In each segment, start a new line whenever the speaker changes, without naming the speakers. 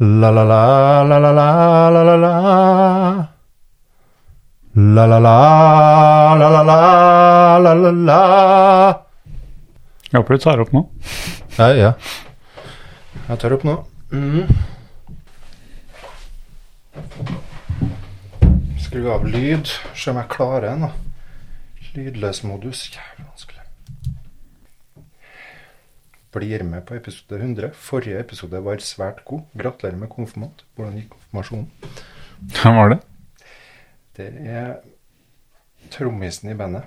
La-la-la, la-la-la, la-la-la. La-la-la, la-la-la, la-la-la.
Jeg håper du tar opp nå.
Ja, ja. Jeg tar opp nå. Mhm. Skru av lyd. Se om jeg klarer den. da. Lydløs modus. Jævlig vanskelig. Blir med på episode 100. Forrige episode var svært god. Gratulerer med konfirmant. Hvordan gikk konfirmasjonen?
Hvem var det?
Det er trommisen i bandet.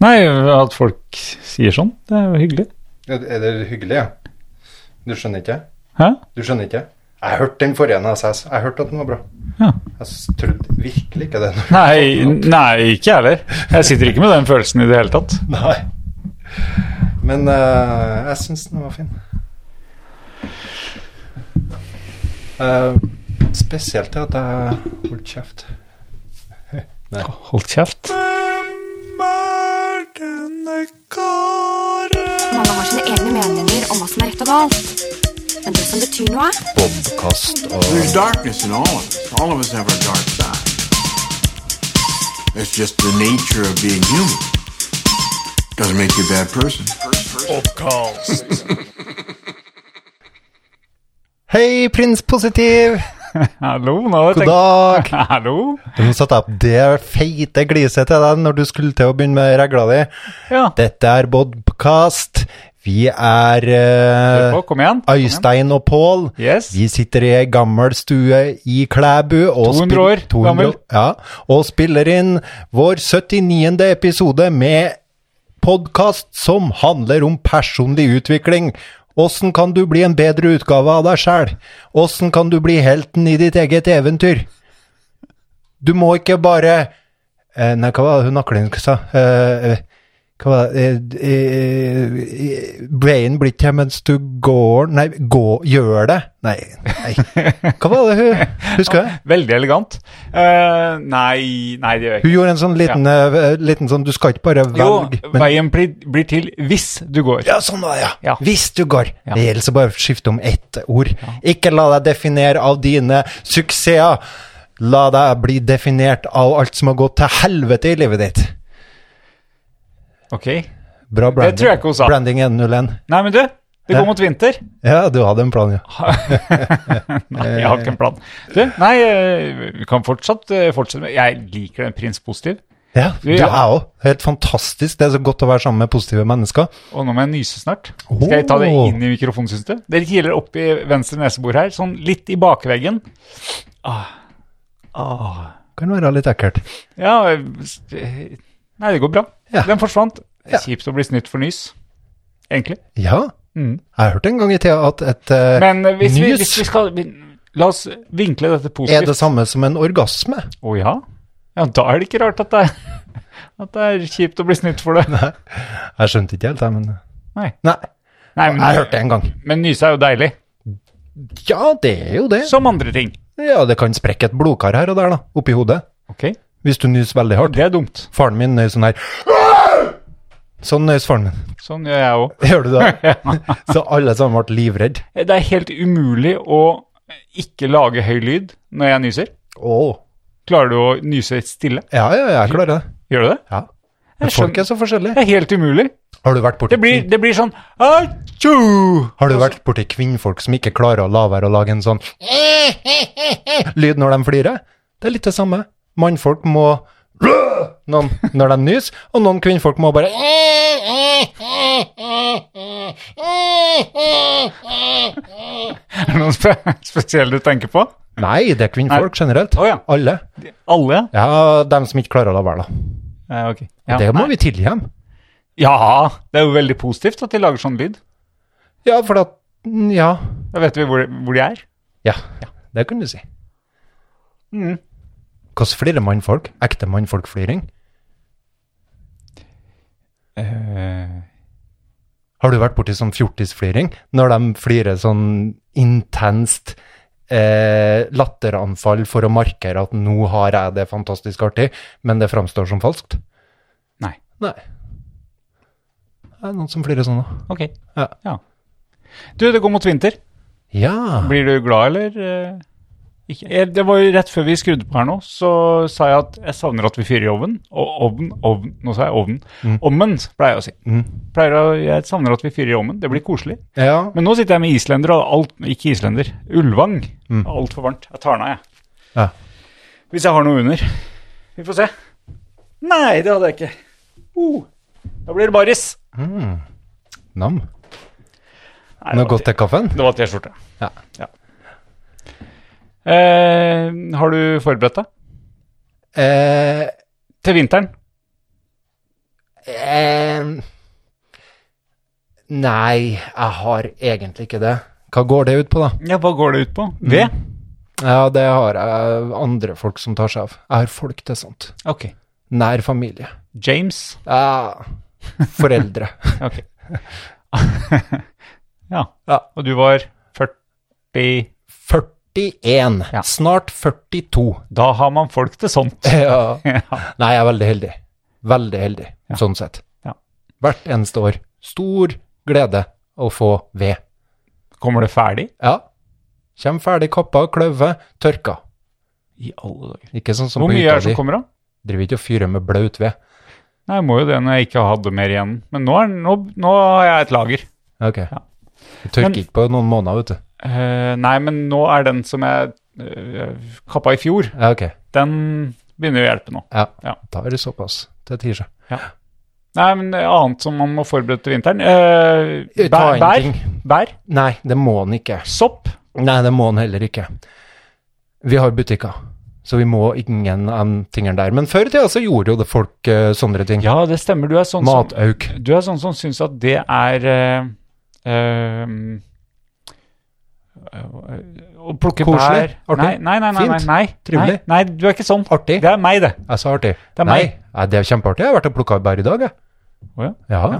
Nei, at folk sier sånn. Det er jo hyggelig.
Er er det hyggelig, ja? Du skjønner ikke?
Hæ?
Du skjønner ikke? Jeg hørte den forrige NSS. Jeg hørte at den var bra.
Ja.
Jeg s- trodde virkelig ikke det.
Nei, nei, ikke jeg heller. Jeg sitter ikke med den følelsen i det hele tatt.
Nei. Men eh, jeg syns den var fin. Eh, spesielt det at jeg holdt kjeft.
Hold kjeft.
Mange har sine egne meninger om hva som er rett og galt. Men det som betyr noe,
There's darkness in all of us. All of us have our dark side. It's just the nature of being human. Doesn't make you a bad person.
Hei, prins positiv!
Hallo, nå hadde jeg
God
tenkt
dag!
Hallo?
Nå satte jeg opp det feite gliset til deg når du skulle til å begynne med regla di.
Ja.
Dette er Bodkast. Vi er
Hør
eh,
på, kom igjen.
Øystein og Pål.
Yes.
Vi sitter i ei gammel stue i Klæbu og
200
spill-
år gammel.
Ja, og spiller inn vår 79. episode med podkast som handler om personlig utvikling. Åssen kan du bli en bedre utgave av deg sjæl? Åssen kan du bli helten i ditt eget eventyr? Du må ikke bare eh, Nei, hva var det hun aklen sa? Eh, eh, hva var det eh, eh, eh, Veien blir til mens du går Nei, gå, gjør det. Nei, nei. Hva var det hun Husker du? det?
Veldig elegant. Eh, nei, nei, det gjør jeg ikke.
Hun gjorde en sånn liten, eh, liten sånn Du skal ikke bare
Jo,
velge men-
veien blir, blir til hvis du går.
Ja, sånn var det, ja.
Ja.
Hvis du går.
Ja.
Det gjelder så bare å skifte om ett ord. Ikke la deg definere av dine suksesser. La deg bli definert av alt som har gått til helvete i livet ditt.
Ok.
Bra branding.
tror jeg ikke hun sa.
Branding 101.
Nei, men du, det går mot vinter.
Ja, du hadde en plan, ja.
Nei, jeg har
Eh.
ikke en plan. Du, nei, eh, vi kan fortsatt eh, fortsette med Jeg liker den prins positiv.
Ja, du
Ja.
er òg. Helt fantastisk. Det er så godt å være sammen med positive mennesker.
Og nå må jeg nyse snart. Skal jeg ta det
Åh.
inn i mikrofonen, syns du? Det kiler oppi venstre nesebor her, sånn litt i bakveggen. Ah. Ah.
Kan være litt ekkelt.
Ja eh, s- eh, Nei, det går bra.
Ja.
Den forsvant. Det
Ja.
er Kjipt å bli snytt for nys, egentlig.
Ja.
Mm.
Jeg hørte en gang i tida at et eh,
Men eh, hvis vi,
nys
hvis vi skal vi- La oss vinkle dette
er det
positivt.
samme som en orgasme.
Å ja? Ja, da er det ikke rart at det er, at det er kjipt å bli snytt for det.
Jeg skjønte ikke helt, jeg, men
Nei.
Nei,
Nei
jeg hørte det en gang.
Men nyse er jo deilig.
Ja, det er jo det.
Som andre ting.
Ja, det kan sprekke et blodkar her og der, da, oppi hodet.
Ok,
Hvis du nyser veldig hardt.
Det er dumt.
Faren min nøys sånn her. Sånn nøys faren min.
Sånn gjør jeg òg.
Gjør du det? Så alle sammen ble livredd.
Det er helt umulig å ikke lage høy lyd når jeg nyser.
Å.
Klarer du å nyse stille?
Ja, ja, jeg klarer det.
Gjør du det?
Ja.
Jeg
Men folk
skjønner.
er så forskjellige.
Det er helt umulig.
Har du vært borti
Det blir, det blir sånn Atjo!
Har du vært borti kvinnfolk som ikke klarer å la være å lage en sånn lyd når de flirer? Det er litt det samme. Mannfolk må noen når de nyser, og noen kvinnfolk må bare
Er det noen spe spesielle du tenker på?
Nei, det er kvinnfolk generelt.
Å ja.
Alle.
Alle?
Ja, dem som ikke klarer å la være, da.
Eh, ok. Ja.
Det må
Nei.
vi tilgi dem.
ja, det er jo veldig positivt at de lager sånn lyd.
Ja, for at Ja.
Da vet vi hvor, hvor de er.
Ja, det kan du si.
Mm.
Hvordan flirer mannfolk? Ekte mannfolkfliring?
Eh,
Har du vært borti sånn fjortisfliring? Når de flirer sånn intenst eh, latteranfall for å markere at nå har jeg det fantastisk artig, men det framstår som falskt?
Nei.
Nei. Det er noen som flirer sånn òg.
Ok.
Ja.
Du, det går mot vinter.
Ja.
Blir du glad, eller? eh, Ikke? Jeg- Det var jo rett før vi skrudde på her nå, så sa jeg at jeg savner at vi fyrer i ovnen. Og ovn, ovn, nå sa jeg ovnen.
Mm.
Ommen, pleier jeg å si. Pleier å, jeg savner at vi fyrer i ovnen. Det blir koselig.
ja.
Men nå sitter jeg med islender og alt Ikke islender. Ulvang.
Mm.
Altfor varmt. Jeg tar den av, jeg.
Ja.
Hvis jeg har noe under. Vi får se. Nei, det hadde jeg ikke. Uh, da blir det baris.
Mm. Nam. Noe
Nei, det var
godt til kaffen?
det var T-skjorte.
Ja.
Eh, har du forberedt deg
Eh,
til vinteren?
eh, nei, jeg har egentlig ikke det. Hva går det ut på, da?
Ja, hva går det ut på? Ved?
Ja, det har jeg andre folk som tar seg av. Jeg har folk til sånt.
Ok.
Nær familie.
James?
Ja, foreldre.
Ok. ja.
Ja.
Og du var 40
41.
Ja.
Snart 42.
Da har man folk til sånt.
Ja.
ja.
Nei, jeg er veldig heldig. Veldig heldig, sånn sett.
Ja.
Hvert eneste år. Stor glede å få ved.
Kommer det ferdig?
Ja. Kjem ferdig kappa, kløve, tørka.
I alle dager.
Ikke sånn som
Hvor
på
mye
hytta
er det
di.
som kommer av?
Driver ikke og fyrer med blaut ved.
Nei, jeg må jo det når jeg ikke hadde mer igjen. Men nå, er, nå, nå har jeg et lager.
Ok.
Ja.
Det tørker
Men-
ikke på noen måneder, vet du.
Eh, nei, men nå er den som jeg eh, kappa i fjor,
Ja, ok.
den begynner å hjelpe nå.
Ja.
Ja.
Da er det såpass. Det tier seg.
Nei, men annet som man må forberede til vinteren eh,
Ta
bær,
en
bær,
ting.
bær,
Nei, det må han ikke.
sopp.
Nei, det må han heller ikke. Vi har butikker, så vi må ingen av de tingene der. Men før i tida så gjorde jo det folk eh, sånne ting.
Ja, det stemmer. Du er sånn som,
Matauk.
du er sånn som syns at det er eh, eh, å plukke
Koselig,
bær
artig,
nei, nei, nei, nei, nei,
fint,
nei, nei,
trivelig.
nei, du er ikke sånn.
Artig.
Det er meg, det.
Jeg sa artig.
Det er
Nei,
meg.
Nei, det er kjempeartig. Jeg har vært og plukka bær i dag, jeg.
Å ja.
Ja.
Ja.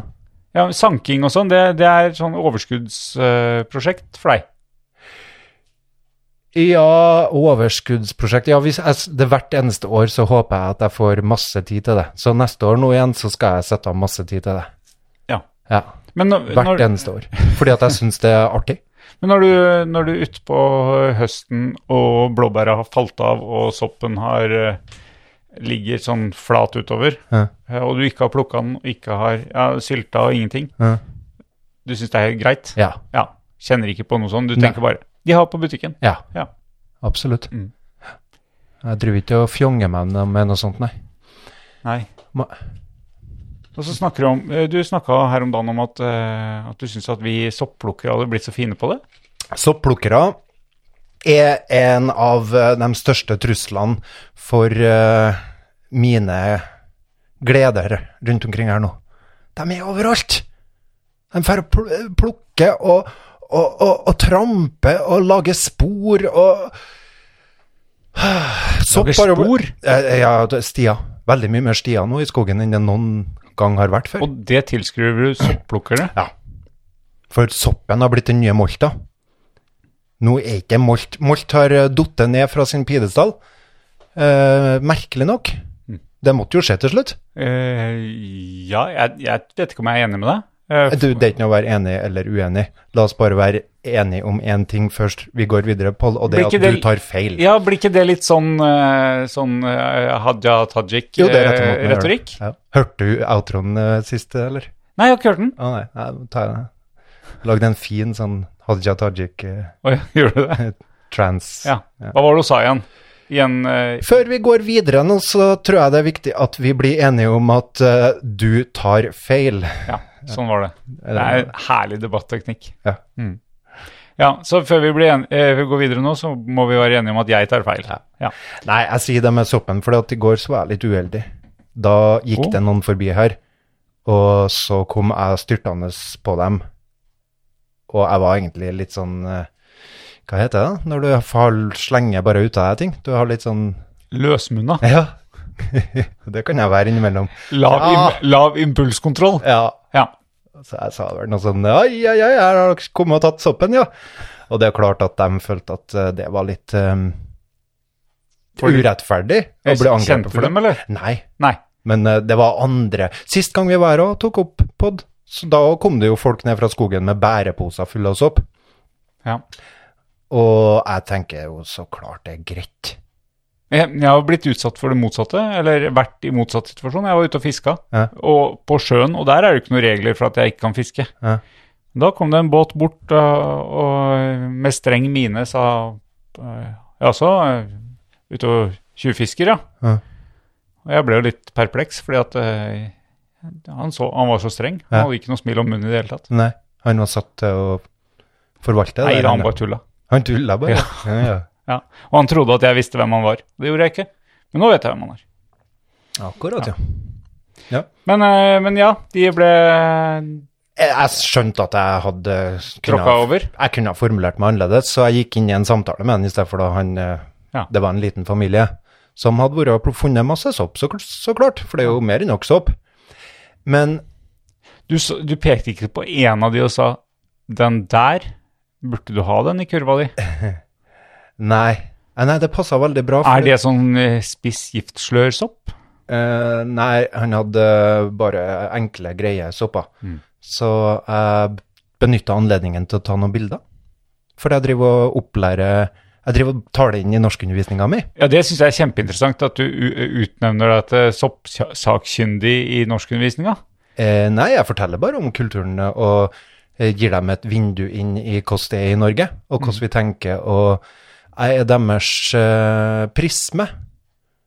Ja, Sanking og sånn, det, det er sånn overskuddsprosjekt for deg.
Ja, overskuddsprosjekt. Ja, hvis jeg, s- det hvert eneste år så håper jeg at jeg får masse tid til det. Så neste år nå igjen så skal jeg sette av masse tid til det.
Ja.
Ja,
Men når,
Hvert
når,
eneste år. Fordi at jeg syns det er artig.
men når du, når du er ute på høsten og blåbæra har falt av og soppen har eh, ligger sånn flat utover,
Ja.
eh, og du ikke har plukka den, og ikke har ja, sylta og ingenting,
Ja.
du syns det er helt greit?
Ja.
Ja. Kjenner ikke på noe sånt. Du tenker bare De har på butikken.
Ja,
Ja.
absolutt.
Mm.
Jeg driver ikke og fjonger meg med- med noe sånt, nei.
Nei.
Ma-
Og så snakker du om eh, Du snakka her om dagen om at, eh, at du syns at vi sopplukkere hadde blitt så fine på det.
Sopplukkere er en av eh, de største truslene for eh, mine gleder rundt omkring her nå. De er overalt! De får pl- plukke og, og, og, og trampe og lage spor og Sopp har jo
spor?
bl- Eh, Ja, det- stier. Veldig mye mer stier nå i skogen enn det noen gang har vært før.
Og det tilskriver du sopplukkere.
Ja. For soppen har blitt den nye molta. Nå er ikke molt. Molt har eh, datt ned fra sin pidestall. Eh, merkelig nok. Det måtte jo skje til slutt.
Eh, ja, jeg, jeg vet ikke om jeg er enig med deg. Eh,
Du, det er ikke noe å være enig eller uenig. La oss bare være enige om én ting først. Vi går videre, Pål, og det er
Blir ikke
at du
det-
tar feil.
ja, blir ikke det litt sånn, eh, sånn eh, Hadia
Jo, det er rett
eh,
og måten å gjøre det.
Tajik-retorikk?
Ja. Hørte du outroen eh, siste, eller?
Nei, jeg har ikke hørt den.
Å nei, nei, da tar jeg den. Lagde en fin sånn eh, Hadia Tajik-trans.
Oi, gjorde du det? Ja. Hva var det hun sa igjen? Igjen eh,
Før vi går videre nå, så tror jeg det er viktig at vi blir enige om at eh, du tar feil.
Ja, sånn var det. Det er en herlig debatteknikk.
Eh. Ja.
Mm. ja så før vi, blir en, eh, vi går videre nå, så må vi være enige om at jeg tar feil. Ja.
Nei, jeg sier det med soppen, for i går så var jeg litt uheldig. Da gikk
Å.
det noen forbi her, og så kom jeg styrtende på dem. Og jeg var egentlig litt sånn eh, Hva heter det da? når du har slenger bare ut av deg ting? Du har litt sånn
Løsmunna.
Ja. det kan jeg være innimellom.
Lav,
Ja.
im lav impulskontroll.
Ja.
Ja.
Så jeg sa vel noe sånn Oi, oi, oi, her har dere kommet og tatt soppen, ja. Og det er klart at de følte at eh, det var litt eh, urettferdig å bli
Kjente
angrepet
du
for det.
dem, eller?
Nei,
Nei.
men eh, det var andre. Sist gang vi var her og tok opp pod, Så da kom det jo folk ned fra skogen med bæreposer fulle av sopp.
Ja.
Og jeg tenker jo så klart det er greit.
Jeg, jeg har blitt utsatt for det motsatte, eller vært i motsatt situasjon. Jeg var ute og fiska
Ja.
og på sjøen, og der er det jo ikke noen regler for at jeg ikke kan fiske.
Ja.
Da kom det en båt bort øh, og med streng mine sa øh, Jaså, øh, ute og tjuvfisker, ja?
Ja.
Og jeg ble jo litt perpleks, fordi at øh, han, så, han var så streng.
Ja.
Han hadde ikke noe smil om munnen i det hele tatt.
Nei, han var satt til å forvalte det.
Nei,
der,
da, han bare tulla.
han tulla bare. Ja, ja.
Ja. Og han trodde at jeg visste hvem han var. Det gjorde jeg ikke. Men nå vet jeg hvem han er.
Akkurat, ja.
Men, øh, men ja, de ble
Jeg jeg skjønte at jeg hadde kunnet-
tråkka over.
Jeg kunne ha formulert meg annerledes, så jeg gikk inn i en samtale med han i stedet for da han eh,
Ja.
Det var en liten familie som hadde vært og pl- funnet masse sopp, så, kl- så klart, for det er jo mer enn nok sopp. Men
Du, så- du pekte ikke på en av de og sa 'den der, burde du ha den i kurva di'?
nei. Eh, Nei, det passa veldig bra. for
Er det sånn eh, spiss giftslørsopp?
Eh, nei, han hadde bare enkle, greie sopper.
Mm.
Så jeg benytta anledningen til å ta noen bilder. For jeg driver og opplærer Jeg driver og tar det inn i norskundervisninga mi.
Ja, det syns jeg er kjempeinteressant at du u- eh, utnevner deg til soppsakkyndig i norskundervisninga.
Eh, nei, jeg forteller bare om kulturen og eh, gir dem et vindu inn i hvordan det er i Norge, og
Mm.
hvordan vi tenker. Og jeg er deres eh, prisme.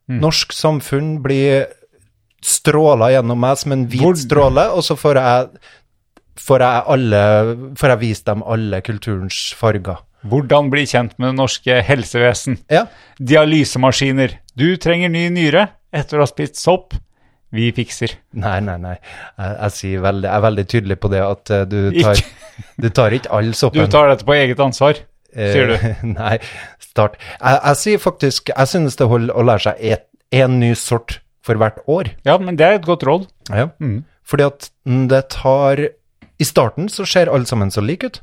Mm.
Norsk samfunn blir stråla gjennom meg som en hvit
Hvor-
stråle, og så får jeg, får jeg, alle, får jeg vist dem alle kulturens farger.
Hvordan bli kjent med det norske helsevesen.
Ja,
Dialysemaskiner. Du trenger ny nyre etter å ha spist sopp. Vi fikser.
Nei, nei, nei. Jeg, jeg, sier veldig, jeg er veldig tydelig på det at eh, du tar,
Ikke-
du tar ikke all
Du
soppen.
tar dette på eget ansvar, sier du.
Eh, Nei, start. Jeg, jeg sier faktisk, jeg synes det holder å lære seg én ny sort for hvert år.
Ja, men det er et godt råd.
Fordi at mm, det tar I starten så ser alle sammen så like ut.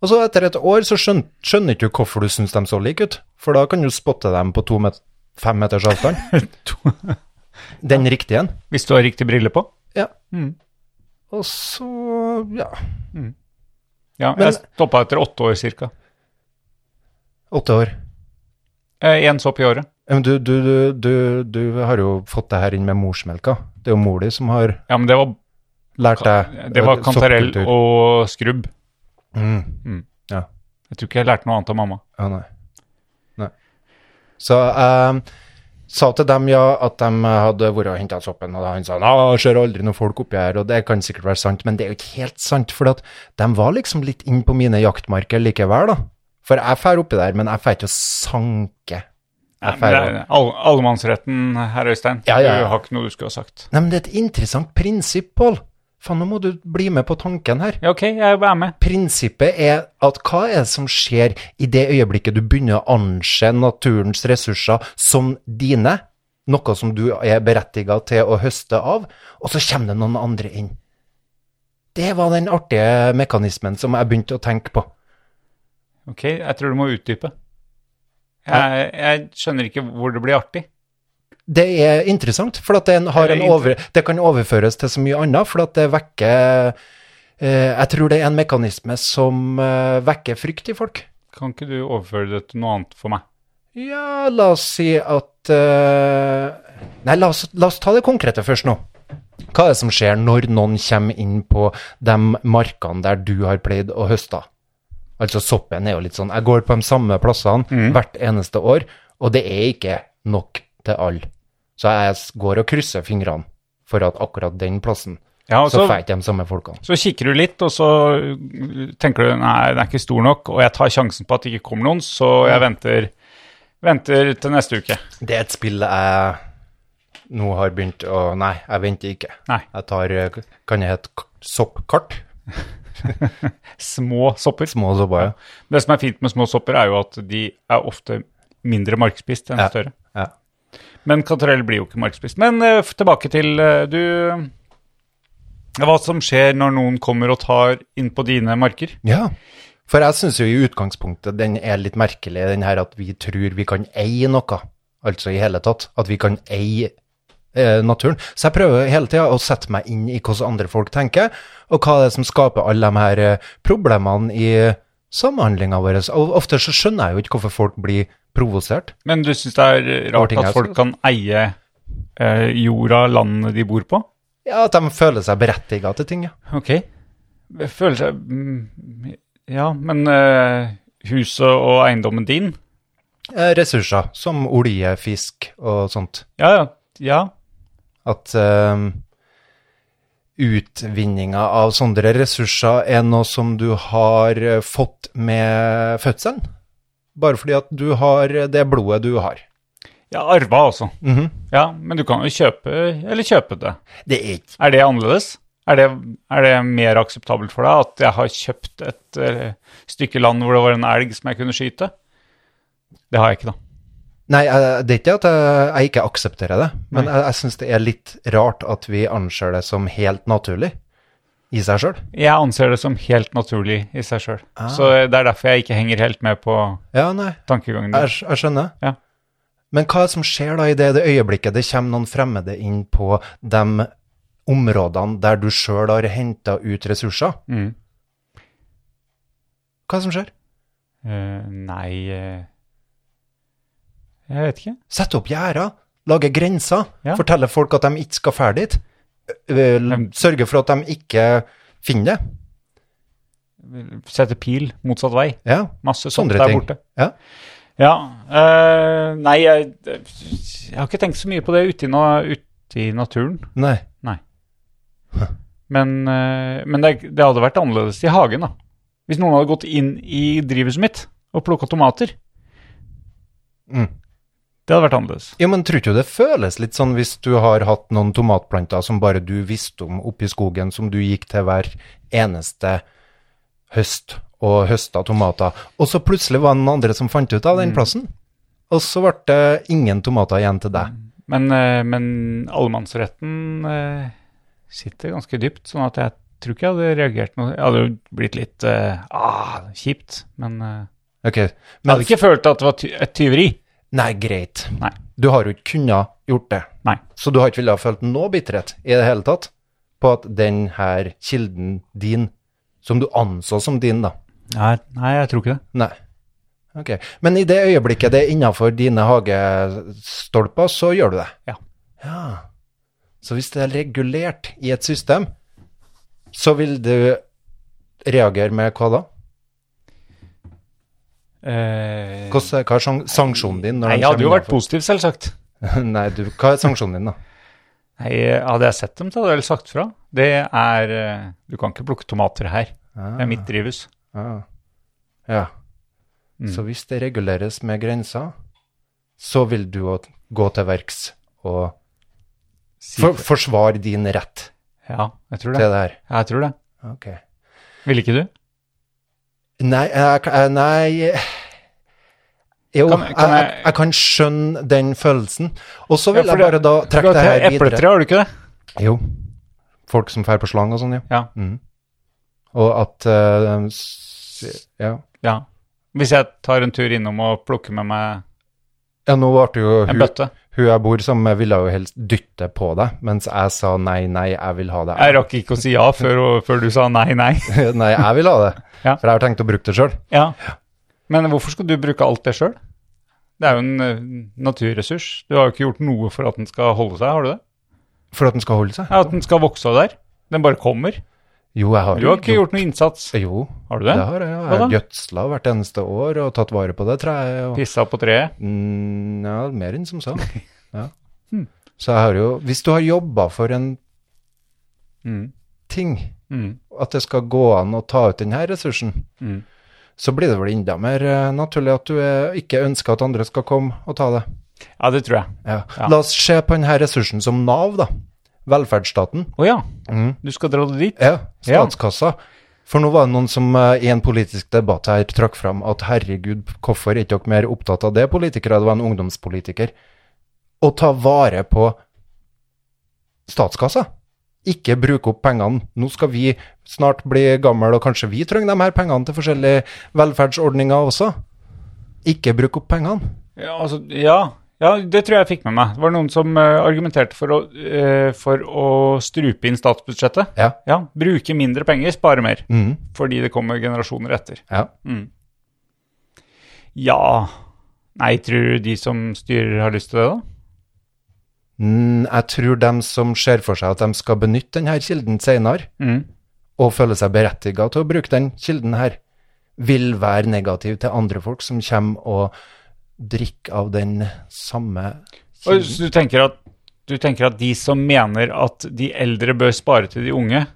Og så etter et år så skjøn, skjønner ikke du hvorfor du syns de så like ut. For da kan du spotte dem på to met fem meters avstand. Den riktige en.
Hvis du har riktig brille på.
Ja.
Mm.
Og så ja,
Ja,
Men-
jeg stoppa etter åtte år cirka.
åtte år.
Én Eh, sopp i året.
Ja, Men du, du, du, du, du har jo fått det her inn med morsmelka. Det er jo mor di som har
Ja, men det var,
lært deg
det var kantarell
soppkultur.
og skrubb.
mm.
Jeg tror ikke jeg lærte noe annet av mamma.
Ja, nei. nei. Så jeg sa til dem ja, at de hadde vært og henta soppen, og da han sa at jeg ser aldri noen folk oppi her, og det kan sikkert være sant, men det er jo ikke helt sant, for at de var liksom litt inn på mine jaktmarker likevel, da. For jeg drar oppi der, men jeg drar ikke å sanke.
Nei,
Jeg
men det
drar
er all, allemannsretten, herr Øystein.
Ja, ja, ja.
Du har ikke noe du skulle ha sagt.
Nei, men det er et interessant prinsipp, Pål. Faen, nå må du bli med på tanken her.
Ja, ok, jeg er med.
Prinsippet er at hva er det som skjer i det øyeblikket du begynner å anse naturens ressurser som dine, noe som du er berettiget til å høste av, og så kommer det noen andre inn. Det var den artige mekanismen som jeg begynte å tenke på.
Ok, jeg tror du må utdype. Jeg, jeg skjønner ikke hvor det blir artig.
Det er interessant, for at den har
Det er
en
inter-
over, det kan overføres til så mye annet, for at det vekker eh, Jeg tror det er en mekanisme som eh, vekker frykt i folk.
Kan ikke du overføre det til noe annet for meg?
Ja, la oss si at eh, Nei, la oss, la oss ta det konkrete først nå. Hva er det som skjer når noen kommer inn på de markene der du har pleid å høste? Altså, soppen er jo litt sånn Jeg går på de samme plassene hvert eneste år, og det er ikke nok til alle. Så jeg s- går og krysser fingrene for at akkurat den plassen
Ja, og
så
så,
får jeg ikke de samme folkene.
så kikker du litt, og så øh, tenker du nei, den er ikke stor nok, og jeg tar sjansen på at det ikke kommer noen, så jeg venter, venter til neste uke.
Det er et spill jeg nå har begynt å Nei, jeg venter ikke.
Nei.
Jeg tar eh, Kan det hete k- soppkart?
Små sopper.
Små sopper, ja.
Det som er fint med små sopper, er jo at de er ofte mindre markspist enn
Ja,
større.
ja.
Men kantarell blir jo ikke markspist. Men eh, f- tilbake til eh, du eh, Hva som skjer når noen kommer og tar inn på dine marker?
Ja, for jeg syns jo i utgangspunktet den er litt merkelig, den her at vi tror vi kan eie noe, altså i hele tatt. At vi kan eie eh, naturen. Så jeg prøver hele tida å sette meg inn i hvordan andre folk tenker, og hva det er som skaper alle de her eh, problemene i samhandlinga vår. Og ofte så skjønner jeg jo ikke hvorfor folk blir provosert.
Men du syns det er rart
Ting altså. er
at folk
så-
kan eie eh, jorda, landet de bor på?
Ja, At de føler seg berettiga til ting. ja.
Ok. Jeg føler seg mm, Ja, men eh, huset og eiendommen din?
Eh, ressurser som olje, fisk og sånt.
Ja, ja. ja.
At eh, utvinninga av sånne ressurser er noe som du har eh, fått med fødselen. Bare fordi at du har eh, det blodet du har.
Ja, arva også.
Mhm.
Ja, men du kan jo kjøpe eller kjøpe det.
Det er ikke
Er det annerledes? Er det, er det mer akseptabelt for deg at jeg har kjøpt et eh, stykke land hvor det var en elg som jeg kunne skyte? Det har jeg ikke, da.
Nei, jeg- det er ikke at jeg, jeg ikke aksepterer det, men jeg, jeg syns det er litt rart at vi anser det som helt naturlig i seg sjøl.
Jeg anser det som helt naturlig i seg sjøl.
Ah.
Så det er derfor jeg ikke henger helt med på
Ja, nei, jeg,
tankegangen din.
skj- jeg skjønner.
Ja.
Men hva er det som skjer da i det, det øyeblikket det kommer noen fremmede inn på de områdene der du sjøl har henta ut ressurser?
Mm.
Hva er det som skjer?
Eh, nei eh, Jeg vet ikke.
Sette opp gjerder, lage grenser,
Ja.
fortelle folk at de ikke skal fære dit. ø- ø, l- Sørge for at de ikke finner det.
Sette pil motsatt vei.
Ja.
Masse sånt
Sånne
der
ting.
borte.
Ja.
Ja, eh, nei, jeg, jeg har ikke tenkt så mye på det ute i, na, ute i naturen.
Nei.
Men, eh, men det, det hadde vært annerledes i hagen, da. Hvis noen hadde gått inn i drivhuset mitt og plukka tomater.
Mm.
Det hadde vært annerledes.
Ja, men tror du det føles litt sånn hvis du har hatt noen tomatplanter som bare du visste om oppi skogen, som du gikk til hver eneste høst og høsta tomater, og så plutselig var det noen andre som fant ut av den plassen, og så ble det ingen tomater igjen til deg.
Men, eh, men allemannsretten eh, sitter ganske dypt, sånn at jeg tror ikke jeg hadde reagert noe. Jeg hadde jo blitt litt eh, ah, kjipt, men eh,
Ok,
jeg hadde
men
ikke følt at det var ty et tyveri.
nei, greit.
Nei.
Du har jo ikke kunnet gjort det.
Nei.
Så du har ikke villet ha følt noe bitterhet i det hele tatt på at den her kilden din, som du anså som din da,
Nei, nei, jeg tror ikke det.
Nei. Ok. Men i det øyeblikket det er innafor dine hagestolper, så gjør du det?
Ja.
ja. Så hvis det er regulert i et system, så vil du reagere med hva da?
Eh,
Hvordan- Hva er sank- sanksjonen din? når
nei,
de
jeg hadde jo
kommer
vært positiv, selvsagt.
innenfor? Nei, du, hva er sanksjonen din, da?
Nei, hadde jeg sett dem, så hadde jeg vel sagt fra. Det er eh, Du kan ikke plukke tomater her. Det er mitt drivhus.
Ah. Ja.
Mm.
Så hvis det reguleres med grenser, så vil du å- gå til verks og
Si
for,
fra.
forsvare din rett
Ja, jeg tror
til det
det.
her.
Jeg tror det.
Ok.
Ville ikke du?
Nei, jeg, jeg- nei eh, Jo,
Kan- kan
jeg, jeg,
jeg-
jeg kan skjønne den følelsen. Og så vil
Ja, for
jeg bare
det-
da
Du
trekke
har
det her
tre-
videre.
Epletre, har du ikke det?
Jo. Folk som drar på slang og sånn, ja.
Ja.
Og at eh, s- Ja.
ja. Hvis jeg tar en tur innom og plukker med meg
Ja, nå ble det jo
en
hun,
bøtte
hun jeg bor sammen med, ville jo helst dytte på deg, mens jeg sa nei, nei, jeg vil ha det.
Jeg rakk ikke å si ja før, før du sa nei, nei.
nei, jeg vil ha det.
Ja.
For jeg har tenkt å bruke det sjøl.
Ja. Men hvorfor skal du bruke alt det sjøl? Det er jo en eh, naturressurs. Du har jo ikke gjort noe for at den skal holde seg, har du det?
For at den skal holde seg.
Ja, At den skal vokse av der. Den bare kommer.
Jo, jeg har
Du har ikke gjort noe innsats.
Jo,
Har du
det
det?
har jeg. Ja. Jeg
Hva da?
har gjødsla hvert eneste år og tatt vare på det treet. Og...
Pissa på treet.
Mm, ja, mer enn som så. Ja.
Hmm.
Så jeg har jo Hvis du har jobba for en
Mm.
ting,
Mm.
at det skal gå an å ta ut denne ressursen,
Mm.
så blir det vel enda mer eh, naturlig at du eh, ikke ønsker at andre skal komme og ta det.
Ja, det tror jeg.
Ja.
Ja.
La oss se på denne ressursen som Nav, da. Velferdsstaten.
Å ja,
Mm.
du skal dra det dit?
Ja,
Ja.
statskassa. For nå var det noen som eh, i en politisk debatt her trakk fram at herregud, hvorfor er ikke dere mer opptatt av det, politikere? Det var en ungdomspolitiker. Å ta vare på statskassa. Ikke bruke opp pengene. Nå skal vi snart bli gamle, og kanskje vi trenger de her pengene til forskjellige velferdsordninger også. Ikke bruke opp pengene.
Ja, altså, ja. Ja, det tror jeg jeg fikk med meg. Det var noen som eh, argumenterte for å, eh, for å strupe inn statsbudsjettet.
Ja.
Bruke mindre penger, spare mer. Fordi det kommer generasjoner etter.
Mm. Ja.
Ja Nei, tror du de som styrer, har lyst til det, da?
Mm, jeg tror dem som ser for seg at de skal benytte denne kilden senere,
Mm.
og føler seg berettiga til å bruke den kilden her, vil være negativ til andre folk som kommer og drikker av den samme
Og,
kilden.
så du tenker, at, du tenker at de som mener at de eldre bør spare til de unge,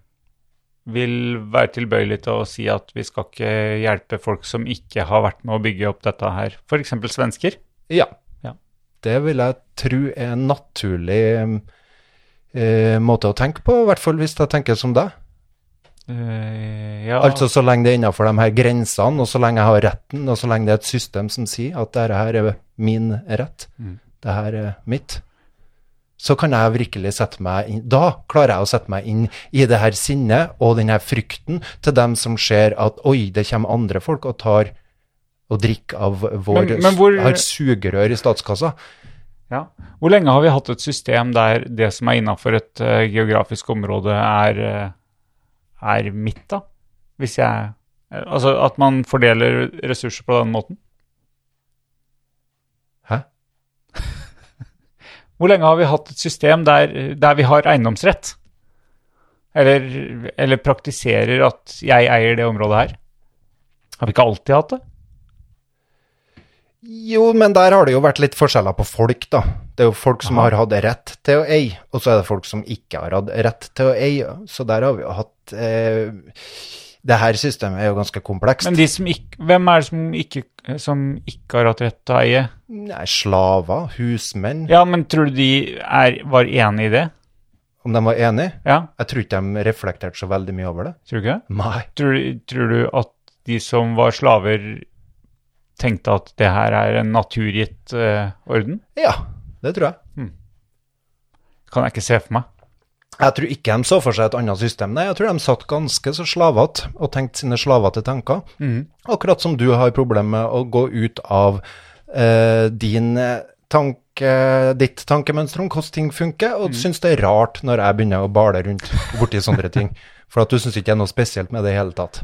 vil være tilbøyelig til å si at vi skal ikke hjelpe folk som ikke har vært med å bygge opp dette her, f.eks. svensker?
Ja.
Ja.
Det vil jeg tro er en naturlig eh, måte å tenke på, i hvert fall hvis jeg tenker som deg.
Eh, ja.
Altså så lenge det er innafor de her grensene, og så lenge jeg har retten, og så lenge det er et system som sier at dette her er min rett,
Mm.
det her er mitt, så kan jeg virkelig sette meg inn Da klarer jeg å sette meg inn i det her sinnet og den her frykten til dem som ser at oi, det kommer andre folk og tar og drikker av vår
Men- men hvor-
Har sugerør i statskassa.
Ja. Hvor lenge har vi hatt et system der det som er innafor et eh, geografisk område, er, eh, er mitt, da? Hvis jeg eh, Altså at man fordeler ressurser på den måten?
Hæ?
Hvor lenge har vi hatt et system der, der vi har eiendomsrett? Eller, eller praktiserer at jeg eier det området her? Har vi ikke alltid hatt det?
Jo, men der har det jo vært litt forskjeller på folk, da. Det er jo folk som har hatt rett til å eie, og så er det folk som ikke har hatt rett til å eie. Så der har vi jo hatt eh, Det her systemet er jo ganske komplekst.
Men de som ikke, hvem er det som ikke, som ikke har hatt rett til å eie?
Nei, slaver, husmenn,
Ja, men tror du de er, var enig i det?
om de var enige?
Ja,
Jeg tror ikke de reflekterte så veldig mye over det.
tror du ikke det?
Nei.
Tror, du- tror du at de som var slaver tenkte at det her er en naturgitt eh, orden?
Ja, det tror jeg.
Kan jeg ikke se for meg.
Jeg tror ikke de så for seg et annet system. Nei, jeg tror de satt ganske så slavete og tenkte sine slavete tanker. Akkurat som du har problemer med å gå ut av eh, din eh, tanke, ditt tankemønster om hvordan ting funker,
Mm.
og syns det er rart når jeg begynner å bale rundt borti sånne ting. For at du syns ikke det er noe spesielt med det i hele tatt.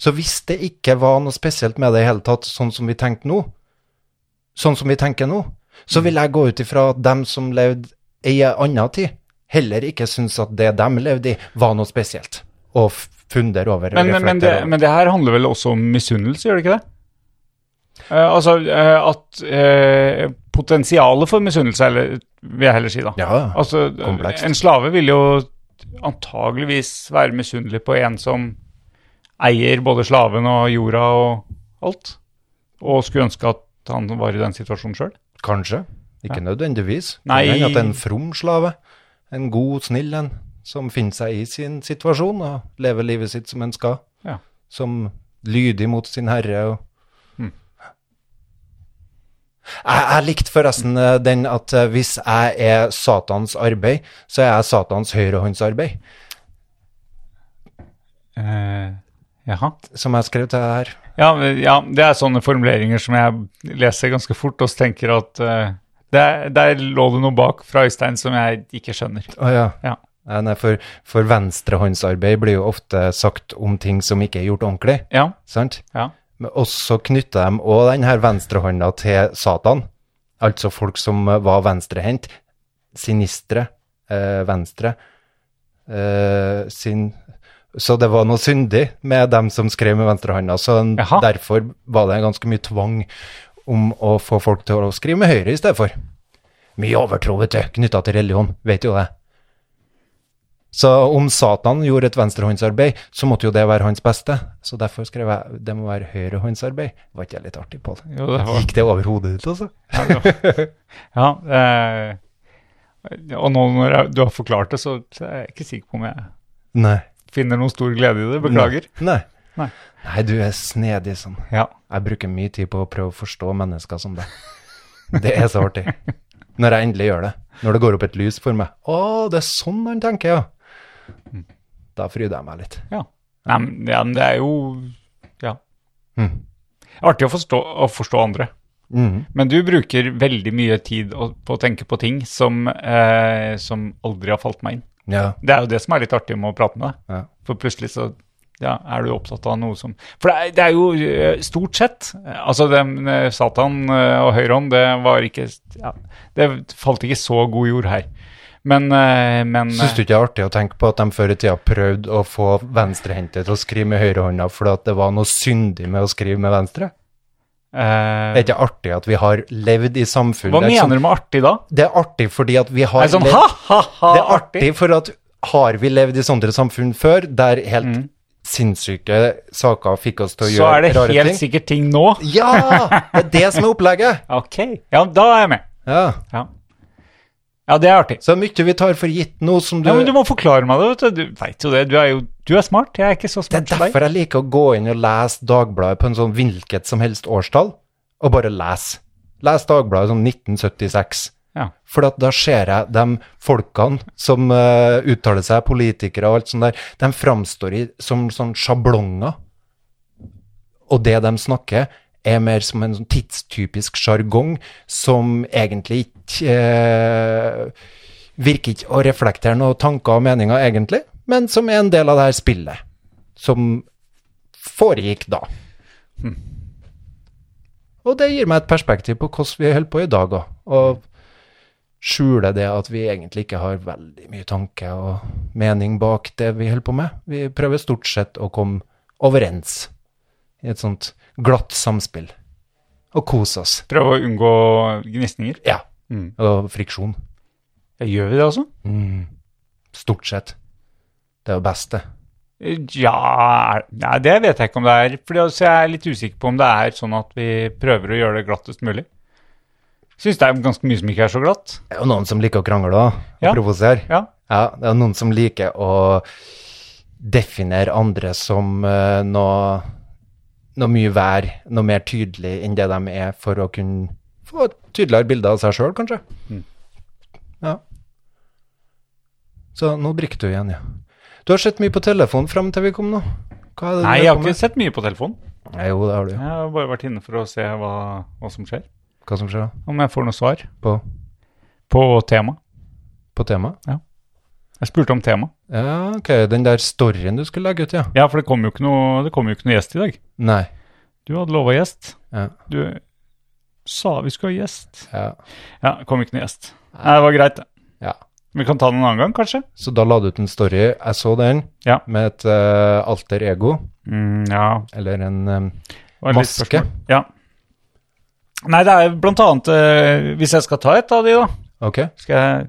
Så hvis det ikke var noe spesielt med det i hele tatt, sånn som vi tenkte nå, sånn som vi tenker nå, så vil jeg gå ut ifra at dem som levde i en annen tid, heller ikke syns at det dem levde i, var noe spesielt. Og f- funder over
Men, men, men, det,
reflekterer over.
men det her handler vel også om misunnelse, gjør det ikke det? Eh, altså eh, at eh, potensialet for misunnelse, eller vil jeg heller si da.
Ja, ja.
Altså,
Komplekst.
En slave vil jo antageligvis være misunnelig på en som eier både slaven og jorda og alt, og skulle ønske at han var i den situasjonen sjøl.
Kanskje. Ikke nødvendigvis.
Nei.
Men at en from slave, en god, snill en, som finner seg i sin situasjon og lever livet sitt som en skal,
Ja.
som lydig mot sin herre og
Hmm.
jeg, jeg likte forresten eh, den at eh, hvis jeg er Satans arbeid, så er jeg Satans høyrehåndsarbeid,
Eh, jaha.
som jeg skrev til deg her.
Ja, men- ja, det er sånne formuleringer som jeg leser ganske fort og så tenker at eh, der, der lå det noe bak fra Øystein som jeg ikke skjønner.
Å ja.
Ja.
Nei, Nei, for, for venstrehåndsarbeid blir jo ofte sagt om ting som ikke er gjort ordentlig,
Ja,
sant?
ja.
Men også knytta de òg den her venstrehånda til Satan, altså folk som eh, var venstrehendt. Sinistre, eh, venstre. Eh, sin Så det var noe syndig med dem som skrev med venstrehånda, så en,
Jaha.
derfor var det ganske mye tvang om å få folk til å skrive med høyre i stedet for. Mye overtro, vet du, knytta til religion, vet jo det. Så om Satan gjorde et venstrehåndsarbeid, så måtte jo det være hans beste. Så derfor skrev jeg det må være høyrehåndsarbeid. Var ikke jeg litt artig, Pål?
Jo, det var-
Gikk det over hodet ditt, altså?
ja eh, og nå når jeg, du har forklart det, så er jeg ikke sikker på om jeg
Nei.
finner noen stor glede i det. Beklager.
Nei.
Nei.
Nei, du er snedig sånn.
Ja.
Jeg bruker mye tid på å prøve å forstå mennesker som deg. Det er så artig. Når jeg endelig gjør det. Når det går opp et lys for meg. Å, det er sånn han tenker, ja. Da fryder jeg meg litt.
ja. Nei, men, ja, men det er jo Ja.
Mm.
Artig å forstå, å forstå andre.
Mhm.
Men du bruker veldig mye tid å- på å tenke på ting som, eh, som aldri har falt meg inn.
Ja.
Det er jo det som er litt artig med å prate med deg.
Ja.
For plutselig så ja, er du opptatt av noe som For det er, det er jo eh, stort sett eh, Altså, den, eh, Satan eh, og høyrehånd, det var ikke ja, Det falt ikke så god jord her. Men, eh, men
Syns du ikke det er artig å tenke på at de før i tida prøvde å få venstrehendte til å skrive med høyrehånda fordi at det var noe syndig med å skrive med venstre?
eh,
Er det ikke artig at vi har levd i samfunnet
Hva mener du med artig da?
Det er artig fordi at vi har
Er det sånn
levd-
ha, ha, ha?
Det er artig for at har vi levd i sånne samfunn før, der helt sinnssyke saker fikk oss til å
Mm. Så er
gjøre
det
rare
helt
ting?
sikkert ting nå.
Ja! Det er det som er opplegget.
Ok. Ja, da er jeg med.
Ja.
Ja, ja det er artig.
Så det er mye vi tar for gitt nå som du,
Ja, men du må forklare meg det. vet Du Du vet jo det. Du er jo du er smart. Jeg er ikke så
Det er
smart som deg.
derfor jeg liker å gå inn og lese Dagbladet på en sånn hvilket som helst årstall, og bare lese. Les Dagbladet sånn 1976.
Ja.
For at da ser jeg de folkene som eh, uttaler seg, politikere og alt sånt der, de framstår i, som sånn sjablonger. Og det de snakker, er mer som en sånn tidstypisk sjargong som egentlig ikke eh, Virker ikke å reflektere noen tanker og meninger, egentlig, men som er en del av det her spillet. Som foregikk da. Og det gir meg et perspektiv på hvordan vi holder på i dag òg. Og skjuler det at vi egentlig ikke har veldig mye tanke og mening bak det vi holder på med. Vi prøver stort sett å komme overens i et sånt glatt samspill. Og kose oss.
Prøve å unngå gnisninger.
Ja.
Mm.
Og friksjon.
Ja, Gjør vi det, altså?
Stort sett. Det er det beste.
Ja er- Nei, det vet jeg ikke om det er. Fordi altså, jeg er litt usikker på om det er sånn at vi prøver å gjøre det glattest mulig. Syns det er ganske mye som ikke er så glatt.
Det er jo noen som liker å krangle òg, og
Ja.
provosere.
Ja.
Ja, det er noen som liker å definere andre som eh, noe, noe mye vær, noe mer tydelig enn det de er, for å kunne få et tydeligere bilde av seg sjøl, kanskje.
Mm.
Ja. Så nå drikker du igjen, ja. Du har sett mye på telefon fram til vi kom nå. Hva er det du
Nei,
holder
jeg har
på
ikke
med?
sett mye på telefonen.
Nei, jo, det har du.
Jeg
jo.
har bare vært inne for å se hva, hva som skjer.
Hva som skjer da?
Om jeg får noe svar
På,
på tema.
på temaet?
Jeg spurte om tema.
Ja, ok, den der storyen du skulle legge ut, ja.
Ja, for det kom jo ikke noe, det kom jo ikke noe gjest i dag.
Nei.
Du hadde lova gjest.
Ja.
Du sa vi skulle ha gjest.
ja.
Ja, det kom ikke noe gjest. Nei, det var greit, det.
Ja.
Vi kan ta den en annen gang, kanskje?
Så da la du ut en story. Jeg så den
Ja.
med et eh, alter ego,
Mm, ja,
eller en eh,
Og litt
Maske.
spørsmål. Ja. Nei, det er blant annet eh, Hvis jeg skal ta et av de, da
Ok.
skal jeg,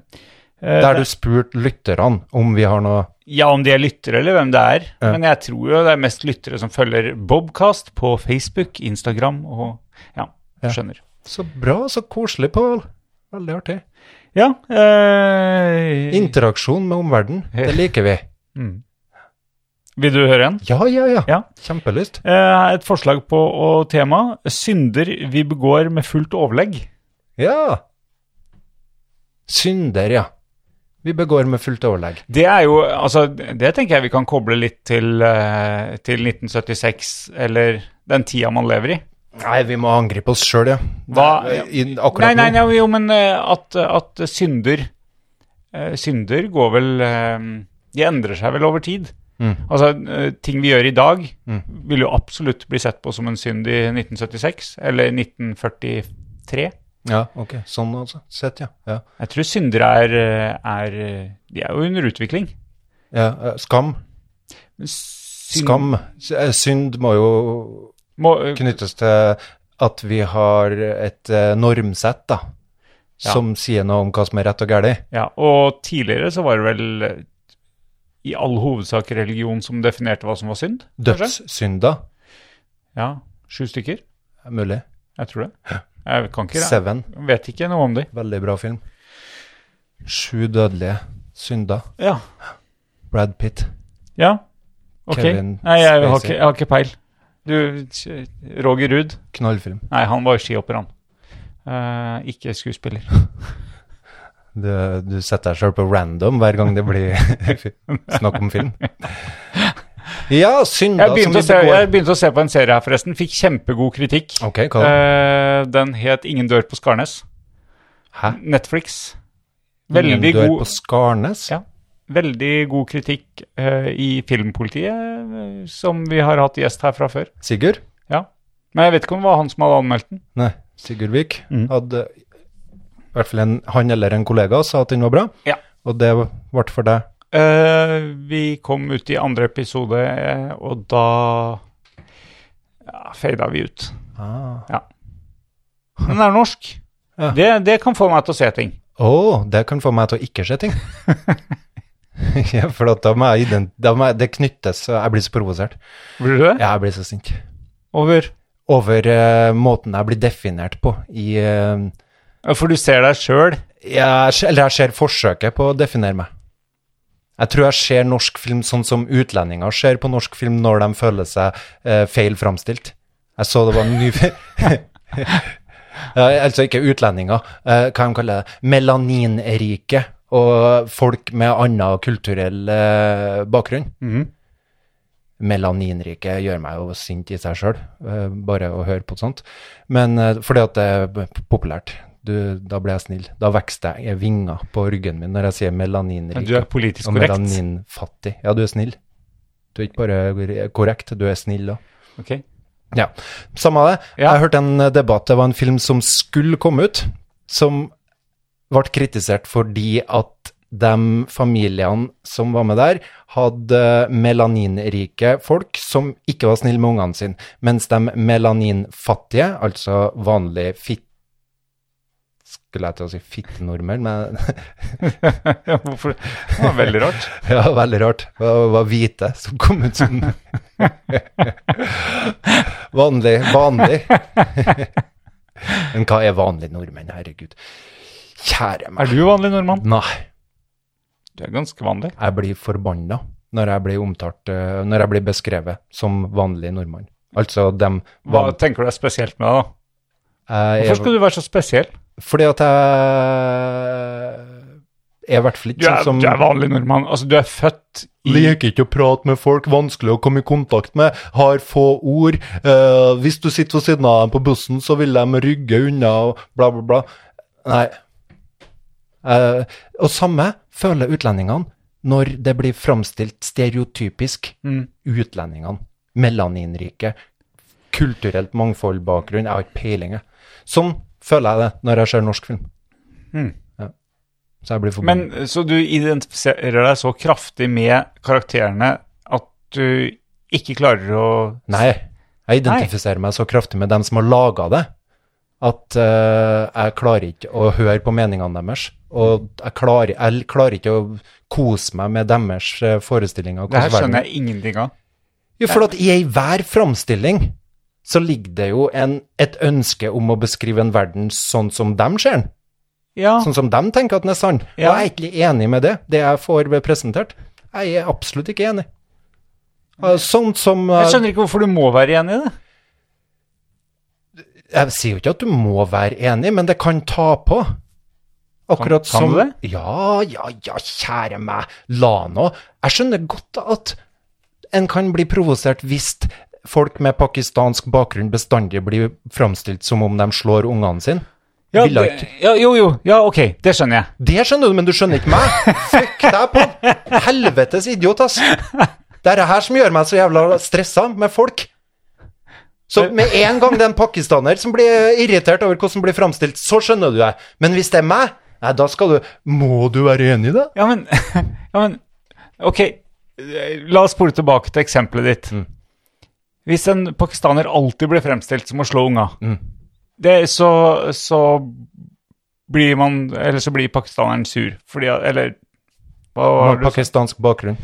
eh,
Der du spurte lytterne om vi har noe
Ja, om de er lyttere, eller hvem det er.
Ja.
Men jeg tror jo det er mest lyttere som følger Bobcast på Facebook, Instagram og Ja,
Ja.
skjønner.
Så bra, så koselig, Pål. Veldig artig.
Ja. eh,
Interaksjon med omverdenen, det liker vi.
mm. Vil du høre en?
Ja, ja, ja.
Ja.
Kjempelyst.
Eh, et forslag på og tema. Synder vi begår med fullt overlegg.
Ja. Synder, ja. Vi begår med fullt overlegg.
Det er jo, altså, det tenker jeg vi kan koble litt til, eh, til 1976, eller den tida man lever i.
Nei, vi må angripe oss sjøl, ja.
Hva-
Det er- i- Akkurat
Nei, nei,
nå.
nei, jo, men eh, at, at synder eh, Synder går vel eh, De endrer seg vel over tid.
Mm.
Altså, eh, ting vi gjør i dag,
Mm.
vil jo absolutt bli sett på som en synd i 1976, eller 1943.
Ja, ok. Sånn altså. Sett, ja. ja.
Jeg tror syndere er, eh, er eh, De er jo under utvikling.
ja. eh, Skam.
Men synd-
Skam. S- eh, Synd må jo
må, eh,
knyttes til at vi har et eh, normsett da,
Ja.
som sier noe om hva som er rett og galt.
Ja, og tidligere så var det vel eh, i all hovedsak religion som definerte hva som var synd. kanskje?
Dødssynder,
Ja, sju stykker.
er mulig.
Jeg tror det. Jeg kan ikke det.
Seven,
Vet ikke noe om de.
veldig bra film. Sju dødelige synder.
Ja.
Brad Pitt.
ja. Ok.
Kevin
Nei, jeg har,
Spacey.
ikke, jeg har ikke peil. Du, Roger Ruud?
Knallfilm.
Nei, han var skihopper, han. Eh, ikke skuespiller.
Du, du setter deg selv på random hver gang det blir snakk om film. Ja, synda
Jeg begynte, å se, jeg begynte å se på en serie her, forresten. Fikk kjempegod kritikk.
Ok, hva da?
Eh, den het 'Ingen dør på Skarnes'.
Hæ?
Netflix.
Ingen
Veldig
dør
god
på Skarnes?
Ja. Veldig god kritikk eh, i Filmpolitiet, eh, som vi har hatt gjest her fra før.
Sigurd?
Ja. Men jeg vet ikke om det var han som hadde anmeldt den.
Nei, Sigurd Vik hadde I hvert fall en, han eller en kollega sa at den var bra,
Ja.
og det ble for deg.
Eh, vi kom ut i andre episode, eh, og da ja, fada vi ut.
Ah.
Ja. Men den er norsk.
Ja.
Det, det kan få meg til å se ting.
Å, det kan få meg til å ikke se ting. ja, for at da må jeg ident... Da må jeg, det knyttes så Jeg blir så provosert.
Blir du det?
Ja, jeg blir så sint.
Over.
Over eh, måten jeg blir definert på i eh,
Ja, For du ser deg sjøl.
jeg, ser- Eller jeg ser forsøket på å definere meg. Jeg tror jeg ser norsk film sånn som utlendinger ser på norsk film når de føler seg eh, feil framstilt. Jeg så det var en ny Ja, Altså ikke utlendinger, eh, hva de kaller det. Melaninrike og folk med annen kulturell eh, bakgrunn.
Mhm.
Melaninrike gjør meg jo sint i seg sjøl, bare å høre på sånt. Men eh, fordi at det er p- populært. Du, da blir jeg snill. Da vokser jeg vinger på ryggen min når jeg sier melaninrik.
Men du er politisk
og
korrekt.
melaninfattig. Ja, du er snill. Du er ikke bare korrekt, du er snill òg.
Ok.
Ja, samme det.
Ja.
Jeg hørte en eh, debatt, det var en film som skulle komme ut, som ble kritisert fordi at de familiene som var med der, hadde melaninrike folk som ikke var snille med ungene sine, mens de melaninfattige, altså vanlige fitt... Skulle jeg til å si fittenordmenn, men
Hvorfor? Det var veldig rart.
Ja, veldig rart. Det var- var hvite som kom ut som Vanlig, vanlig. Men hva er vanlig nordmenn, herregud? Kjære meg.
Er du vanlig nordmann?
Nei,
Du er ganske vanlig.
jeg blir forbanna når jeg blir omtalt, eh, når jeg blir beskrevet som vanlig nordmann. Altså dem
Hva tenker du er spesielt med deg, da?
jeg er-
Hvorfor skal du være så spesiell?
Fordi at jeg er i hvert fall ikke
Du er,
sånn som
du er vanlig nordmann. Altså, du er født i
Liker ikke å prate med folk, vanskelig å komme i kontakt med, har få ord. eh, hvis du sitter ved siden av dem på bussen, så vil de rygge unna og bla, bla, bla. Nei. Eh, og samme føler utlendingene når det blir framstilt stereotypisk.
Mm.
Utlendingene. Melaninrike. Kulturelt mangfold, bakgrunn. Jeg har ikke peiling, jeg. Sånn føler jeg det når jeg ser norsk film.
Mm.
Ja. Så jeg blir
Men
forbanna.
så du identifiserer deg så kraftig med karakterene at du ikke klarer å
Nei, jeg identifiserer meg så kraftig med dem som har laga det, at eh, jeg klarer ikke å høre på meningene deres. Og jeg klarer, jeg klarer ikke å kose meg med deres eh, forestillinger.
Det her skjønner jeg ingenting av.
Jo, for at i enhver framstilling så ligger det jo en, et ønske om å beskrive en verden sånn som dem ser den.
Ja,
Sånn som dem tenker at den er sann. Og
Ja.
jeg er ikke enig med det, det jeg får presentert. Jeg er absolutt ikke enig. Eh, Sånn som eh,
jeg skjønner ikke hvorfor du må være enig i det.
Jeg sier jo ikke at du må være enig, men det kan ta på. Akkurat
Kan- kan
som
du det?
Ja, ja, ja, kjære meg. La nå Jeg skjønner godt at en kan bli provosert hvis folk med pakistansk bakgrunn bestandig blir framstilt som om de slår ungene sine.
Ja,
Vil jeg
det- ja, jo, jo. Ja, ok. Det skjønner jeg.
Det skjønner du, men du skjønner ikke meg. Fuck deg, Pål. Helvetes idiot, ass. Det er det her som gjør meg så jævla stressa med folk. Så med en gang det er en pakistaner som blir irritert over hvordan det blir framstilt, så skjønner du det. Men hvis det er meg, nei, da skal du Må du være enig i det?
Ja, men, ja, men Ok, eh, la oss spole tilbake til eksempelet ditt. Hvis en pakistaner alltid blir fremstilt som å slå unga, det, så, så blir man Eller så blir pakistaneren sur fordi Eller hva var det du sa?
Pakistansk bakgrunn.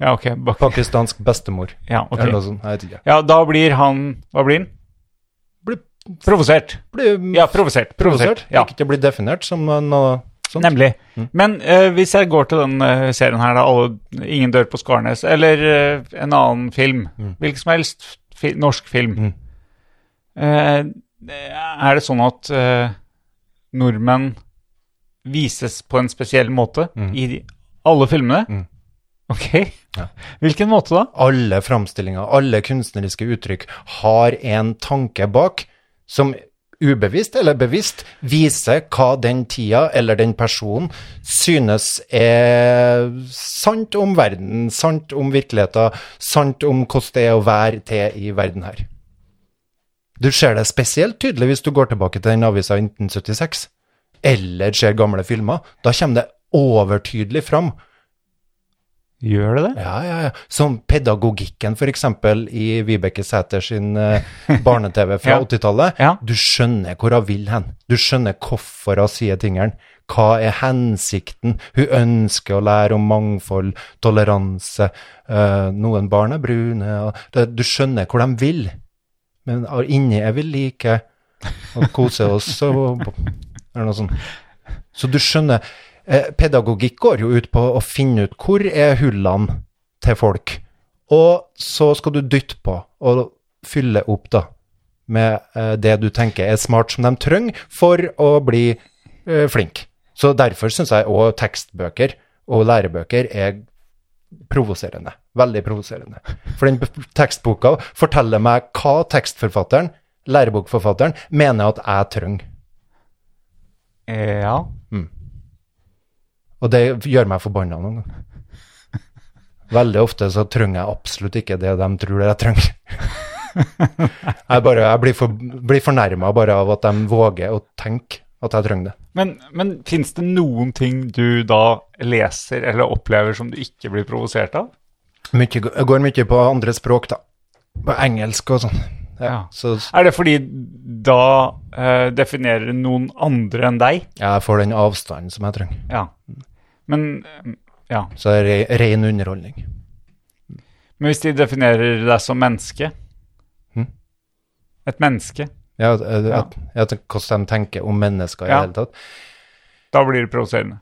Ja, ok. bak-
Pakistansk bestemor.
Ja, altså. ok.
Eller noe sånt. Jeg vet ikke.
ja, da blir han Hva blir han?
Blir-
Provosert.
Blir
Ja, provosert. Provosert. Ja.
Ikke blir definert som noe sånt.
Nemlig. Men eh, hvis jeg går til den eh, serien her, da, alle, 'Ingen dør på Skarnes', eller eh, en annen film, hvilken som helst fi, norsk film eh, Er det sånn at eh, nordmenn Mm. vises på en spesiell måte i de, alle filmene? Ok. Hvilken måte da?
Alle framstillinger, alle kunstneriske uttrykk har en tanke bak som ubevisst eller bevisst viser hva den tida eller den personen synes er sant om verden, sant om virkeligheten, sant om hvordan det er å være til i verden her. Du ser det spesielt tydelig hvis du går tilbake til den avisa i 1976, eller ser gamle filmer. Da kommer det overtydelig fram
Gjør det det?
ja, ja, ja. Som pedagogikken, for eksempel, i Vibeke Sæter sin eh, barne-TV fra
Ja.
80-tallet.
Ja.
Du skjønner hvor hun vil hen. Du skjønner hvorfor hun sier tingene. Hva er hensikten? Hun ønsker å lære om mangfold, toleranse. eh, noen barn er brune. Og det, du skjønner hvor de vil. Men ah, inni er vi like og koser oss og eller noe sånt. Så du skjønner, eh, pedagogikk går jo ut på å finne ut hvor er hullene til folk, og så skal du dytte på og fylle opp da, med eh, det du tenker er smart som de trenger for å bli eh, flink. Så derfor synes jeg også tekstbøker og lærebøker er provoserende. Veldig provoserende. For den b- tekstboka forteller meg hva tekstforfatteren, lærebokforfatteren, mener at jeg trenger.
Eh, Ja.
Og det gjør meg forbanna noen ganger. Veldig ofte så trenger jeg absolutt ikke det de tror jeg trenger. Jeg, bare, jeg blir, for, blir fornærma bare av at de våger å tenke at jeg trenger det.
Men, men fins det noen ting du da leser eller opplever som du ikke blir provosert av?
Mykje, g- går mye på andre språk, da. På engelsk og sånn. Ja, så s-
Er det fordi da eh, definerer noen andre enn deg?
jeg får den avstanden som jeg trenger.
Ja. Men, eh, ja.
Så det er re- ren underholdning.
Men hvis de definerer deg som menneske Hm?
Mhm.
Et menneske,
Ja, at, at, at, hvordan de tenker om mennesker i
Ja.
det hele tatt.
da blir det provoserende.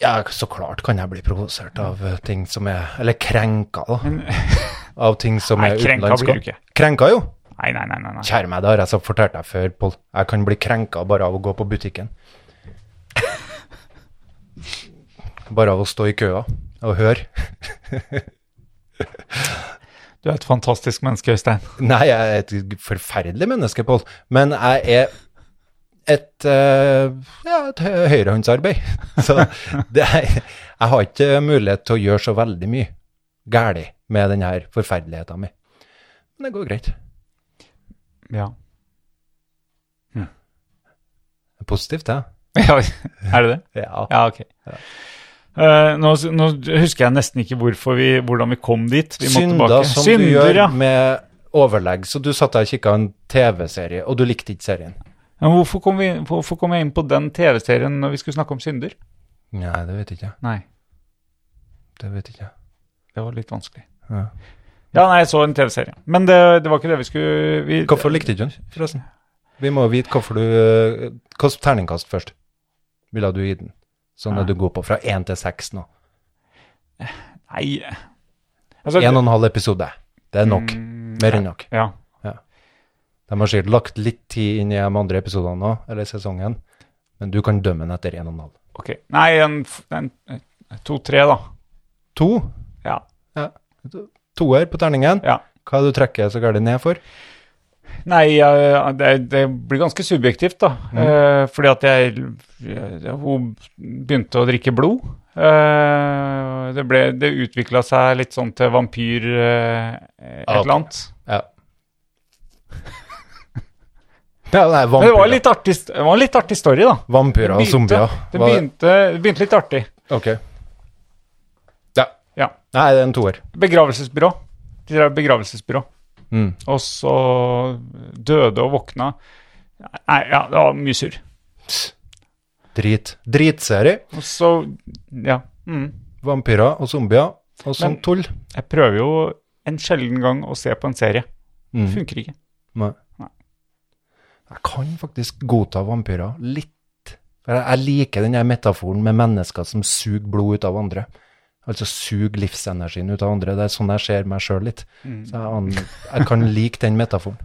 Ja, så klart kan jeg bli provosert av eh, ting som er Eller krenka, da. Av ting som
Nei,
er
krenka
utenlandske.
blir du ikke.
Krenka, jo.
Nei, nei, nei. nei, nei.
Kjære meg, det har jeg så fortalt deg før, Pål. Jeg kan bli krenka bare av å gå på butikken. Bare av å stå i køa og høre.
Du er et fantastisk menneske, Øystein.
Nei, jeg er et forferdelig menneske, Pål. Men jeg er et, eh, ja, et hø- høyrehåndsarbeid. Så det er, jeg har ikke mulighet til å gjøre så veldig mye galt med denne forferdeligheten min. Men det går greit. Det
Ja.
er positivt, det.
ja. Er det det?
Ja.
Ja, ok. Eh, nå, nå husker jeg nesten ikke hvorfor vi, hvordan vi kom dit. Vi må
Synder
tilbake.
som
Synder,
du gjør
ja.
med overlegg. Så du satt der og kikka en TV-serie, og du likte ikke serien.
Men hvorfor kom, vi, hvorfor kom jeg inn på den TV-serien når vi skulle snakke om synder?
Nei, det vet jeg ikke.
Nei,
Det vet jeg ikke.
det var litt vanskelig.
Ja.
Ja, nei, jeg så en TV-serie. Men det, det var ikke det vi skulle vi,
Hvorfor likte du den, forresten? Vi må vite hvorfor du Hvilket terningkast først ville du gi den? Sånn at du går på fra én til seks nå.
Nei altså,
Én og en halv episode. Det er nok.
Mm.
Mer enn nok.
Ja.
De har sikkert lagt litt tid inn i de andre episodene nå, eller sesongen, men du kan dømme den etter én og en halv.
Ok. Nei, en, f- en to-tre, da.
To.
Ja.
Toer på terningen.
ja.
Hva er det du trekker så gærent ned for?
Nei, jeg, det, det blir ganske subjektivt, da.
Mm.
Eh, fordi at jeg, jeg Hun begynte å drikke blod. Eh, det ble, det utvikla seg litt sånn til vampyr eh, et
Ah, ok.
eller annet.
Ja. ja nei,
Men det var
vampyrer.
litt artig, st- det var en litt artig story, da.
Vampyrer og
begynte-
zombier.
Det
Var-
begynte, det begynte litt artig.
Ok. Ja.
Ja.
Nei, det er en toer.
Begravelsesbyrå. De drev begravelsesbyrå.
Mm.
Og så døde og våkna. Nei, ja, det var mye surr.
Drit. Dritserie.
Og så Ja. Mm.
Vampyrer og zombier og sånn
Men-
tull.
Jeg prøver jo en sjelden gang å se på en serie.
Mm.
Funker ikke.
Nei.
Nei.
Jeg kan faktisk godta vampyrer litt. For jeg- jeg liker den her metaforen med mennesker som suger blod ut av andre. Altså suger livsenergien ut av andre. Det er sånn jeg ser meg sjøl litt.
Mm.
Så jeg, an, jeg kan like den metaforen.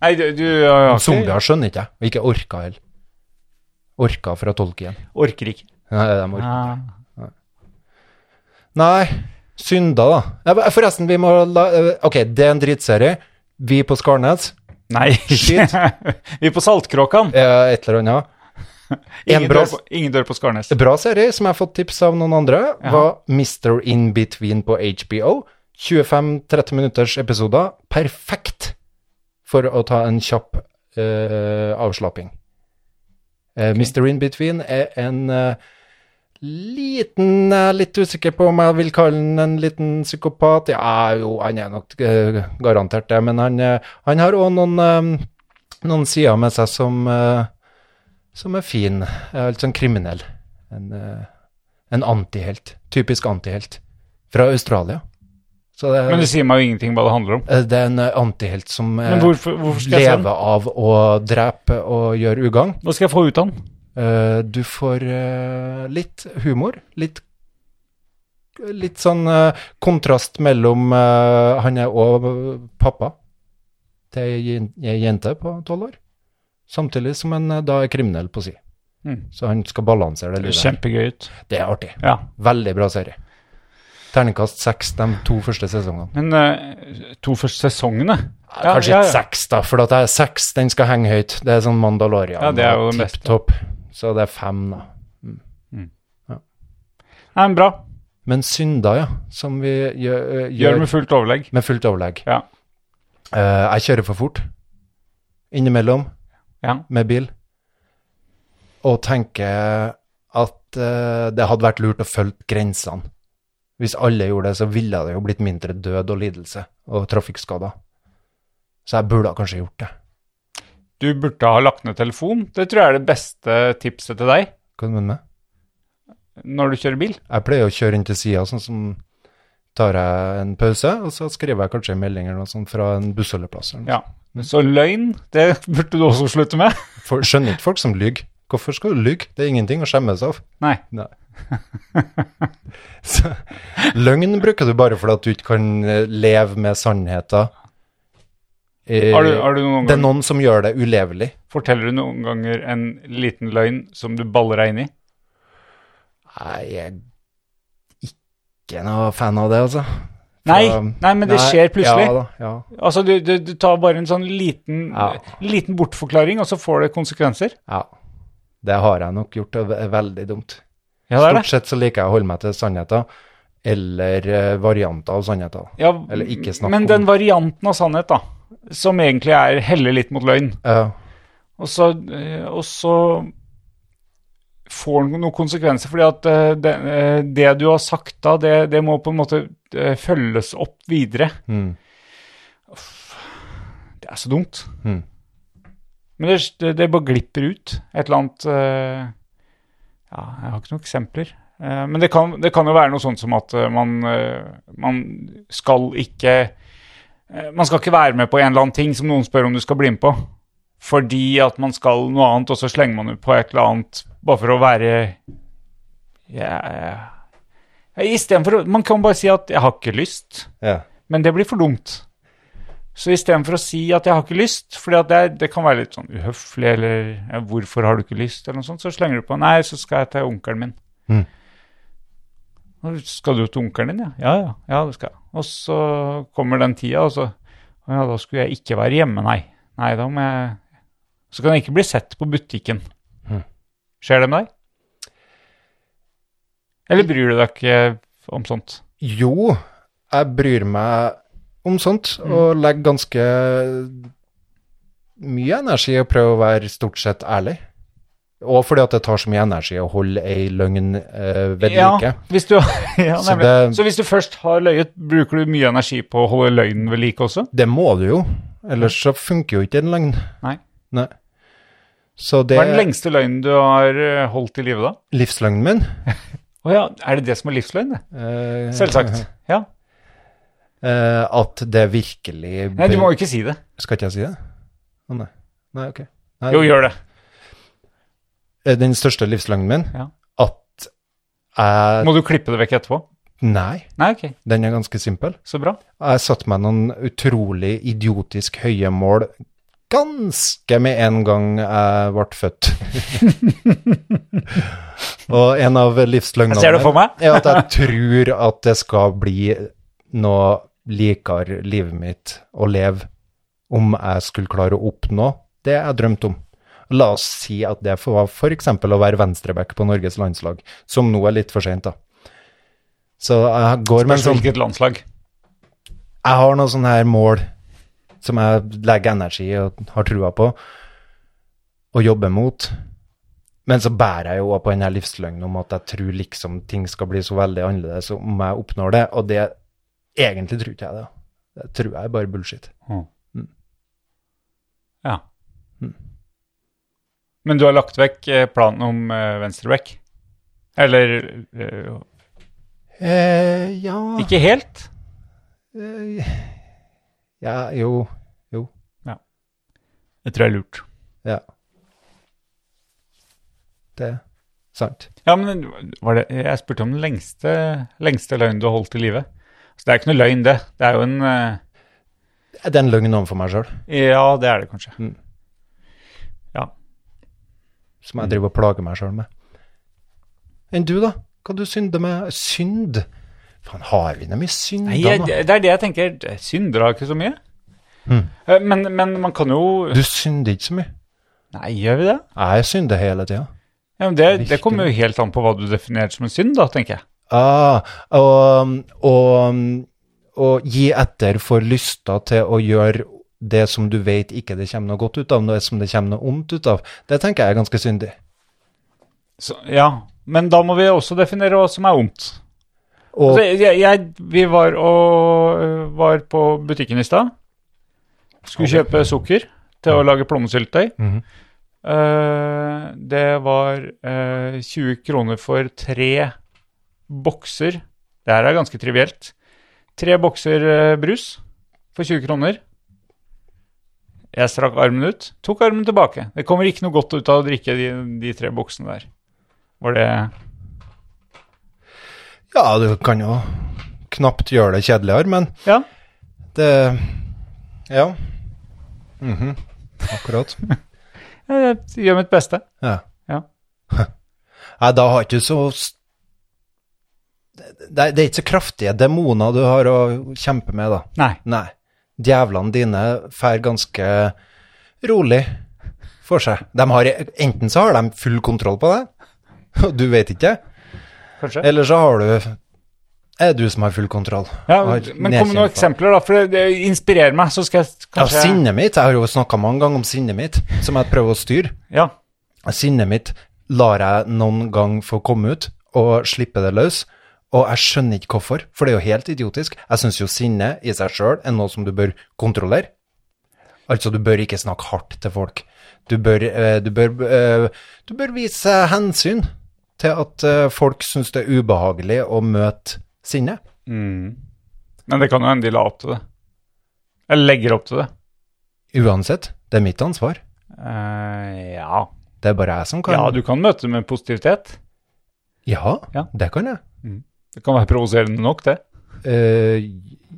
Nei, du, du ja, ok.
Zombier skjønner ikke jeg. Og ikke orka heller. Orka fra Tolkien.
orker ikke.
Nei, de orker.
Ah.
Nei, synda, da. Ja, men Forresten, vi må la eh, Ok, det er en drittserie. Vi på Skarnes,
Nei,
Shit.
vi er på Saltkråkan.
eh, et eller annet. En
Ingen
bra-
dør, på, ingen dør på Skarnes.
Bra serie som jeg har fått tips av noen andre, var Mr. In Between på HBO. 25-30 minutters episoder. Perfekt for å ta en kjapp eh, avslapping. Eh, Mr. In Between er en eh, liten Jeg er litt usikker på om jeg vil kalle han en liten psykopat. Ja, jo, han er nok eh, garantert det, men han, eh, han har òg noen, eh, noen sider med seg som eh, som er fin. Er litt sånn kriminell. En, eh, en antihelt. Typisk antihelt. Fra Australia. Så det,
Men det sier meg jo ingenting hva det handler om.
eh, det er en eh, antihelt som eh,
Men hvorfor, hvorfor skal jeg se den?
lever av å drepe og gjøre ugagn.
Hva skal jeg få ut av den?
Eh, du får eh, litt humor. Litt Litt sånn eh, kontrast mellom eh, Han er òg pappa til ei jen- ei jente på tolv år. Samtidig som han eh, da er kriminell på si.
Mm.
Så han skal balansere det
Det
livet.
ser Kjempegøy ut.
her. Det er artig.
Ja.
Veldig bra serie. Terningkast seks de to første sesongene.
Men eh, to første sesongene? Ja,
Kanskje
ja,
ikke
ja.
seks, da, for at det er seks, den skal henge høyt. Det er sånn Mandalorian.
Ja, det er jo
og
det beste.
tipp-topp. Så det er fem, da.
Nei, men bra.
Men synda, ja, som vi gjør, øh,
Gjør
gjør
det med fullt overlegg.
med fullt overlegg.
Ja.
Eh, jeg kjører for fort innimellom
Ja.
med bil, og tenker at eh, det hadde vært lurt å følge grensene. Hvis alle gjorde det, så ville det jo blitt mindre død og lidelse og trafikkskader. Så jeg burde kanskje gjort det.
Du burde ha lagt ned telefon. Det tror jeg er det beste tipset til deg
Hva mener du med?
når du kjører bil.
Jeg pleier å kjøre inn til sida, sånn som tar jeg en pause, og så skriver jeg kanskje en melding eller noe sånt fra en bussholdeplass. eller noe
Ja. Så løgn, det burde du også slutte med.
For, skjønner ikke folk som lyver. Hvorfor skal du lyve? Det er ingenting å skjemmes av.
Nei.
Nei. Så, løgn bruker du bare fordi at du ikke kan eh, leve med sannheten. Eh,
Har du, har du noen
det er
gang,
noen som gjør det ulevelig.
Forteller du noen ganger en liten løgn som du baller deg inn i?
Nei, jeg er ikke noe fan av det, altså.
Nei,
Så,
nei men det
nei,
skjer plutselig.
Ja, da, ja.
Altså, du, du, du tar bare en sånn liten,
Ja.
liten bortforklaring, og så får det konsekvenser.
ja. Det har jeg nok gjort, og det er veldig dumt.
Ja, det er det.
Stort sett så liker jeg å holde meg til sannheten, eller eh, varianter av sannheten.
Ja,
Eller ikke snakk om-
men den varianten av sannhet, da, som egentlig er helle litt mot løgn,
Ja.
og så, eh, og så får den noen konsekvenser, fordi at eh, det, eh, det du har sagt da, det, det må på en måte eh, følges opp videre.
Mm.
Det er så dumt.
Mm.
Men det, det, det bare glipper ut. Et eller annet eh, Ja, jeg har ikke noen eksempler. Eh, men det kan, det kan jo være noe sånt som at eh, man, eh, man skal ikke eh, Man skal ikke være med på en eller annen ting som noen spør om du skal bli med på. Fordi at man skal noe annet, og så slenger man ut på et eller annet bare for å være yeah. Istedenfor å Man kan bare si at 'jeg har ikke lyst'.
Ja.
Men det blir for dumt. Så istedenfor å si at jeg har ikke lyst, fordi at det, er- det kan være litt sånn uhøflig, eller ja, 'hvorfor har du ikke lyst', eller noe sånt, så slenger du på 'nei, så skal jeg til onkelen min'.
Mm.
«Å, Skal du til onkelen din, ja? Ja, ja, ja det skal jeg. Og så kommer den tida, og så «Å Ja, da skulle jeg ikke være hjemme, nei. Nei, da må jeg Så kan jeg ikke bli sett på butikken.
Mm.
Skjer det med deg? Eller bryr du deg ikke om sånt?
Jo, jeg bryr meg om sånt,
Mm.
og legger ganske mye energi i å prøve å være stort sett ærlig. Og fordi at det tar så mye energi å holde ei løgn eh, ved like.
Ja, hvis du, ja,
Så
nemlig.
det-
så hvis du først har løyet, bruker du mye energi på å holde løgnen ved like også?
Det må du jo, ellers så funker jo ikke en løgn.
Nei.
Nei. Så det
Hva er den lengste løgnen du har eh, holdt i live da?
livsløgnen min.
Å ja, er det det som er livsløgn? det?
eh,
Selvsagt. Ja.
eh, at det virkelig
Nei, du
bør-
må jo ikke si det.
Skal ikke jeg si det? Å nei. Nei, ok. Nei,
Jo, gjør det.
eh, Den største livsløgnen min?
Ja.
At jeg
Må du klippe det vekk etterpå?
Nei,
Nei, ok.
den er ganske simpel.
Så bra.
Jeg satte meg noen utrolig idiotisk høye mål ganske med en gang jeg ble født. og en av livsløgnene
Jeg ser det for meg.
er at jeg tror at det skal bli noe likere livet mitt å leve om jeg skulle klare å oppnå det jeg drømte om. La oss si at det var f.eks. å være venstreback på Norges landslag, som nå er litt for seint, da. Så jeg går med en
Spørs
sånn
hvilket landslag.
jeg har noen sånne her mål som jeg legger energi og har trua på, og jobber mot. Men så bærer jeg jo også på den her livsløgnen om at jeg tror liksom ting skal bli så veldig annerledes om jeg oppnår det, og det egentlig tror ikke jeg det. Det tror jeg er bare bullshit. Mm.
Ja. Men du har lagt vekk eh, planen om eh, venstreback? Eller eh,
Eh, ja
ikke helt?
eh, Ja, jo. Jo.
Det tror jeg er lurt.
Ja. Det er sant.
Ja, men var det, jeg spurte om den lengste, lengste løgnen du har holdt i live. Så det er ikke noe løgn, det. Det er jo en eh,
Det er en løgn overfor meg sjøl
Ja, det er det kanskje. Ja.
som jeg driver og plager meg sjøl med. Enn du, da? Hva du synder med? Synd? Faen, har vi noe mye synder
Nei, jeg,
nå?
det er det jeg tenker. Synder har ikke så mye. Eh, Men, men man kan jo
Du synder ikke så mye.
Nei, gjør vi det?
Jeg synder hele tida.
Ja, men det, det kommer jo helt an på hva du definerer som en synd, da, tenker jeg.
Ah, og, og, og gi etter for lyster til å gjøre det som du vet ikke det kommer noe godt ut av, det som det kommer noe ondt ut av. Det tenker jeg er ganske syndig.
Så, ja, men da må vi også definere hva som er ondt.
Og
Altså, jeg, jeg, vi var, og, øh, var på butikken i stad. Skulle kjøpe sukker til å lage plommesyltetøy.
Mhm.
Eh, det var eh, 20 kroner for tre bokser. Det her er ganske trivielt. Tre bokser eh, brus for 20 kroner. Jeg strakk armen ut, tok armen tilbake. Det kommer ikke noe godt ut av å drikke de, de tre boksene der. Var det
ja, du kan jo knapt gjøre det kjedeligere, men
Ja.
det Ja. Mhm. Akkurat.
eh, Jeg gjør mitt beste.
Ja.
Ja.
Nei, da har ikke du så s- det, det er ikke så kraftige demoner du har å kjempe med, da.
Nei.
Nei. Djevlene dine fær ganske rolig for seg. De har, enten så har de full kontroll på deg, og du vet ikke,
Kanskje.
eller så har du er du som har full kontroll.
Ja,
og har
men kom med
nedkjempa.
noen eksempler, da, for det- det inspirerer meg. Så skal jeg
Ja,
kanskje
sinnet mitt, jeg har jo snakka mange ganger om sinnet mitt, som jeg prøver å styre.
Ja,
Sinnet mitt lar jeg noen gang få komme ut og slippe det løs, og jeg skjønner ikke hvorfor, for det er jo helt idiotisk. Jeg syns jo sinne i seg sjøl er noe som du bør kontrollere. Altså, du bør ikke snakke hardt til folk. Du bør, eh, du bør, eh, du bør vise hensyn til at eh, folk syns det er ubehagelig å møte sinne.
Men det kan jo hende de la opp til det. Eller legger opp til det.
Uansett, det er mitt ansvar.
Eh, ja.
Det er bare jeg som kan
ja, du kan møte det med positivitet.
Ja,
Ja.
det kan jeg.
Det kan være provoserende nok, det.
Eh,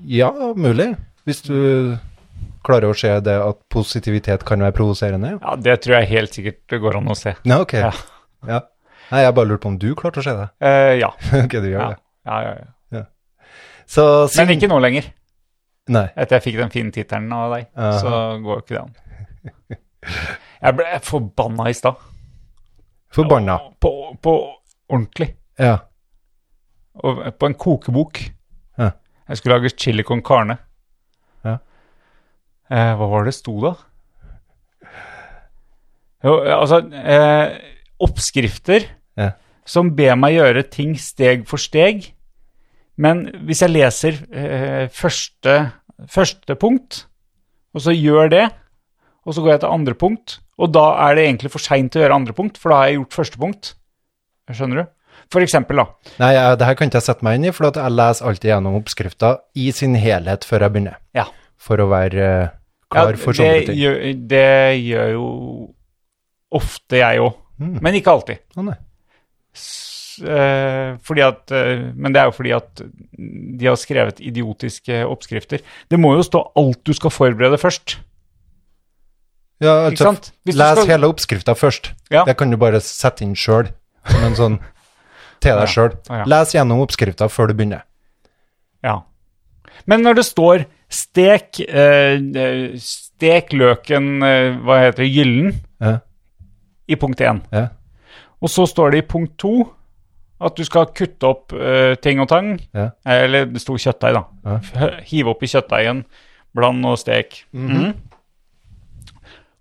ja, mulig. Hvis du klarer å se det at positivitet kan være provoserende.
Ja, Det tror jeg helt sikkert det går an å se.
Ja, ok.
Ja.
Ja. Nei, jeg bare lurte på om du klarte å se det.
Eh, ja.
ok, du gjør
Ja.
det.
Ja, ja, ja.
Så,
Men
siden-
ikke nå lenger.
Nei.
Etter jeg fikk den fine tittelen av deg, så går jo ikke det an. Jeg ble forbanna i stad.
Forbanna.
På, på ordentlig.
Ja.
og på en kokebok.
Ja.
Jeg skulle lage chili con carne.
Ja.
Eh, hva var det sto da? Jo, altså eh, Oppskrifter
Ja.
som ber meg gjøre ting steg for steg. Men hvis jeg leser eh, første, første punkt, og så gjør det, og så går jeg til andre punkt, og da er det egentlig for seint å gjøre andre punkt, for da har jeg gjort første punkt. Skjønner du? For eksempel, da.
Nei, jeg, det her kan ikke jeg sette meg inn i, for at jeg leser alltid gjennom oppskrifta i sin helhet før jeg begynner.
Ja.
For å være eh, klar for sånne
det
ting.
Gjør, det gjør jo ofte jeg òg,
Hmm.
men ikke alltid.
Å, nei.
S- eh, fordi at, eh, men det er jo fordi at de har skrevet idiotiske oppskrifter. Det må jo stå alt du skal forberede først.
Ja,
Ikke
altså,
sant? Hvis du
les
skal-
hele oppskrifta først.
Ja.
Det kan du bare sette inn sjøl, som en sånn til deg sjøl.
Ja.
Les gjennom oppskrifta før du begynner.
Ja. Men når det står stek, eh, stek løken, eh, hva heter det, gyllen,
Ja,
i punkt 1.
ja.
Og så står det i punkt 2 at du skal kutte opp eh, ting og tang,
Ja.
eh, eller det sto kjøttdeig da.
Ja.
F- Hive opp i kjøttdeigen, bland og stek. Mhm.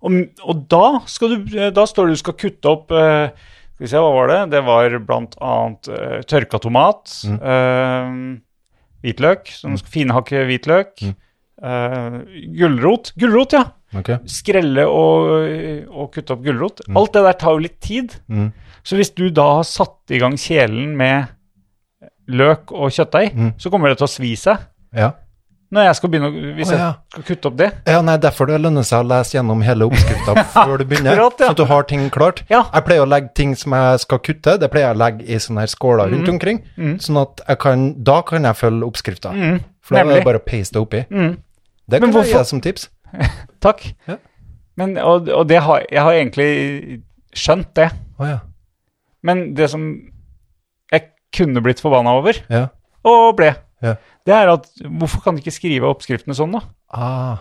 Og, og da, skal du, eh, da står det du skal kutte opp eh, Skal vi se, hva var det? Det var blant annet eh, tørka tomat,
Mhm.
eh, hvitløk, sånn
Mm.
finhakke hvitløk, eh, gulrot. Gulrot, ja!
Ok.
skrelle og, og kutte opp gulrot. Alt det der tar jo litt tid.
Mm.
Så hvis du da har satt i gang kjelen med løk og kjøttdeig,
Mm.
så kommer det til å svi seg.
Ja.
Når jeg skal begynne å, hvis
Å, ja.
jeg skal kutte opp det.
Ja, nei, derfor det lønner seg å lese gjennom hele oppskrifta før du begynner.
Akkurat, ja.
Så at du har ting klart.
Ja.
Jeg pleier å legge ting som jeg skal kutte, det pleier jeg å legge i sånne her skåler
Mm.
rundt omkring. Sånn at jeg kan, da kan jeg følge oppskrifta. For da er
Mm. nemlig. Mm.
det bare å paste det oppi. Det
Men
kan jeg
hvorfor-
gi som tips.
Takk.
Ja.
Men, og og det har, jeg har egentlig skjønt det.
Å ja.
Men det som jeg kunne blitt forbanna over,
ja.
og ble,
Ja.
det er at hvorfor kan de ikke skrive oppskriftene sånn, da?
Ah.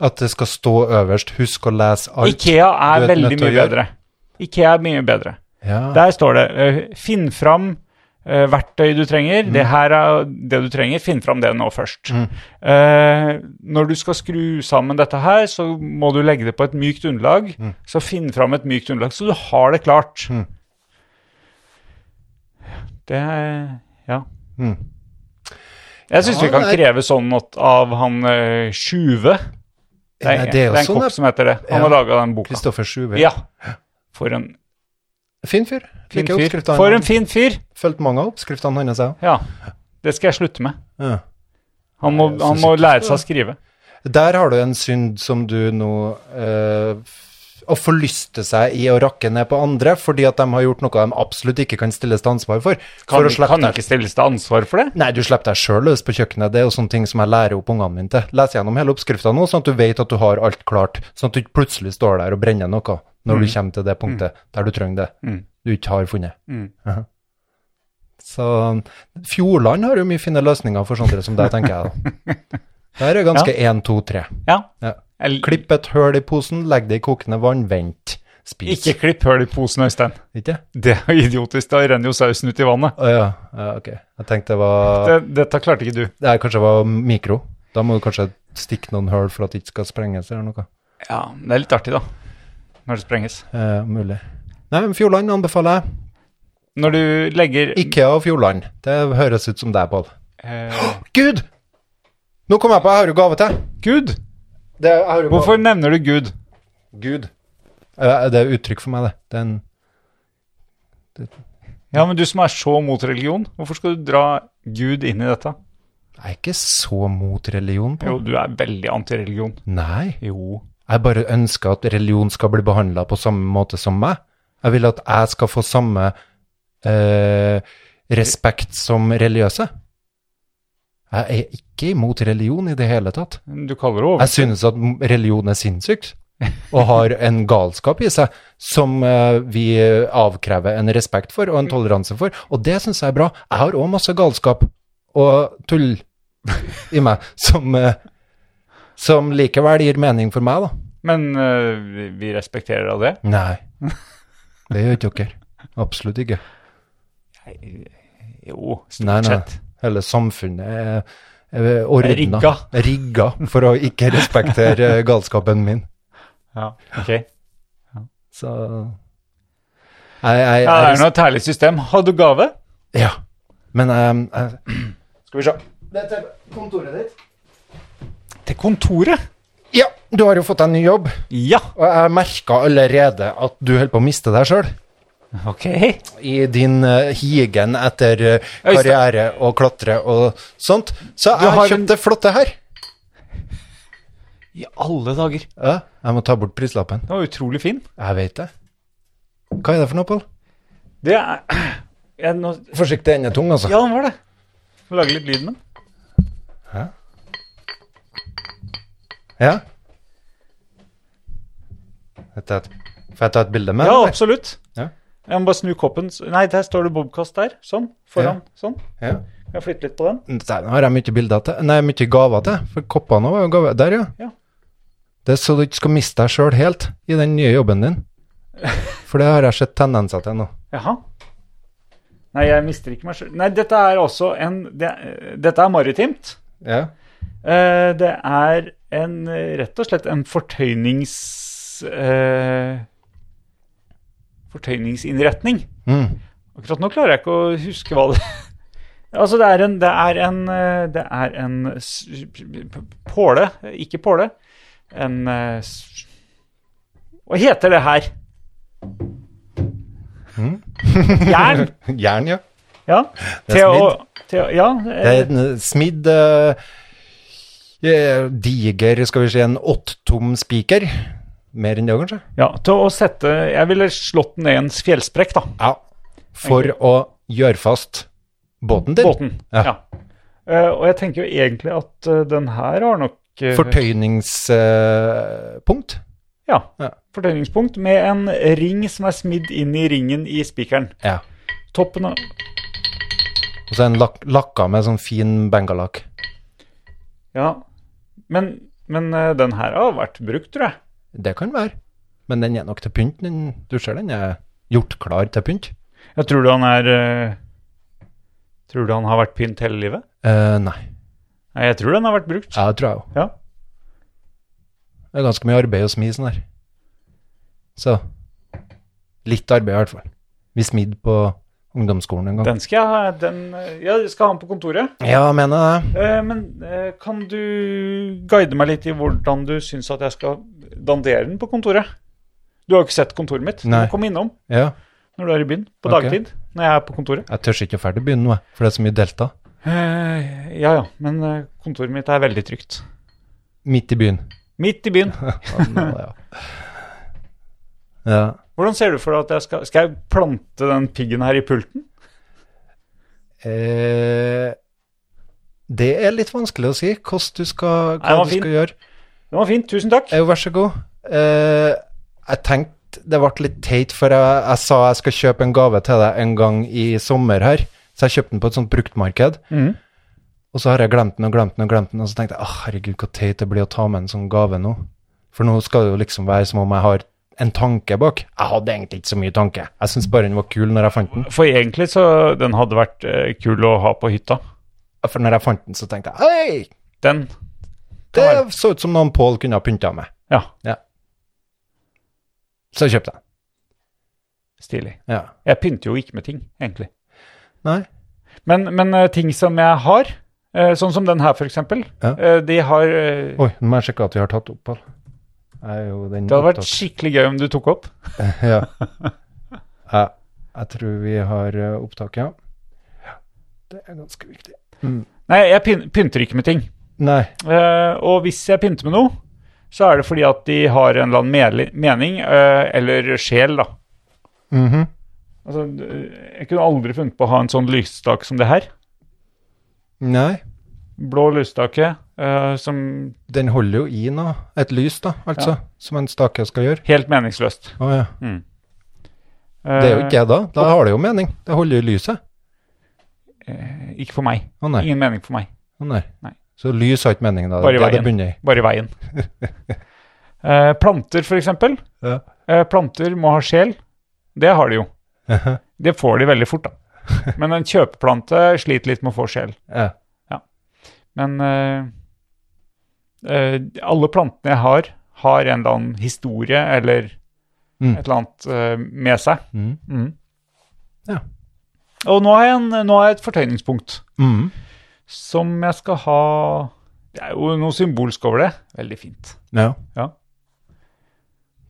At det skal stå øverst. Husk å lese alt.
Ikea
du
er
er nødt
veldig
til å
mye
gjøre.
bedre. Ikea er mye bedre.
Ja.
Der står det eh, 'finn fram eh, verktøy du trenger'.
Mm.
Det her er det du trenger. Finn fram det nå først. Eh, når du skal skru sammen dette her, så må du legge det på et mykt underlag. Så finn fram et mykt underlag, så du har det klart.
Mm.
Det er Ja.
Mm.
Jeg syns
Ja,
vi kan
det er-
kreve sånn at av han eh, Sjuve det er,
Nei,
det
det er jo
er en
sånn,
kokk
ja.
som heter det. Han
Ja.
har laga den boka.
Kristoffer Sjuve.
Ja. For en
Fin fyr.
fin
Liker
fyr.
oppskriftene.
For en fin fyr!
Fulgt mange av oppskriftene hans, jeg
Ja. Det skal jeg slutte med.
òg. Ja.
Han må,
Nei, jeg
han
synes
må
ikke
lære
det.
seg å skrive.
Der har du en synd som du nå eh, f- Å forlyste seg i å rakke ned på andre fordi at de har gjort noe de absolutt ikke kan stilles til ansvar for.
Kan,
for å slippe
kan
deg-
ikke stilles til ansvar for det.
Nei, du slipper deg sjøl løs på kjøkkenet. Det er jo sånne ting som jeg lærer opp ungene mine til. Les gjennom hele oppskrifta nå, sånn at du vet at du har alt klart. Sånn at du ikke plutselig står der og brenner noe når du kommer til det punktet der du trenger det
Mm.
du ikke har funnet.
Mm.
Aha. Så Fjordland har jo mye fine løsninger for sånne som deg, tenker jeg. da. Der er det ganske én, to, tre.
Ja.
Ja.
Eller-
Klipp et høl i posen, legg det i kokende vann, vent. Spis.
Ikke klipp hull i posen, Øystein.
Ikke?
Det er jo idiotisk. Da renner jo sausen ut i vannet.
Å ja. ja, ok. Jeg tenkte det var
Det, dette klarte ikke du.
Det her kanskje var mikro. Da må du kanskje stikke noen høl for at det ikke skal sprenges eller noe.
Ja, Det er litt artig, da. Når det sprenges.
Eh, mulig. Nei, men Fjordland anbefaler jeg.
Når du legger
Ikea og Fjordland. Det høres ut som deg, Pål.
eh,
Gud! Nå kom jeg på, jeg har jo gave til.
Gud!
Det, jeg har jo gave.
Hvorfor nevner du Gud?
Gud. Eh, Det er uttrykk for meg, det. det er en,
Ja, men du som er så mot religion, hvorfor skal du dra Gud inn i dette?
jeg er ikke så mot religion. På.
Jo, du er veldig antireligion.
Nei.
Jo.
Jeg bare ønsker at religion skal bli behandla på samme måte som meg. Jeg vil at jeg skal få samme eh, respekt som religiøse. Jeg er ikke imot religion i det hele tatt.
Du kaller det over.
Jeg synes at m- religion er sinnssykt, og har en galskap i seg som eh, vi avkrever en respekt for og en toleranse for, og det synes jeg er bra. Jeg har òg masse galskap og tull i meg som, eh, som likevel gir mening for meg, da.
Men eh, vi- vi respekterer av det.
Nei. Det gjør ikke dere. Absolutt ikke.
Jo, stort
Nei, nei.
sett.
Hele samfunnet er, er ordna.
Rigga.
Rigga for å ikke respektere eh, galskapen min.
Ja, ok.
Så Jeg, jeg,
Ja, det er liksom-
jeg,
nå et herlig system. Har du gave?
Ja. Men ehm, eh, Skal vi se. Dette er kontoret ditt.
Til kontoret?
Ja, du har jo fått deg ny jobb,
Ja.
og jeg merka allerede at du holder på å miste deg sjøl
Ok.
i din eh, higen etter eh,
Øystein.
karriere og klatre og sånt. Så jeg
har
har
en-
kjøpt det flotte her.
I alle dager. Det
Ja, jeg må ta bort prislappen.
var utrolig fin.
Jeg vet det. Hva er det for noe, Pål?
Det er jeg, nå,
Forsiktig endetung, altså.
Ja, den var det. Må Lage litt lyd med den.
Ja. Vet jeg et- Får jeg ta et bilde med
Ja,
eller?
absolutt.
Ja.
Jeg må bare snu koppen. s- Nei, der står det Bobkast der. Sånn. Foran. Sånn.
Ja.
Kan jeg flytte litt på den?
Der har jeg mye bilder til. Nei, mye gaver til. For koppene var jo gaver. Der, ja.
Ja.
Det er så du ikke skal miste deg sjøl helt i den nye jobben din. For det har jeg sett tendenser til nå.
Jaha. Nei, jeg mister ikke meg sjøl. Nei, dette er også en det, Dette er maritimt.
Ja.
Eh, det er en eh, rett og slett en fortøynings... eh, fortøyningsinnretning.
Mm.
Akkurat nå klarer jeg ikke å huske hva det Altså, det er en Det er en, eh, det er en s- p- p- påle eh, Ikke påle. En eh, s- Hva heter det her? Jern!
Jern, ja.
Ja.
Hmm? Det er
Til å- til å- Ja.
Det
eh,
er en smidd eh, eh, diger, skal vi si, en åttom spiker. Mer enn det, kanskje?
ja. Til å sette Jeg ville slått ned en fjellsprekk, da.
Ja. For å gjøre fast båten din.
Båten.
Ja.
Ja. Eh, og jeg tenker jo egentlig at eh, den her har nok eh,
Fortøyningspunkt.
ja,
Ja.
fortøyningspunkt med en ring som er smidd inn i ringen i spikeren.
ja.
Toppen av
Og så er den lak lakka med sånn fin bengalakk.
Ja. Men, men eh, den her har vært brukt, tror jeg.
Det kan være. Men den er nok til pynt. Den, du ser den er gjort klar til pynt.
Jeg tror du han er eh, Tror du han har vært pynt hele livet?
Eh, nei,
Nei, jeg tror den har vært brukt.
ja, det tror jeg jo.
Ja.
Det er ganske mye arbeid å smi sånn her. Så litt arbeid i hvert fall. Vi smidde på ungdomsskolen en gang.
Den skal jeg ha den, eh, Ja, jeg skal ha den på kontoret.
Ja, mener jeg det.
Eh, men eh, kan du guide meg litt i hvordan du syns at jeg skal dandere den på kontoret? Du har jo ikke sett kontoret mitt. Du
Nei.
må komme innom
Ja,
når du er i byen på
Ok.
dagtid. Når jeg er på kontoret.
jeg tør ikke å ferdig begynne nå, jeg, for det er så mye delta.
Eh, ja ja, men eh, kontoret mitt er veldig trygt.
Midt i byen.
Midt i byen.
Ja, nå, ja. ja.
Hvordan ser du for deg at jeg skal Skal jeg plante den piggen her i pulten?
Eh, det er litt vanskelig å si hvordan du skal,
Nei,
hva
den var
du
fin.
skal gjøre.
Den var fin, tusen takk.
Jo, vær så god. Eh, jeg tenkte det ble litt teit, for jeg, jeg sa jeg skal kjøpe en gave til deg en gang i sommer her. Så jeg kjøpte den på et sånt bruktmarked.
Mhm.
Og så har jeg glemt den og glemt den og glemt den, og så tenkte jeg «Åh, herregud, hvor teit det blir å ta med en sånn gave nå. For nå skal det jo liksom være som om jeg har en tanke bak. Jeg hadde egentlig ikke så mye tanke. Jeg syns bare den var kul når jeg fant den.
For egentlig så den hadde vært eh, kul å ha på hytta.
For når jeg fant den, så tenkte jeg hei,
Den.
det
Klar.
så ut som noen Pål kunne ha pynta med.
Ja,
Så kjøpte jeg den.
stilig.
Ja.
Jeg pynter jo ikke med ting, egentlig.
Nei.
Men, men eh, ting som jeg har, eh, sånn som den her for eksempel,
Ja.
eh, de har eh,
Oi, nå må jeg sjekke at vi har tatt opp, Pål. Det
Det hadde vært skikkelig gøy om du tok opp.
Ja. ja. Jeg tror vi har eh, opptak, ja. Det er ganske viktig.
Nei, jeg pyn pynter ikke med ting.
Nei.
Eh, og hvis jeg pynter med noe, så er det fordi at de har en eller annen meli- mening, eh, eller sjel, da.
Mhm.
Altså, eh, jeg kunne aldri funnet på å ha en sånn lysstake som det her.
Nei.
Blå lysstake eh, som
Den holder jo i noe. Et lys, da, altså. Som en stake skal gjøre.
helt meningsløst.
Å ja.
Eh,
Det er jo ikke jeg, da. Da har det jo mening. Det holder jo i lyset.
Eh, ikke for meg.
Å nei.
Ingen mening for meg.
Å nei.
Nei.
Så lys har ikke mening, da.
Bare
det er
i
det
veien.
begynner i.
Bare i veien. Eh, planter, for eksempel.
Ja.
Eh, planter må ha sjel. Det har de jo. Det får de veldig fort, da. Men en kjøpeplante sliter litt med å få sjel.
Ja.
Men eh, eh, alle plantene jeg har, har en eller annen historie eller
Mm.
et eller annet eh, med seg.
Mm.
Mm.
Ja.
Og nå har, jeg en, nå har jeg et fortøyningspunkt
Mm.
som jeg skal ha Det er jo noe symbolsk over det. Veldig fint.
Ja.
Ja.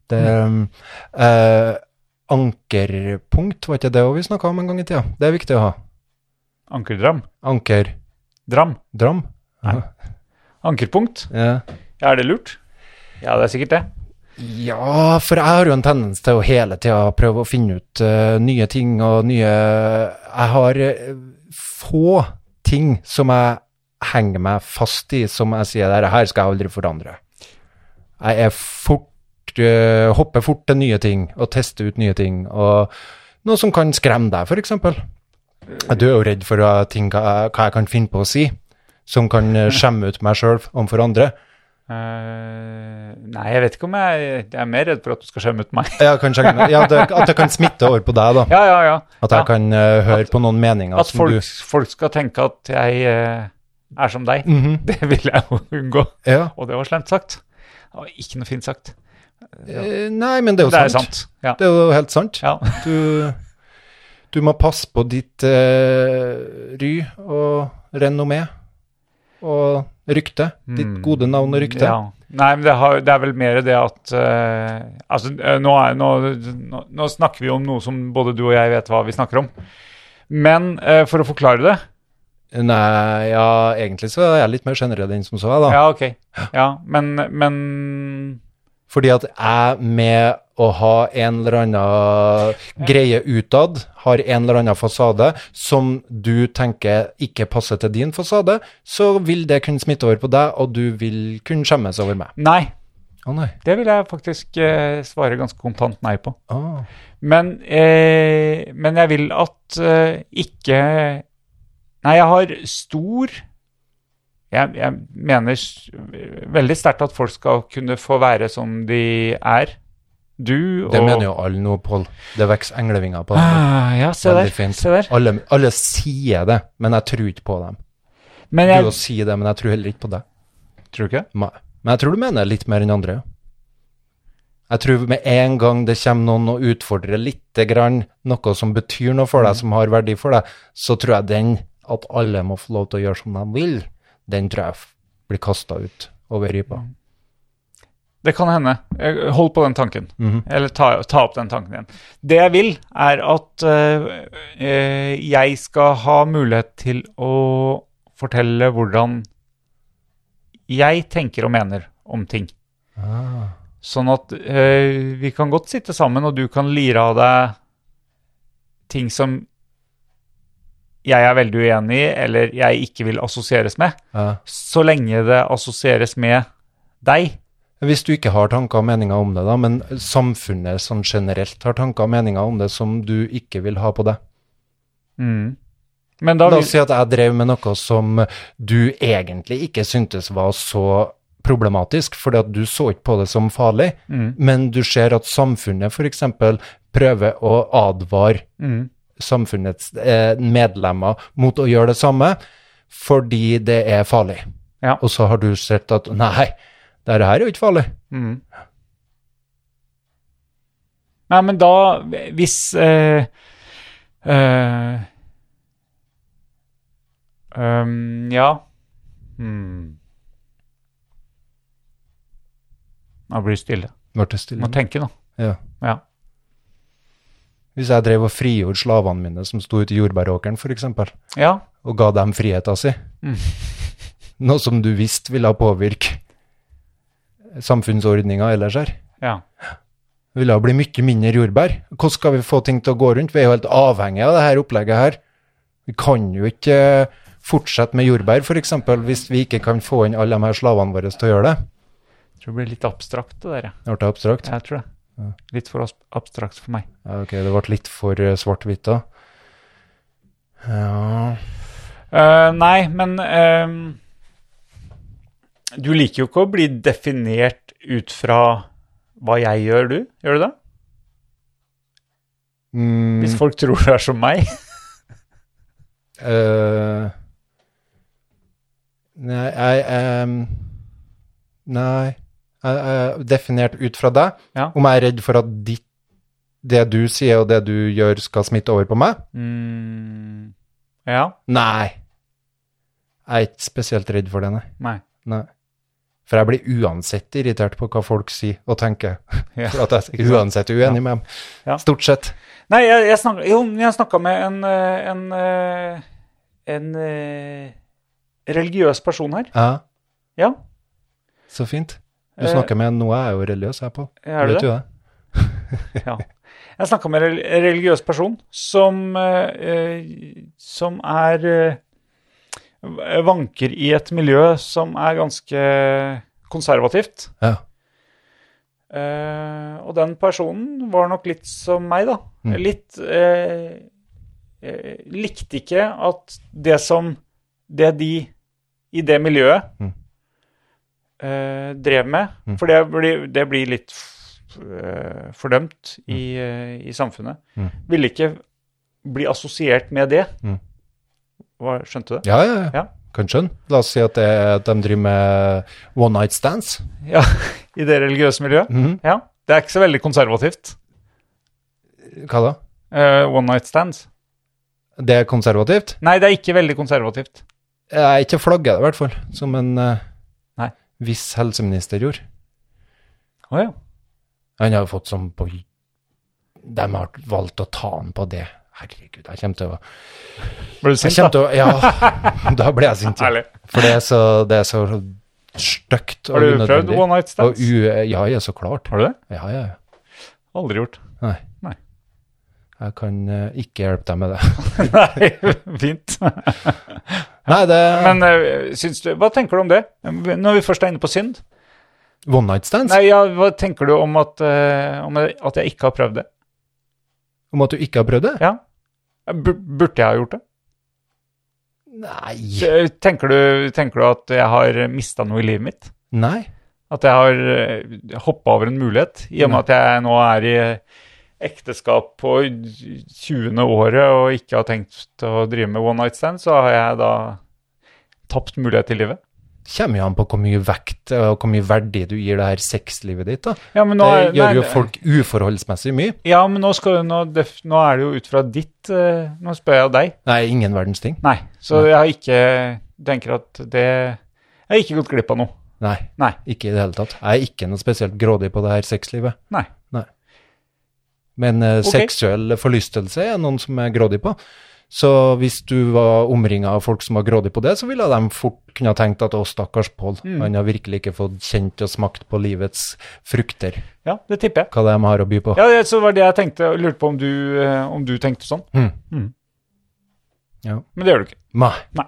Det um, eh, Ankerpunkt, var ikke det også vi snakka om en gang i tida? Det er viktig å ha.
Ankerdram.
Ankerdram.
Dram.
Nei.
Ankerpunkt.
Ja.
Ja, er det lurt? Ja, det er sikkert det.
Ja, for jeg har jo en tendens til å hele tida prøve å finne ut eh, nye ting og nye Jeg har eh, få ting som jeg henger meg fast i, som jeg sier der, her skal jeg aldri forandre. Jeg er fort fort, eh, hoppe fort til nye ting og teste ut nye ting. og Noe som kan skremme deg, f.eks. Du er jo redd for eh, ting, hva, hva jeg kan finne på å si, som kan eh, skjemme ut meg sjøl overfor andre.
Eh, nei, jeg vet ikke om jeg Jeg er mer redd for at du skal skjemme ut meg.
Ja, kan skjemme- ja, det, at det kan smitte over på deg, da.
ja, ja, ja.
At jeg
ja.
kan eh, høre på noen meninger
At
som
folk,
du
folk skal tenke at jeg eh, er som deg.
Mhm.
Det vil jeg jo unngå.
ja.
Og det var slemt sagt. Det var ikke noe fint sagt.
Eh, Nei, men det er jo
Det er
sant.
sant. Ja.
Det er jo helt sant.
ja.
Du, du må passe på ditt eh, ry og renommé og rykte. Ditt
Mm.
gode navn og rykte.
Ja. Nei, men det, har, det er vel mer det at eh, Altså, eh, nå, er, nå, nå, nå snakker vi om noe som både du og jeg vet hva vi snakker om. Men eh, for å forklare det
Nei, ja, egentlig så er jeg litt mer generell enn som så, jeg, da.
Ja, ok. Ja, men, men
Fordi at jeg med å ha en eller annen greie utad, har en eller annen fasade som du tenker ikke passer til din fasade, så vil det kunne smitte over på deg, og du vil kunne skjemmes over meg.
Nei.
Å nei.
Det vil jeg faktisk eh, svare ganske kontant nei på.
Ah.
Men, eh, men jeg vil at eh, ikke Nei, jeg har stor Jeg, jeg mener s- veldig sterkt at folk skal kunne få være som de er. Du og
Det mener jo alle nå, Pål. Det vokser englevinger på dem.
Ah, ja, se
Veldig
der.
fint.
Se der.
Alle, alle sier det, men jeg tror ikke på dem.
Men
Du
jeg
også sier det, men jeg tror heller ikke på deg.
Tror du ikke det?
Nei. Men jeg tror du mener litt mer enn andre. ja. Jeg tror med en gang det kommer noen og utfordrer lite grann noe som betyr noe for deg, som har verdi for deg, så tror jeg den at alle må få lov til å gjøre som de vil, den tror jeg f- blir kasta ut over ripa.
Det kan hende. Eh, Hold på den tanken. Eller ta, ta opp den tanken igjen. Det jeg vil, er at eh, eh, jeg skal ha mulighet til å fortelle hvordan jeg tenker og mener om ting. Sånn at eh, vi kan godt sitte sammen, og du kan lire av deg ting som jeg er veldig uenig i, eller jeg ikke vil assosieres med,
Ja.
så lenge det assosieres med deg.
Hvis du ikke har tanker og meninger om det, da, men samfunnet sånn generelt har tanker og meninger om det som du ikke vil ha på deg.
Mm. Men da
La
vil,
oss si at jeg drev med noe som du egentlig ikke syntes var så problematisk, fordi at du så ikke på det som farlig,
Mm.
men du ser at samfunnet f.eks. prøver å advare
Mm.
samfunnets eh, medlemmer mot å gjøre det samme, fordi det er farlig.
Ja.
Og så har du sett at nei, dette her er jo ikke farlig.
Mm. Nei, men da Hvis eh, eh, um, Ja. Mm. Nå blir det stille.
Ble det
Må
stille?
tenke nå.
Ja.
Ja.
Hvis jeg drev og frigjorde slavene mine som sto ute i jordbæråkeren, f.eks.,
ja.
og ga dem friheta si, noe som du visste ville påvirke samfunnsordninga ellers her,
Ja.
ville det bli mye mindre jordbær. Hvordan skal vi få ting til å gå rundt? Vi er jo helt avhengige av det her opplegget her. Vi kan jo ikke eh, fortsette med jordbær, f.eks., hvis vi ikke kan få inn alle de her slavene våre til å gjøre det.
Jeg tror det blir litt abstrakt, det der. ja.
Det ble abstrakt.
Jeg tror det. Litt for abs- abstrakt for meg.
Ja, ok, det ble litt for eh, svart-hvitt da. Ja
Eh, nei, men ehm, Du liker jo ikke å bli definert ut fra hva jeg gjør, du. Gjør du det?
mm,
Hvis folk tror du er som meg.
Eh, Nei, jeg em, Nei. Jeg jeg er definert ut fra deg.
Ja.
Om jeg er redd for at ditt, det du sier og det du gjør, skal smitte over på meg?
Mm, ja.
Nei. Jeg er ikke spesielt redd for det, nei.
Nei.
nei. For jeg blir uansett irritert på hva folk sier og tenker.
Ja.
For at jeg uansett er uenig med dem.
Ja.
Stort sett.
Nei, jeg, jeg snakka Jo, men jeg snakka med en eh, en, eh, en eh, religiøs person her.
Ja,
Ja,
så fint. Du
Eh,
snakker med en nå er jeg jo religiøs, jeg, Pål.
er du
Vet
det?
du det?
Ja. Jeg snakka med en rel- en religiøs person som, eh, eh, som er eh, v- vanker i et miljø som er ganske konservativt.
Ja.
Eh, og den personen var nok litt som meg, da. Litt eh, eh, Likte ikke at det som Det de i det miljøet eh, drev med For det blir, det blir litt f- eh, fordømt i, eh, i samfunnet. Ville ikke bli assosiert med det. Hva, skjønte du det?
Ja, ja, ja.
Ja.
Kan skjønne. La oss si at, det, at de driver med one night stands.
Ja, I det religiøse
Mm.
miljøet? Ja. Det er ikke så veldig konservativt.
Hva da?
eh, one night stands.
Det er konservativt?
Nei, det er ikke veldig konservativt.
Jeg ikke flagget det, i hvert fall, som en eh,
Nei.
viss helseminister gjorde.
Å ja.
Han har jo fått som på De har valgt å ta han på det. Herregud, jeg kommer til å
Ble du
Jeg
sint,
kommer
da?
til å Ja, da ble jeg sint. ja.
Ærlig.
For det er så, det er så stygt og
Har du
unødvendig.
prøvd one night stands?
Og u ja, ja, så klart.
Har du det?
Ja, ja, ja.
Aldri gjort.
Nei.
Nei.
Jeg kan eh, ikke hjelpe deg med det.
Nei, fint.
Nei, det
Men eh, syns du Hva tenker du om det? Når vi først er inne på synd?
One night stands?
Nei, ja, hva tenker du om at, eh, om at jeg ikke har prøvd det?
Om at du ikke har prøvd det?
Ja. Bur- Burde jeg ha gjort det?
Nei.
Eh, Tenker du, tenker du at jeg har mista noe i livet mitt?
Nei.
At jeg har hoppa over en mulighet, i og med at jeg nå er i ekteskap på 20. året og ikke har tenkt å drive med one night stand, så har jeg da tapt mulighet i livet.
Kommer jo an på hvor mye vekt eh, og hvor mye verdi du gir det her sexlivet ditt, da.
Ja, men nå,
Det
er- nei,
gjør jo folk uforholdsmessig mye.
Ja, men nå, skal, nå, def- nå er det jo ut fra ditt eh, Nå spør jeg deg.
Nei, ingen verdens ting.
Nei, så jeg har ikke tenker at det Jeg har ikke gått glipp av noe.
Nei,
Nei.
ikke i det hele tatt. Jeg er ikke noe spesielt grådig på det her sexlivet.
Nei.
Men eh,
Ok.
seksuell forlystelse er noen som er grådig på. Så hvis du var omringa av folk som var grådig på det, så ville de fort kunne ha tenkt at å, stakkars Pål,
Mm.
han har virkelig ikke fått kjent og smakt på livets frukter,
Ja, det tipper jeg.
hva de har å by på.
Ja, det, så var det jeg tenkte. Jeg lurte på om du, eh, om du tenkte sånn.
Mm.
Mm.
Ja.
Men det gjør du ikke.
Nei.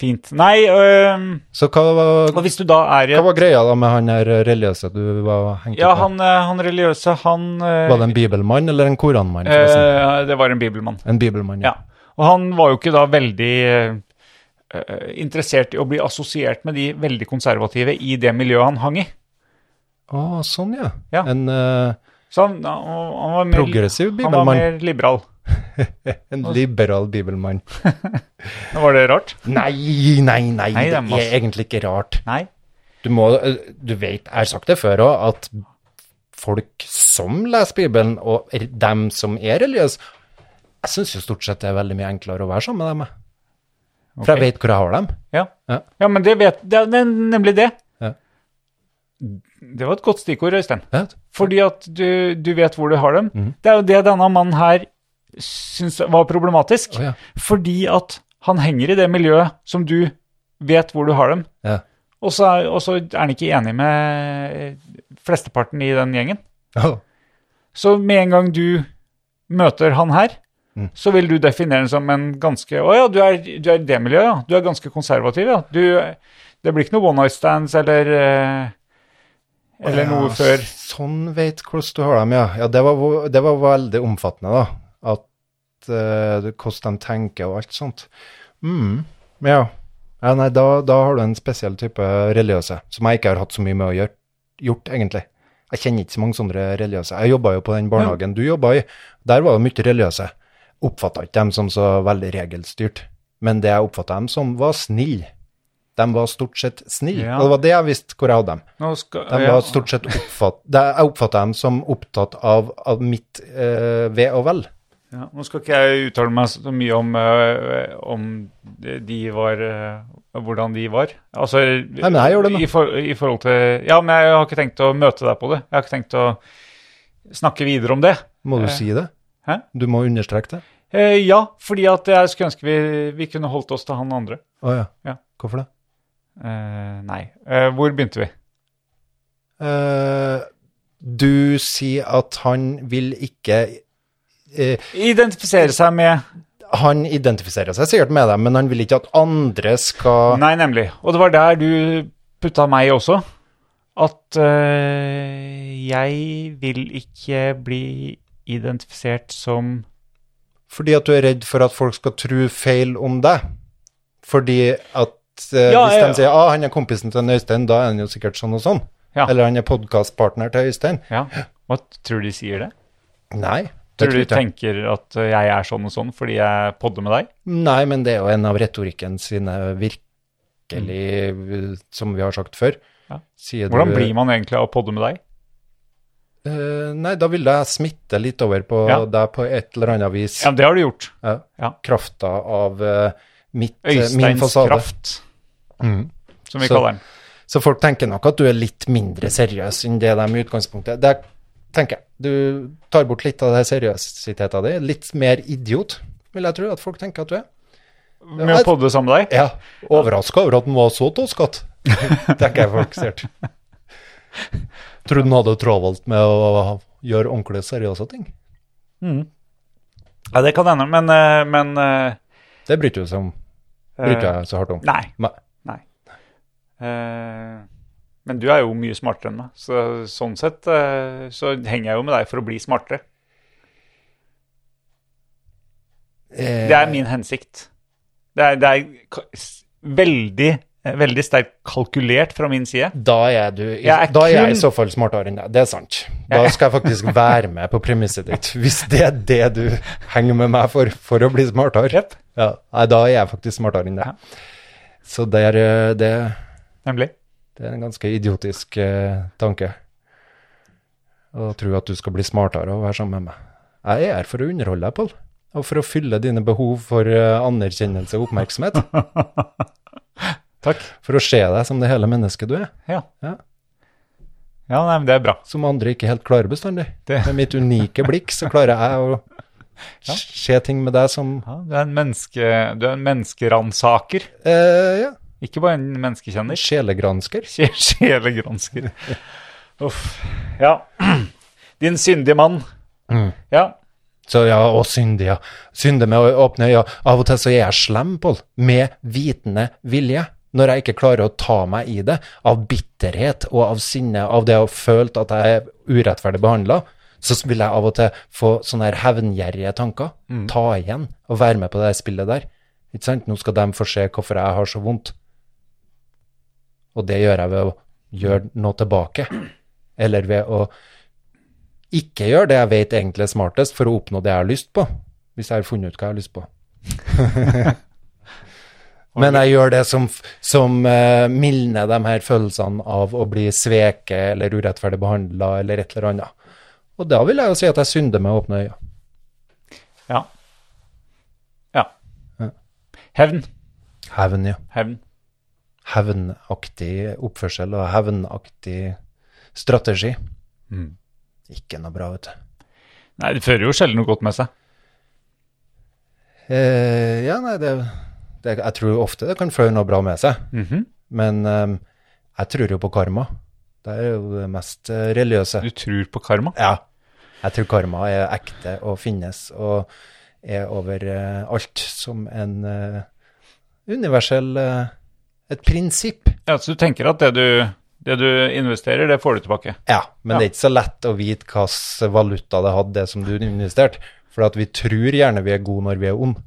Fint. Nei, øhm,
Så hva var,
og hvis du da er i
hva var greia da med han her religiøse du var hengt
Ja,
opp i?
han, eh, han religiøse, han eh,
Var det en bibelmann eller en koranmann? forresten?
eh, Det var en bibelmann.
en bibelmann,
Ja. Og han var jo ikke da veldig eh, interessert i å bli assosiert med de veldig konservative i det miljøet han hang i.
Å, sånn, ja.
Ja.
En, eh,
Så han, han, han var mer,
Progressiv
han var
bibelmann.
mer liberal.
en liberal bibelmann.
Var det rart?
Nei, nei, nei,
Nei, det
det
er masse-
er egentlig ikke rart.
Nei.
Du må, eh, du vet, jeg har sagt det før òg, at folk som leser Bibelen, og er- dem som er religiøse, jeg syns jo stort sett det er veldig mye enklere å være sammen med dem. jeg. For jeg
Ok.
vet hvor jeg har dem.
Ja,
Ja.
ja men det vet Det er nem- nemlig det.
Ja.
Det var et godt stikkord, Øystein.
Vet?
Fordi at du, du vet hvor du har dem.
Mhm.
Det er jo det denne mannen her syns var problematisk.
Å, ja.
Fordi at han henger i det miljøet som du vet hvor du har dem.
Ja.
Og så er, og så er han ikke enig med eh, flesteparten i den gjengen.
Å,
Så med en gang du møter han her,
Mm.
så vil du definere ham som en ganske Å ja, du er, du er i det miljøet, ja. Du er ganske konservativ, ja. Du, det blir ikke noe one night stands eller eh, Eller noe
ja,
før.
Sånn vet hvordan du har dem, ja. ja det, var, vo- det var veldig omfattende, da. At eh, hvordan de tenker og alt sånt. Mm, ja. ja. Nei, da, da har du en spesiell type religiøse, som jeg ikke har hatt så mye med å gjøre, gjort, egentlig. Jeg kjenner ikke så mange sånne religiøse. Jeg jobba jo på den barnehagen du jobba i. Der var det mye religiøse. Oppfatta ikke dem som så veldig regelstyrt. Men det jeg oppfatta dem som, var snille. De var stort sett snille.
Ja.
Og det var det jeg visste hvor jeg hadde dem.
Nå skal,
De
ja.
var stort sett oppfatt, de, Jeg oppfatta dem som opptatt av, av mitt eh, ve og vel.
Ja, nå skal ikke jeg uttale meg så mye om, eh, om de var eh, Hvordan de var. Altså
men jeg gjør det nå.
i, for, I forhold til Ja, men jeg har ikke tenkt å møte deg på det. Jeg har ikke tenkt å snakke videre om det.
Må du
Eh,
si det?
hæ?
Du må understreke det?
Eh, ja, fordi at jeg skulle ønske vi, vi kunne holdt oss til han andre.
Å ja.
Ja.
Hvorfor det?
Eh, nei. Eh, hvor begynte vi?
Eh, du sier at han vil ikke eh,
Identifisere seg med
Han identifiserer seg sikkert med dem, men han vil ikke at andre skal
Nei, nemlig. Og det var der du putta meg også. at eh, jeg vil ikke bli identifisert som
Fordi at du er redd for at folk skal tro feil om deg. Fordi at eh,
Ja,
hvis
ja, ja.
de sier ah, 'han er kompisen til en Øystein', da er han jo sikkert sånn og sånn.
Ja.
Eller 'han er podkastpartner til Øystein'.
Ja, hva tror du de sier det?
Nei. det
Tror du de
ikke jeg.
tenker at eh, jeg er sånn og sånn fordi jeg podder med deg?
Nei, men det er jo en av retorikken sine virkelig, som vi har sagt før.
Ja.
Sier
Hvordan blir man egentlig av å podde med deg?
Eh, nei, da ville jeg smitte litt over på
Ja.
deg på et eller annet vis.
Ja, det har du gjort.
Ja.
Ja.
Krafta av eh, mitt, eh, min
Øysteins
fasade.
kraft,
Mhm.
som vi
Så-
kaller den.
Så folk tenker nok at du er litt mindre seriøs enn det de i utgangspunktet Det tenker jeg. Du tar bort litt av det seriøsiteten din. Litt mer idiot, vil jeg tro at folk tenker at du er.
Med å podde sammen med deg?
Ja, Overraska over at den var så toskete, tenker jeg folk sikkert. Tror den hadde travelt med å gjøre ordentlig seriøse ting.
Ja, det kan hende, men, eh, men eh,
Det bryter jo seg om. Bryter
eh,
jeg så hardt om.
Nei.
Nei.
Nei. Eh, men du er jo mye smartere enn meg, så sånn sett eh, så henger jeg jo med deg for å bli smartere.
Eh,
Det er min hensikt. Det er, det er ka- s- veldig, eh, veldig sterkt kalkulert fra min side.
Da er du i,
Jeg er
da er jeg i
kun-
så fall smartere enn deg. Det er sant. Da skal jeg faktisk være med på premisset ditt, hvis det er det du henger med meg for for å bli smartere.
Jepp.
Ja, nei, da er jeg faktisk smartere enn
Ja.
deg. Så det er, eh, det,
Nemlig.
det er en ganske idiotisk eh, tanke. Å tro at du skal bli smartere og være sammen med meg. Jeg er her for å underholde deg, Pål. Og for å fylle dine behov for eh, anerkjennelse og oppmerksomhet.
Takk.
For å se deg som det hele mennesket du er.
Ja.
Ja.
Ja, nei, men det er bra.
som andre ikke helt klarer bestandig.
Det-
Med mitt unike blikk så klarer jeg å se ting med deg som
Ja, du er en, menneske, du er en menneskeransaker,
eh, ja,
ikke bare en menneskekjenner.
sjelegransker.
Sje- Sjelegransker. Uff. Ja. Din syndige mann. Ja.
Så ja, og syndig, ja. Synde med å åpne øyne. Av og til så er jeg slem, Pål, med vitende vilje. Når jeg ikke klarer å ta meg i det, av bitterhet og av sinne, av det å ha følt at jeg er urettferdig behandla, så vil jeg av og til få sånne her hevngjerrige tanker. Ta igjen og være med på det her spillet der. Ikke sant? Nå skal de få se hvorfor jeg har så vondt. Og det gjør jeg ved å gjøre noe tilbake. Eller ved å ikke gjøre det jeg vet egentlig er smartest for å oppnå det jeg har lyst på, hvis jeg har funnet ut hva jeg har lyst på. Men jeg gjør det som, som eh, mildner de her følelsene av å bli sveket eller urettferdig behandla eller et eller annet. Og da vil jeg jo si at jeg synder med åpne øyne.
Ja. Ja. Hevn.
Hevn, ja.
Hevn.
Hevnaktig oppførsel og hevnaktig strategi. Ikke noe bra, vet du.
Nei, det fører jo sjelden noe godt med seg.
Eh, ja, nei, det, det Jeg tror ofte det kan føre noe bra med seg.
Mhm.
Men eh, jeg tror jo på karma. Det er jo det mest eh, religiøse.
Du tror på karma.
Ja. Jeg tror karma er ekte og finnes og er over eh, alt som en eh, universell eh, Et prinsipp.
Ja, Så du tenker at det du, det du investerer, det får du tilbake.
Ja, men
Ja.
det er ikke så lett å vite hvilken valuta det hadde, det som du investerte. For at vi tror gjerne vi er gode når vi er onde.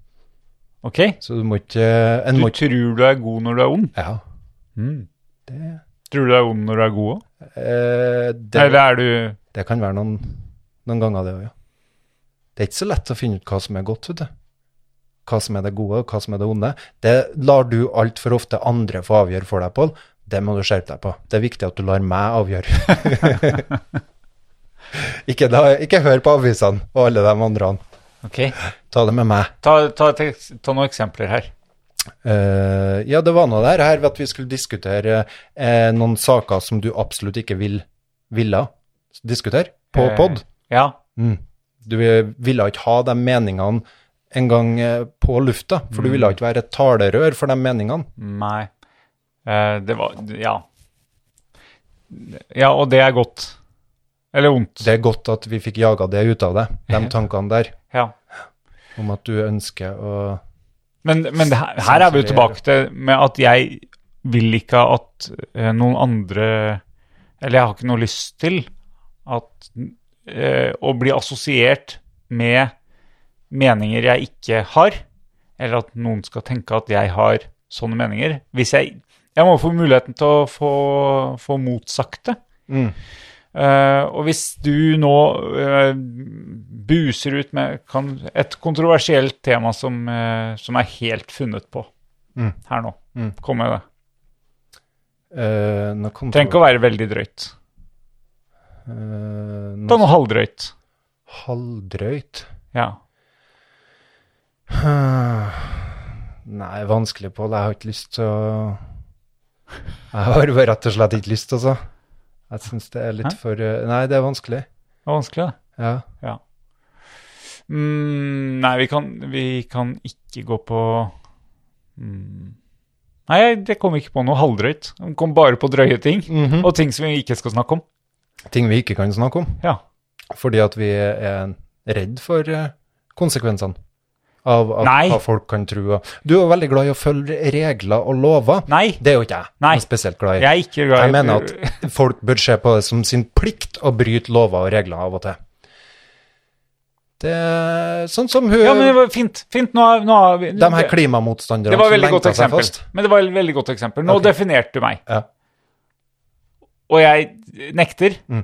Ok?
Så du må ikke en
Du
må ikke-
tror du er god når du er ond.
Ja.
Tror du du er ond når du er god òg?
Eh, det,
Eller er du
Det kan være noen, noen ganger det òg, ja. Det er ikke så lett å finne ut hva som er godt, vet du. Hva som er det gode, og hva som er det onde. Det lar du altfor ofte andre få avgjøre for deg, Pål. Det må du skjerpe deg på. Det er viktig at du lar meg avgjøre. ikke, da, ikke hør på avisene og alle de andre.
Ok.
Ta det med meg.
Ta, ta, et eks- ta noen eksempler her.
Eh, ja, det var noe der her ved at vi skulle diskutere eh, noen saker som du absolutt ikke vil, ville diskutere på
Eh,
pod.
Ja.
Mm. Du ville ikke ha de meningene en gang eh, på lufta, for
Mm.
du ville ikke være et talerør for de meningene.
Nei. Eh, det var Ja. Ja, og det er godt. Eller vondt.
Det er godt at vi fikk jaga det ut av deg, de tankene der,
Ja.
om at du ønsker å
Men, men det her, her er vi jo tilbake til med at jeg vil ikke at eh, noen andre eller jeg har ikke noe lyst til, at, eh, å bli assosiert med meninger jeg ikke har, eller at noen skal tenke at jeg har sånne meninger. Hvis jeg, jeg må få muligheten til å få, få motsagt det. Eh, og hvis du nå eh, buser ut med kan, et kontroversielt tema som, eh, som er helt funnet på
Mm.
her nå, kom med det.
Eh, nå kom
Trenger ikke å være veldig drøyt.
Eh,
Ta
nå-
noe halvdrøyt.
Halvdrøyt.
Ja.
Nei, vanskelig, Pål. Jeg har ikke lyst til å Jeg har bare rett og slett ikke lyst, altså. Jeg syns det er litt
Hæ?
for eh, Nei, det er vanskelig.
Det var vanskelig, det.
Ja.
Ja. Mm, nei, vi kan, vi kan ikke gå på mm. Nei, det kom ikke på noe halvdrøyt. Det kom bare på drøye ting. Og ting som vi ikke skal snakke om.
Ting vi ikke kan snakke om.
Ja.
Fordi at vi er redd for eh, konsekvensene av at,
Nei.
hva folk kan tro. og- Du er jo veldig glad i å følge regler og lover.
Nei,
Det er jo ikke jeg.
Nei.
jeg er spesielt glad i.
jeg er ikke glad i
Jeg mener at folk bør se på det som sin plikt å bryte lover og regler av og til. Det er sånn som hun,
Ja, men det var fint. Fint, nå, har- nå har vi
de her
det,
klimamotstanderne
det var
som
veldig godt
lenka seg
eksempel.
fast.
Men det var et veldig godt eksempel. Nå
Ok.
definerte du meg.
Ja.
Og jeg nekter.
Mm.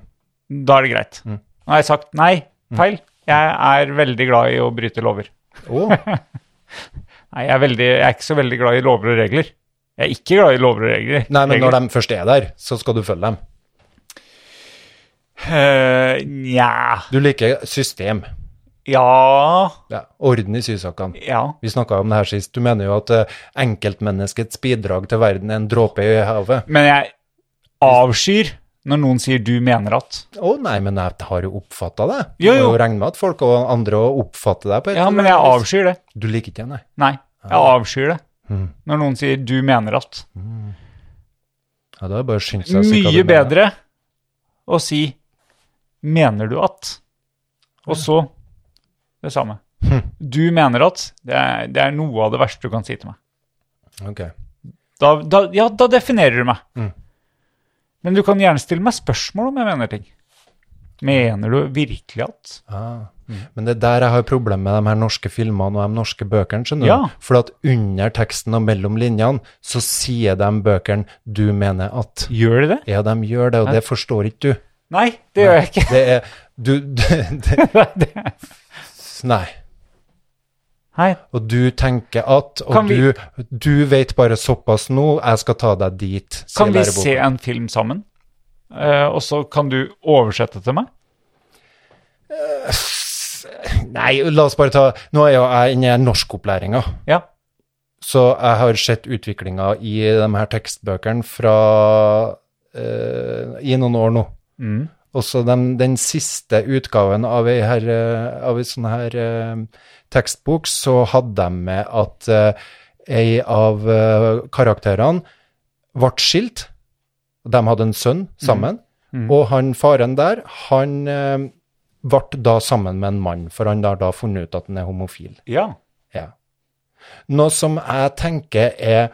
Da er det greit. Nå har jeg sagt nei, feil. Jeg er veldig glad i å bryte lover.
Å,
Nei, jeg er, veldig, jeg er ikke så veldig glad i lover og regler. Jeg er ikke glad i lover og regler.
Nei, men når
regler.
de først er der, så skal du følge dem.
Eh, Nja
Du liker system.
Ja
Ja, orden i sysakene.
Ja.
Vi snakka om det her sist. Du mener jo at eh, enkeltmenneskets bidrag til verden er en dråpe i havet.
Men jeg avskyr når noen sier 'du mener at'.
Å nei, men jeg har jo oppfatta det. Du
Jo,
må
jo.
jo regne med at folk og andre også oppfatter deg på et
Ja, men jeg avskyr det.
Du liker ikke det, nei.
Nei, jeg avskyr det.
Mm.
Når noen sier 'du mener at'.
Ja, da er det bare å skynde seg å si hva du
Mye
mener.
bedre å si 'mener du at', og så det samme. Du mener at det er, det er noe av det verste du kan si til meg.
Ok.
Da, da, ja, da definerer du meg. Men du kan gjerne stille meg spørsmål om jeg mener ting. Mener du virkelig at
Ah. Men det er der jeg har problemer med de her norske filmene og de norske bøkene, skjønner
Ja.
du. For at under teksten og mellom linjene, så sier de bøkene 'du mener at'.
Gjør de det?
Ja, de gjør det, og det forstår ikke du.
Nei, det gjør jeg ikke.
Det er Du det, det, Nei.
Nei,
Og du tenker at, og
Kan vi-
du, du vet bare såpass nå, jeg skal ta deg dit, sier
Kan vi
læreboka.
se en film sammen, Eh, og så kan du oversette til meg?
Nei, la oss bare ta Nå er jo jeg inne i norskopplæringa.
Ja.
Så jeg har sett utviklinga i de her tekstbøkene fra eh, i noen år nå.
Mm.
Og så den, den siste utgaven av ei, her, eh, av ei sånn her eh, tekstbok, så hadde de med at eh, ei av eh, karakterene ble skilt. De hadde en sønn sammen, og han faren der, han eh, ble da sammen med en mann, for han har da funnet ut at han er homofil.
Ja.
Ja. Noe som jeg tenker er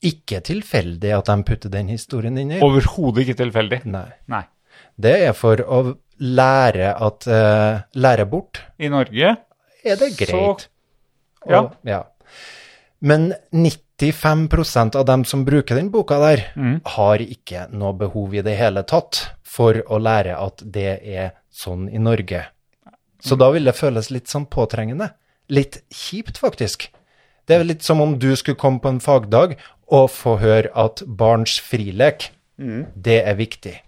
ikke tilfeldig at de putter den historien inn i.
Overhodet ikke tilfeldig.
Nei.
Nei.
Det er for å lære at eh, Lære bort
I Norge
er det
Så-
greit. Og-
ja.
ja. Men 95 av dem som bruker den boka der,
Mm.
har ikke noe behov i det hele tatt for å lære at det er sånn i Norge.
Mm.
Så da vil det føles litt sånn påtrengende. Litt kjipt, faktisk. Det er litt som om du skulle komme på en fagdag og få høre at barns frilek,
Mm.
det er viktig.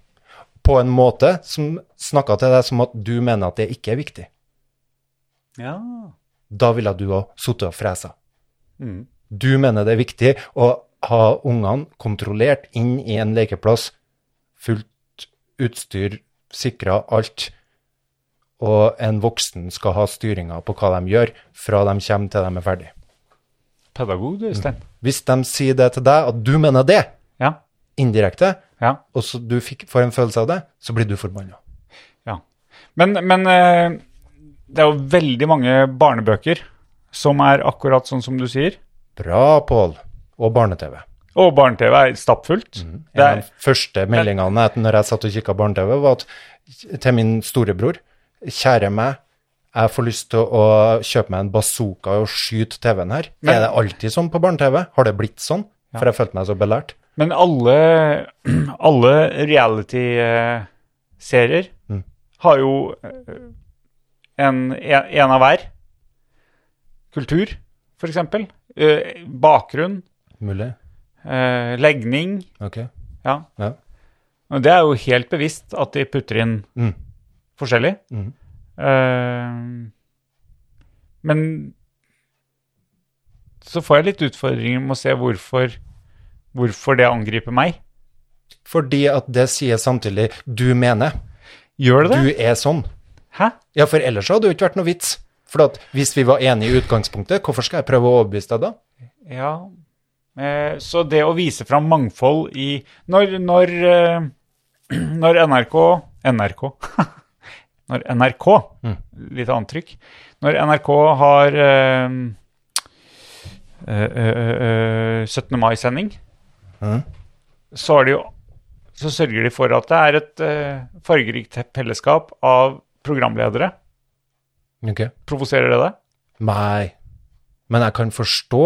På en måte som snakka til deg som at du mener at det ikke er viktig
Ja.
da ville du òg sittet og fresa. Du mener det er viktig å ha ungene kontrollert inn i en lekeplass, fullt utstyr, sikra alt, og en voksen skal ha styringa på hva de gjør fra de kommer til de er ferdig.
Pedagog, du, Øystein.
Hvis de sier det til deg, at du mener det,
Ja.
indirekte,
Ja.
og så du fikk, får en følelse av det, så blir du forbanna.
Ja. Men, men eh, det er jo veldig mange barnebøker som er akkurat sånn som du sier.
Bra, Pål. Og barne-TV.
Og barne-TV er stappfullt.
En
Det
av
er,
de første meldingene etter når jeg satt og kikka barne-TV, var at, til min storebror Kjære meg, jeg får lyst til å kjøpe meg en bazooka og skyte TV-en her.
Men-
er det alltid sånn på barne-TV? Har det blitt sånn? For jeg følte meg så belært.
men alle, alle reality-serier har jo eh, en, en av hver. Kultur, for eksempel. Eh, Bakgrunn,
Mulig?
eh, legning.
Ok.
Ja.
Ja.
Og det er jo helt bevisst at de putter inn
Mm.
forskjellig.
Mhm.
Eh, men så får jeg litt utfordringer med å se hvorfor, hvorfor det angriper meg.
Fordi at det sier samtidig du mener.
Gjør det det?
Du er sånn.
Hæ?
Ja, for ellers så hadde det jo ikke vært noe vits. For at hvis vi var enige i utgangspunktet, hvorfor skal jeg prøve å overbevise deg da?
Ja. Eh, så det å vise fram mangfold i Når, når, eh, når NRK NRK. når NRK Litt annet trykk. Når NRK har eh, eh, eh, eh, 17. mai-sending,
Mhm.
så har de jo så sørger de for at det er et eh, fargerikt fellesskap av programledere.
Ok.
Provoserer det deg?
Nei, men jeg kan forstå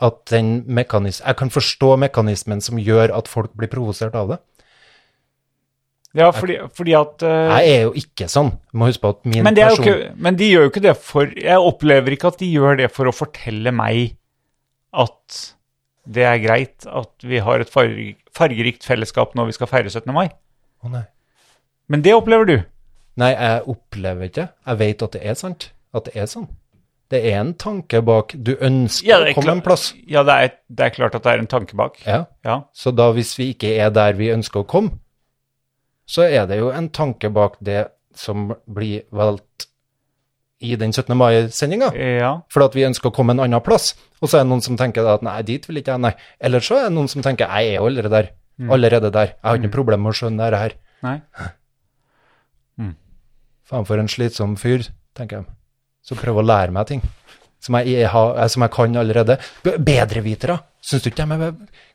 at den mekanis jeg kan forstå mekanismen som gjør at folk blir provosert av det.
Ja, fordi, fordi at eh,
Jeg er jo ikke sånn. Du må huske på at min
Men, det er jo
person
ikke, men de gjør jo ikke det for Jeg opplever ikke at de gjør det for å fortelle meg at det er greit at vi har et farg, fargerikt fellesskap når vi skal feire 17. mai.
Å, nei.
Men det opplever du.
nei, jeg opplever ikke Jeg vet at det er sant. At det er sånn. Det er en tanke bak Du ønsker å komme en plass.
Ja, det er, det er klart at det er en tanke bak.
Ja.
Ja.
Så da, hvis vi ikke er der vi ønsker å komme, så er det jo en tanke bak det som blir valgt i den 17. mai-sendinga.
ja.
fordi at vi ønsker å komme en annen plass. Og så er det noen som tenker da at nei, dit vil ikke jeg, nei. Eller så er det noen som tenker jeg er jo allerede der.
Mm.
Allerede der. Jeg har ikke noe problem med å skjønne dette her.
Nei.
Faen for en slitsom fyr, tenker jeg. Så prøv å lære meg ting som jeg, jeg, har, eh, som jeg kan allerede. B- Bedrevitere. Syns du ikke de er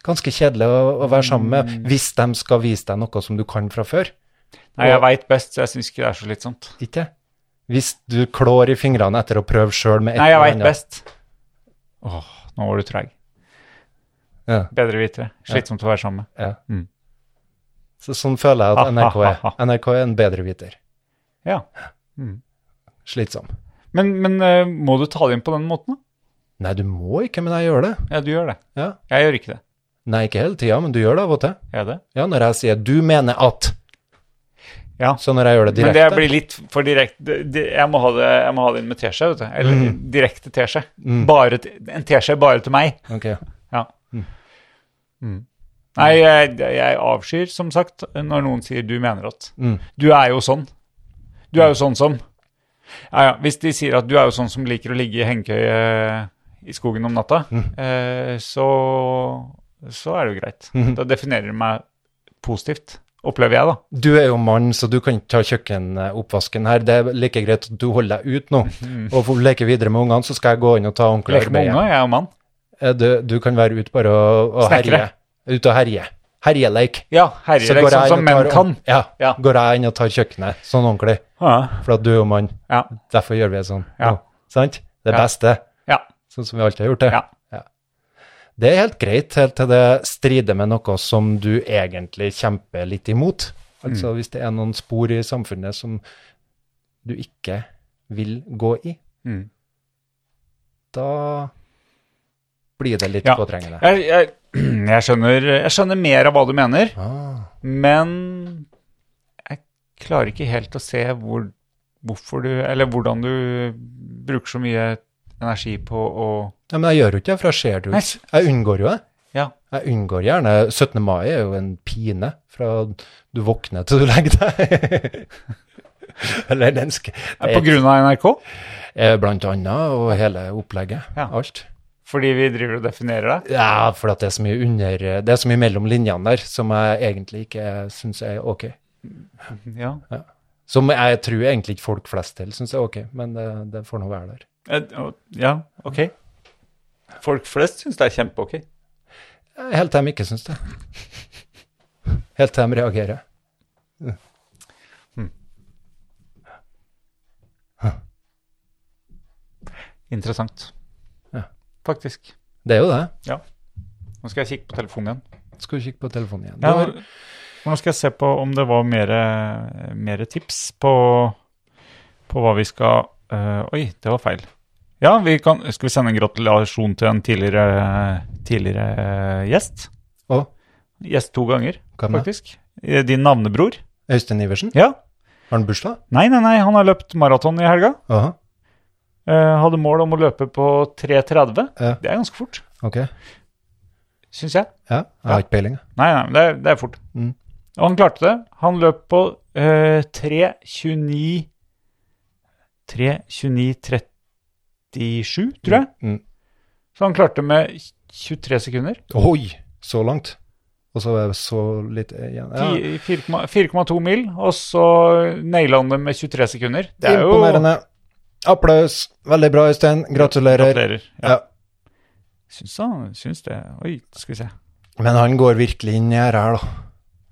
ganske kjedelige å, å være sammen
Mm.
med hvis de skal vise deg noe som du kan fra før?
Nei, jeg veit best, så jeg syns ikke det er så slitsomt.
Ikke? Hvis du klår i fingrene etter å prøve sjøl med et
Nei, jeg
eller
veit
annet.
best. Åh, nå var du treig.
Ja.
Bedre vitere. Slitsomt å være sammen med.
Ja.
Mm.
Så sånn føler jeg at NRK er. NRK er en bedreviter.
Ja.
Slitsom.
Men, men eh, må du ta det inn på den måten, da?
Nei, du må ikke, men jeg gjør det.
Ja, du gjør det.
Ja.
Jeg gjør ikke det.
Nei, ikke hele tida, men du gjør det av og til.
Gjør jeg det?
Ja, når jeg sier 'du mener at',
Ja.
så når jeg gjør det
Men
direkte
det blir litt for direkte. det- det- Jeg, må ha det- jeg må ha det inn med teskje, vet du. Eller direkte teskje. Bare til- En teskje bare til meg.
Ok.
Ja. Mm. Nei, jeg, jeg avskyr som sagt når noen sier 'du mener at'. Du er jo sånn. Du er jo sånn som ja, ja, Hvis de sier at du er jo sånn som liker å ligge i hengekøye i skogen om natta, eh, så, så er det jo greit. Da definerer de meg positivt, opplever jeg, da.
Du er jo mann, så du kan ikke ta kjøkkenoppvasken her. Det er like greit at du holder deg ut nå og får leke videre med ungene, så skal jeg gå inn og ta ordentlig
Leker Mhm. med
arbeid.
unge, jeg er jo mann.
Eh, Du, du kan være ute bare og, og
Snekre.
herje. Ute og herje. Herjeleik.
Ja, herrelek, sånn som menn kan.
Ja,
Ja.
går jeg inn og tar kjøkkenet sånn ordentlig.
Ja.
For at du er jo mann.
Ja.
Derfor gjør vi det sånn.
Ja.
Nå, sant? Det
Ja.
beste.
ja.
Sånn som vi alltid har gjort det.
Ja.
Det er helt greit, helt til det strider med noe som du egentlig kjemper litt imot. Altså
Mm.
hvis det er noen spor i samfunnet som du ikke vil gå i,
Mm.
da blir det litt
Ja.
påtrengende.
Jeg, jeg, jeg, skjønner, jeg skjønner mer av hva du mener,
Ah,
men jeg klarer ikke helt å se hvor, hvorfor du Eller hvordan du bruker så mye energi på å
Nei, men jeg gjør jo ikke det, for jeg ser det jo
Nei.
ikke. Jeg unngår jo det.
Ja.
Jeg unngår gjerne 17. mai er jo en pine fra du våkner til du legger deg. Eller den sk...
På grunn av NRK?
Eh, Blant annet, og hele opplegget.
Ja.
Alt.
Fordi vi driver og definerer deg?
Ja, for at det er så mye under Det er så mye mellom linjene der som jeg egentlig ikke syns er ok.
Ja.
Som jeg tror egentlig ikke folk flest til syns er ok, men det, det får nå være der.
Eh, Ja, ok. Folk flest syns det er kjempeok.
Helt til de ikke syns det. Helt til de reagerer.
Interessant.
Ja.
Faktisk.
Det er jo det.
Ja. Nå skal jeg kikke på telefonen igjen.
Skal du kikke på telefonen igjen.
Ja,
Du har-
men nå skal jeg se på om det var mer, mer tips på, på hva vi skal eh, Oi, det var feil. Ja, vi kan, skal vi sende en gratulasjon til en tidligere, tidligere eh, gjest?
Å,
Gjest to ganger,
Hvem da?
faktisk. Eh, Din navnebror.
Øystein Iversen,
Ja.
har han bursdag?
Nei, nei, nei, han har løpt maraton i helga.
Aha,
Eh, hadde mål om å løpe på 3.30.
Ja.
Det er ganske fort,
ok.
syns jeg.
Ja, jeg har ikke peiling. jeg.
Nei, nei, men det er, det er fort.
Mm.
Og han klarte det. Han løp på eh, 3.29 3.29,37, tror jeg.
Mm.
Så han klarte med 23 sekunder.
Oi, så langt. Og så er det så litt igjen. Ja.
Fi- 4,2 mil, og så naila han det med 23 sekunder. Det er jo
Imponerende. Applaus. Veldig bra, Øystein. Gratulerer.
Gratulerer. Ja.
Ja.
Syns han syns det. Oi, skal vi se.
Men han går virkelig inn i her her, da.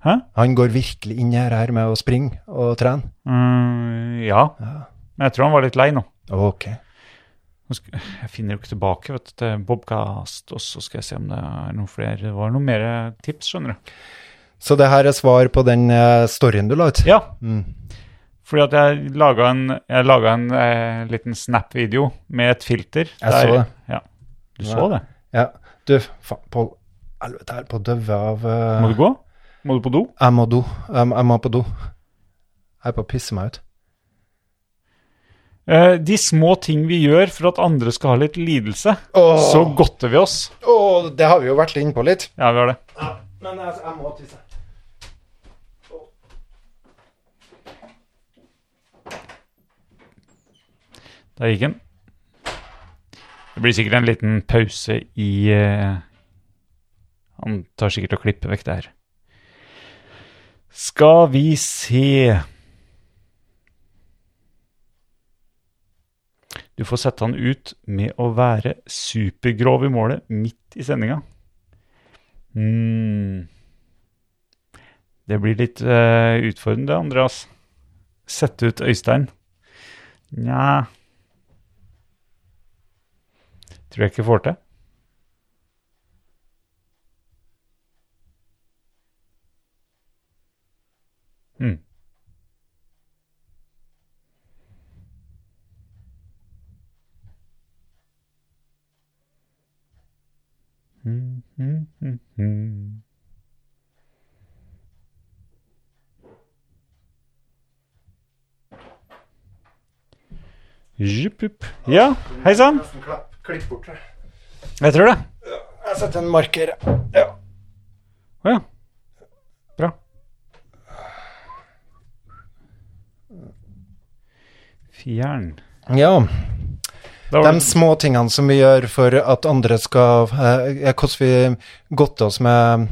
Hæ?
Han går virkelig inn i her her med å springe og trene.
Mm, ja.
Ja.
Men jeg tror han var litt lei nå.
Ok.
Nå sk- Jeg finner jo ikke tilbake vet, du, til Bobcast, og så skal jeg se om det er noen flere. Det var noen mer tips, skjønner du.
Så det her er svar på den eh, storyen du la ut?
Ja,
Mm.
fordi at jeg laga en, jeg laget en eh, liten Snap-video med et filter.
Jeg så det.
Ja, du
Ja.
så det.
ja. Du, faen, Pål. Helvete, jeg er på døve av eh,
Må du gå? Må du på do?
Jeg må do. Jeg, må- jeg må på do. Jeg er på å pisse meg ut.
Eh, de små ting vi gjør for at andre skal ha litt lidelse,
Åh.
så godter vi oss.
Å, det har vi jo vært inne på litt.
Ja, vi har det.
Men jeg, må tisse.
Der gikk den. Det blir sikkert en liten pause i eh, Han tar sikkert og klipper vekk det her. Skal vi se Du får sette han ut med å være supergrov i målet midt i sendinga. Mm. Det blir litt eh, utfordrende, Andreas. Sette ut Øystein. Nja Tror jeg ikke får til. Mm. Mm, mm, mm, mm. Jupp, jupp. Ja, hei sann.
Klipp bort det.
Jeg tror det.
Jeg setter en marker. Ja.
Å ja. Bra. Fjern.
ja.
Da var
De
det,
små tingene som vi gjør for at andre skal eh, Hvordan vi godter oss med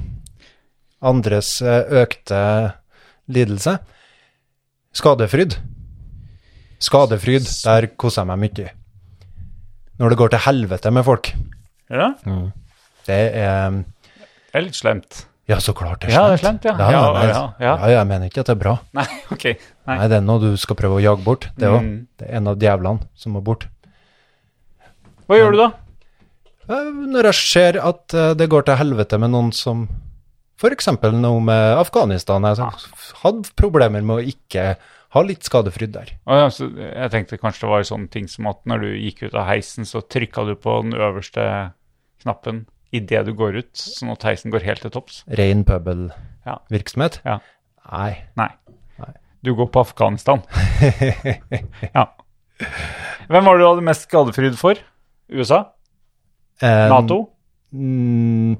andres eh, økte lidelse. Skadefryd. Skadefryd, der koser jeg meg mye. Når det går til helvete med folk.
ja,
Det er
det er litt slemt.
Ja, så klart det er
Ja, det er
slemt.
slemt,
Ja,
ja. Ja,
nei,
ja, ja.
ja, jeg mener ikke at det er bra.
Nei, ok. Nei.
Nei, det er noe du skal prøve å jage bort. Det er, jo-
Mm.
det er en av djevlene som må bort.
Hva
Mm.
gjør du da?
Eh, Når jeg ser at eh, det går til helvete med noen som f.eks. noe med Afghanistan Jeg hadde problemer med å ikke ha litt skadefryd der.
Å ja, så jeg tenkte kanskje det var sånne ting som at når du gikk ut av heisen, så trykka du på den øverste knappen idet du går ut, sånn at heisen går helt til topps.
Rein
Ja.
pøbelvirksomhet?
Ja.
Nei.
Nei. Du går på Afghanistan. ja. Hvem var det du hadde mest skadefryd for? USA?
Eh,
Nato?
mm,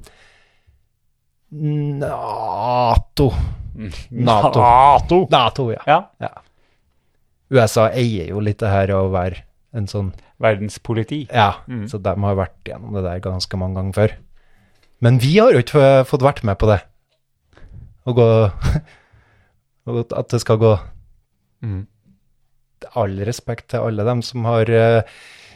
Nato. Nato.
Nato.
Nato, ja.
Ja.
USA eier jo litt det her å være en sånn
Verdenspoliti.
Ja,
Mm.
så de har vært gjennom det der ganske mange ganger før. Men vi har jo ikke f- fått vært med på det. Å gå og At det skal gå
Mhm.
All respekt til alle dem som har eh,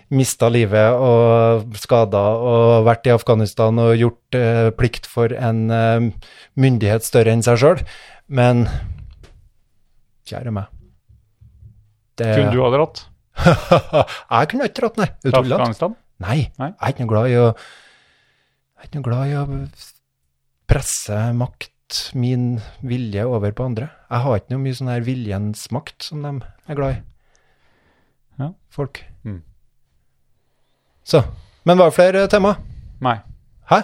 mista livet og skada og vært i Afghanistan og gjort eh, plikt for en eh, myndighet større enn seg sjøl. Men kjære meg det,
Kunne du ha dratt
Jeg kunne ikke dratt, nei. Det er
til
tullet.
Afghanistan?
Nei,
Nei.
jeg er ikke noe glad i å Jeg er ikke noe glad i å presse makt, min vilje, over på andre. Jeg har ikke noe mye sånn her viljens makt som de er glad i.
Ja.
Folk.
Mm.
Så. Men var det flere eh, tema?
Nei.
Hæ?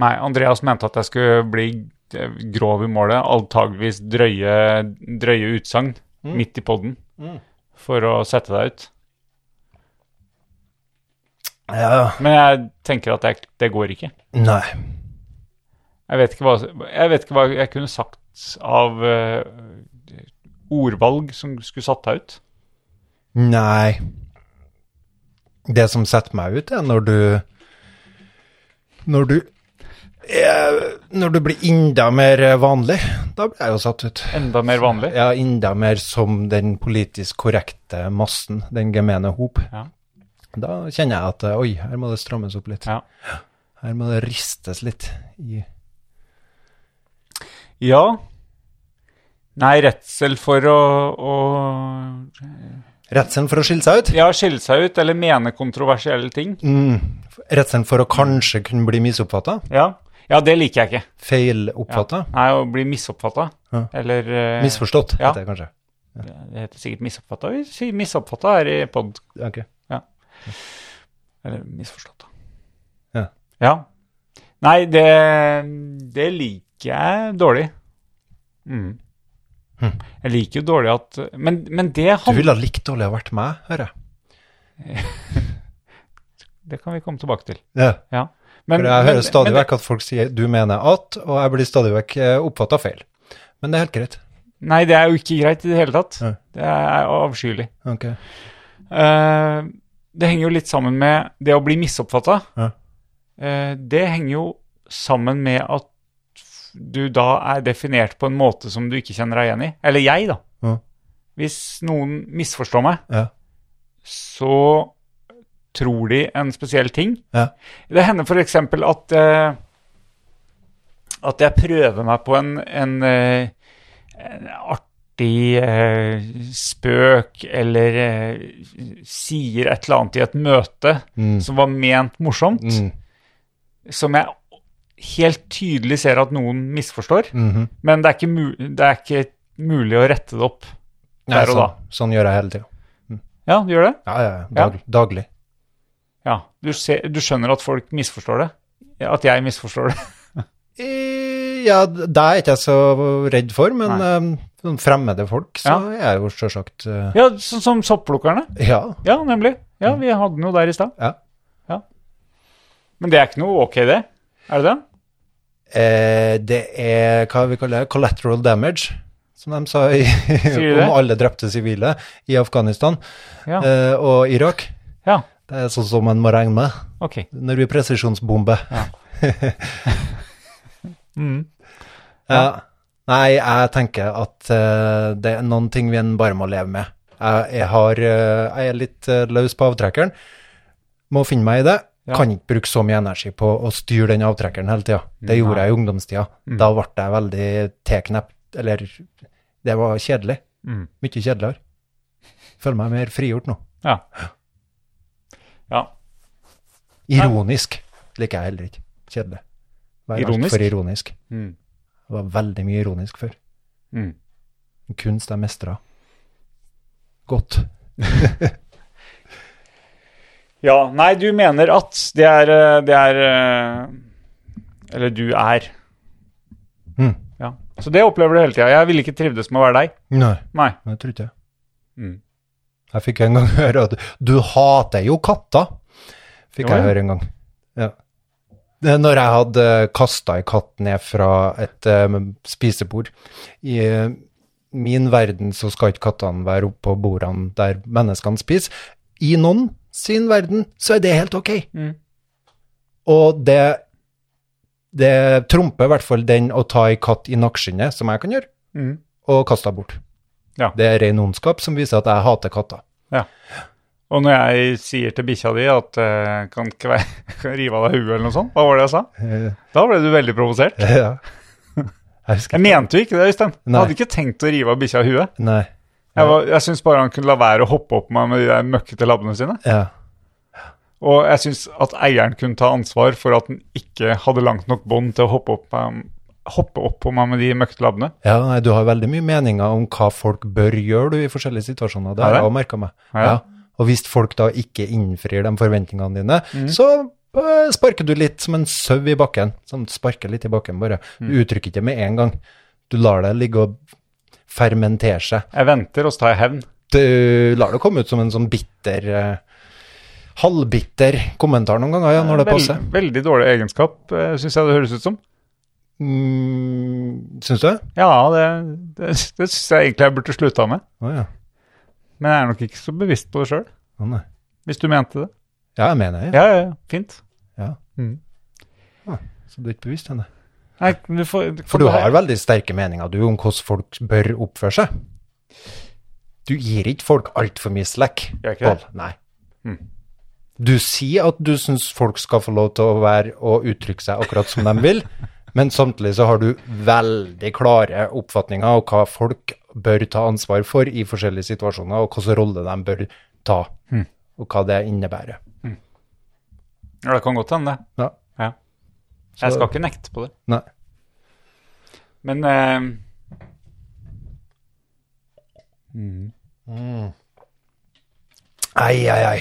Nei, Andreas mente at jeg skulle bli eh, grov i målet, antageligvis drøye, drøye utsagn midt i podden for å sette deg ut.
Ja.
Men jeg tenker at jeg, det går ikke.
Nei.
Jeg vet, ikke hva, jeg vet ikke hva jeg kunne sagt av eh, ordvalg som skulle satt deg ut.
Nei. Det som setter meg ut, er når du Når du eh, Når du blir enda mer eh, vanlig. Da blir jeg jo satt ut.
Enda mer vanlig.
Ja, enda mer som den politisk korrekte massen, den gemene hop.
Ja.
Da kjenner jeg at eh, oi, her må det strammes opp litt.
Ja.
Her må det ristes litt i
ja. Nei, redsel for å, å
Redselen for å skille seg ut?
Ja, skille seg ut eller mene kontroversielle ting.
Mm. Redselen for å kanskje kunne bli misoppfatta?
Ja, ja det liker jeg ikke.
Feiloppfatta?
Nei, å bli misoppfatta.
Ja.
Eller eh,
Misforstått,
Ja.
heter det kanskje.
Det heter sikkert misoppfatta. Vi sier misoppfatta her i pod.
Ok.
Eller misforstått, da.
Ja.
ja. Nei, det, det liker jeg dårlig. Mm. Jeg liker jo dårlig at Men, men det,
Hm. Du
han,
ville ha likt dårlig å ha vært meg, hører jeg.
det kan vi komme tilbake til.
Ja.
Ja. Men,
For jeg
men-
hører stadig
men det-
vekk at folk sier 'du mener at', og jeg blir stadig vekk oppfatta feil. Men det er helt greit.
Nei, det er jo ikke greit i det hele tatt.
Nei.
Det er avskyelig.
Ok.
Eh, det henger jo litt sammen med det å bli misoppfatta.
Ja.
Eh, det henger jo sammen med at du da er definert på en måte som du ikke kjenner deg igjen i. Eller jeg, da.
Ja.
Hvis noen misforstår meg,
Ja.
så tror de en spesiell ting.
Ja.
Det hender f.eks. at eh, at jeg prøver meg på en, en, eh, en artig eh, spøk, eller eh, sier et eller annet i et møte
Mm.
som var ment morsomt,
Mm.
som jeg helt tydelig ser at noen misforstår,
Mhm.
men det er ikke, mu det er ikke mulig å rette det opp
Nei,
der og da.
sånn, sånn gjør jeg hele tida.
Ja, du gjør det?
Ja, ja, ja. Dag, Daglig.
Ja. Du, ser, du skjønner at folk misforstår det? At jeg misforstår det?
Eh, Ja, det er ikke jeg så redd for, men eh, sånn fremmede folk, så
Ja.
er jeg jo sjølsagt eh,
Ja, sånn som sopplukkerne.
Ja.
Ja, nemlig. Ja, vi hadde den jo der i stad.
ja.
Men det er ikke noe ok, det? Er det det?
Eh, det er hva vi kaller det, collateral damage, som de sa i,
de det?
om alle drepte sivile i Afghanistan
Ja.
eh, og Irak.
Ja,
Det er sånn som man må regne med
ok.
når vi presisjonsbomber. Ja.
Mm.
Nei, jeg tenker at eh, det er noen ting vi bare må leve med. Jeg, jeg, har, eh, jeg er litt eh, løs på avtrekkeren, må finne meg i det.
Ja.
Kan ikke bruke så mye energi på å styre den avtrekkeren hele tida. Det gjorde jeg i ungdomstida.
Mm.
Da ble jeg veldig tilknept, eller Det var kjedelig.
Mm.
Mye kjedeligere. Føler meg mer frigjort nå.
Ja. ja.
Ironisk liker jeg heller ikke. Kjedelig. Vær
Ironisk?
altfor ironisk.
Mm.
Det var veldig mye ironisk før.
Mm.
En kunst jeg mestra. Godt.
Ja, nei, du mener at det er eh, Det er eh, Eller du er.
Mm.
Ja. Så det opplever du hele tida. Jeg ville ikke trivdes med å være deg.
Nei,
Nei.
det tror ikke jeg.
Mm.
Jeg fikk en gang høre at du hater jo katter, fikk
Jo,
jeg
ja.
høre en gang. Ja. Det er Når jeg hadde kasta ei katt ned fra et eh, spisebord. I eh, min verden så skal ikke kattene være oppå bordene der menneskene spiser. I noen sin verden så er det helt ok.
Mm.
Og det, det trumper i hvert fall den å ta ei katt i nakkeskinnet, som jeg kan gjøre,
Mm.
og kaste henne bort.
Ja.
Det er ren ondskap som viser at jeg hater katter.
Ja. Og når jeg sier til bikkja di at eh, kan ikke være, kan rive av deg huet eller noe sånt, hva var det jeg sa?
Eh,
Da ble du veldig provosert.
ja. Jeg
Jeg
husker
mente jo ikke det, Øystein. Jeg
Nei.
hadde ikke tenkt å rive av bikkja huet.
Nei.
Jeg, var- jeg syns bare han kunne la være å hoppe opp på meg med de der møkkete labbene sine.
Ja.
Og jeg syns at eieren kunne ta ansvar for at den ikke hadde langt nok bånd til å hoppe opp, um, hoppe opp på meg med de møkkete labbene.
Ja, nei, du har veldig mye meninger om hva folk bør gjøre du, i forskjellige situasjoner. Det
Er
har
det?
jeg også merka meg.
Er det?
Og hvis folk da ikke innfrir de forventningene dine, så eh, sparker du litt som en sau i bakken. Som sparker litt i bakken, bare. Du uttrykker ikke med en gang. Du lar det ligge og fermentere seg.
Jeg venter, og så tar jeg hevn.
Du lar det komme ut som en sånn bitter eh, Halvbitter kommentar noen ganger, ja, når det
Vel-
passer.
veldig dårlig egenskap, eh, syns jeg det høres ut som.
Mm, Syns du? Å
Ja, det, det, det syns jeg egentlig jeg burde slutta med.
ja.
Men jeg er nok ikke så bevisst på det sjøl,
Å nei.
hvis du mente det.
Ja, jeg mener det.
Ja, ja, ja, fint.
Ja.
Mm.
Så du er ikke bevisst henne.
Nei, du får,
For du har veldig sterke meninger du om hvordan folk bør oppføre seg. Du gir ikke folk altfor mye slack.
Gjør jeg ikke det?
Pål. Nei.
Mm.
Du sier at du syns folk skal få lov til å være og uttrykke seg akkurat som de vil, men samtidig så har du veldig klare oppfatninger av hva folk bør ta ansvar for i forskjellige situasjoner, og hvilken rolle de bør ta,
Hm.
og hva det innebærer.
Ja, det kan godt hende, det.
Ja.
Ja. Jeg
Så-
skal ikke nekte på det.
Nei.
Men eh,
Ai, ai, ai.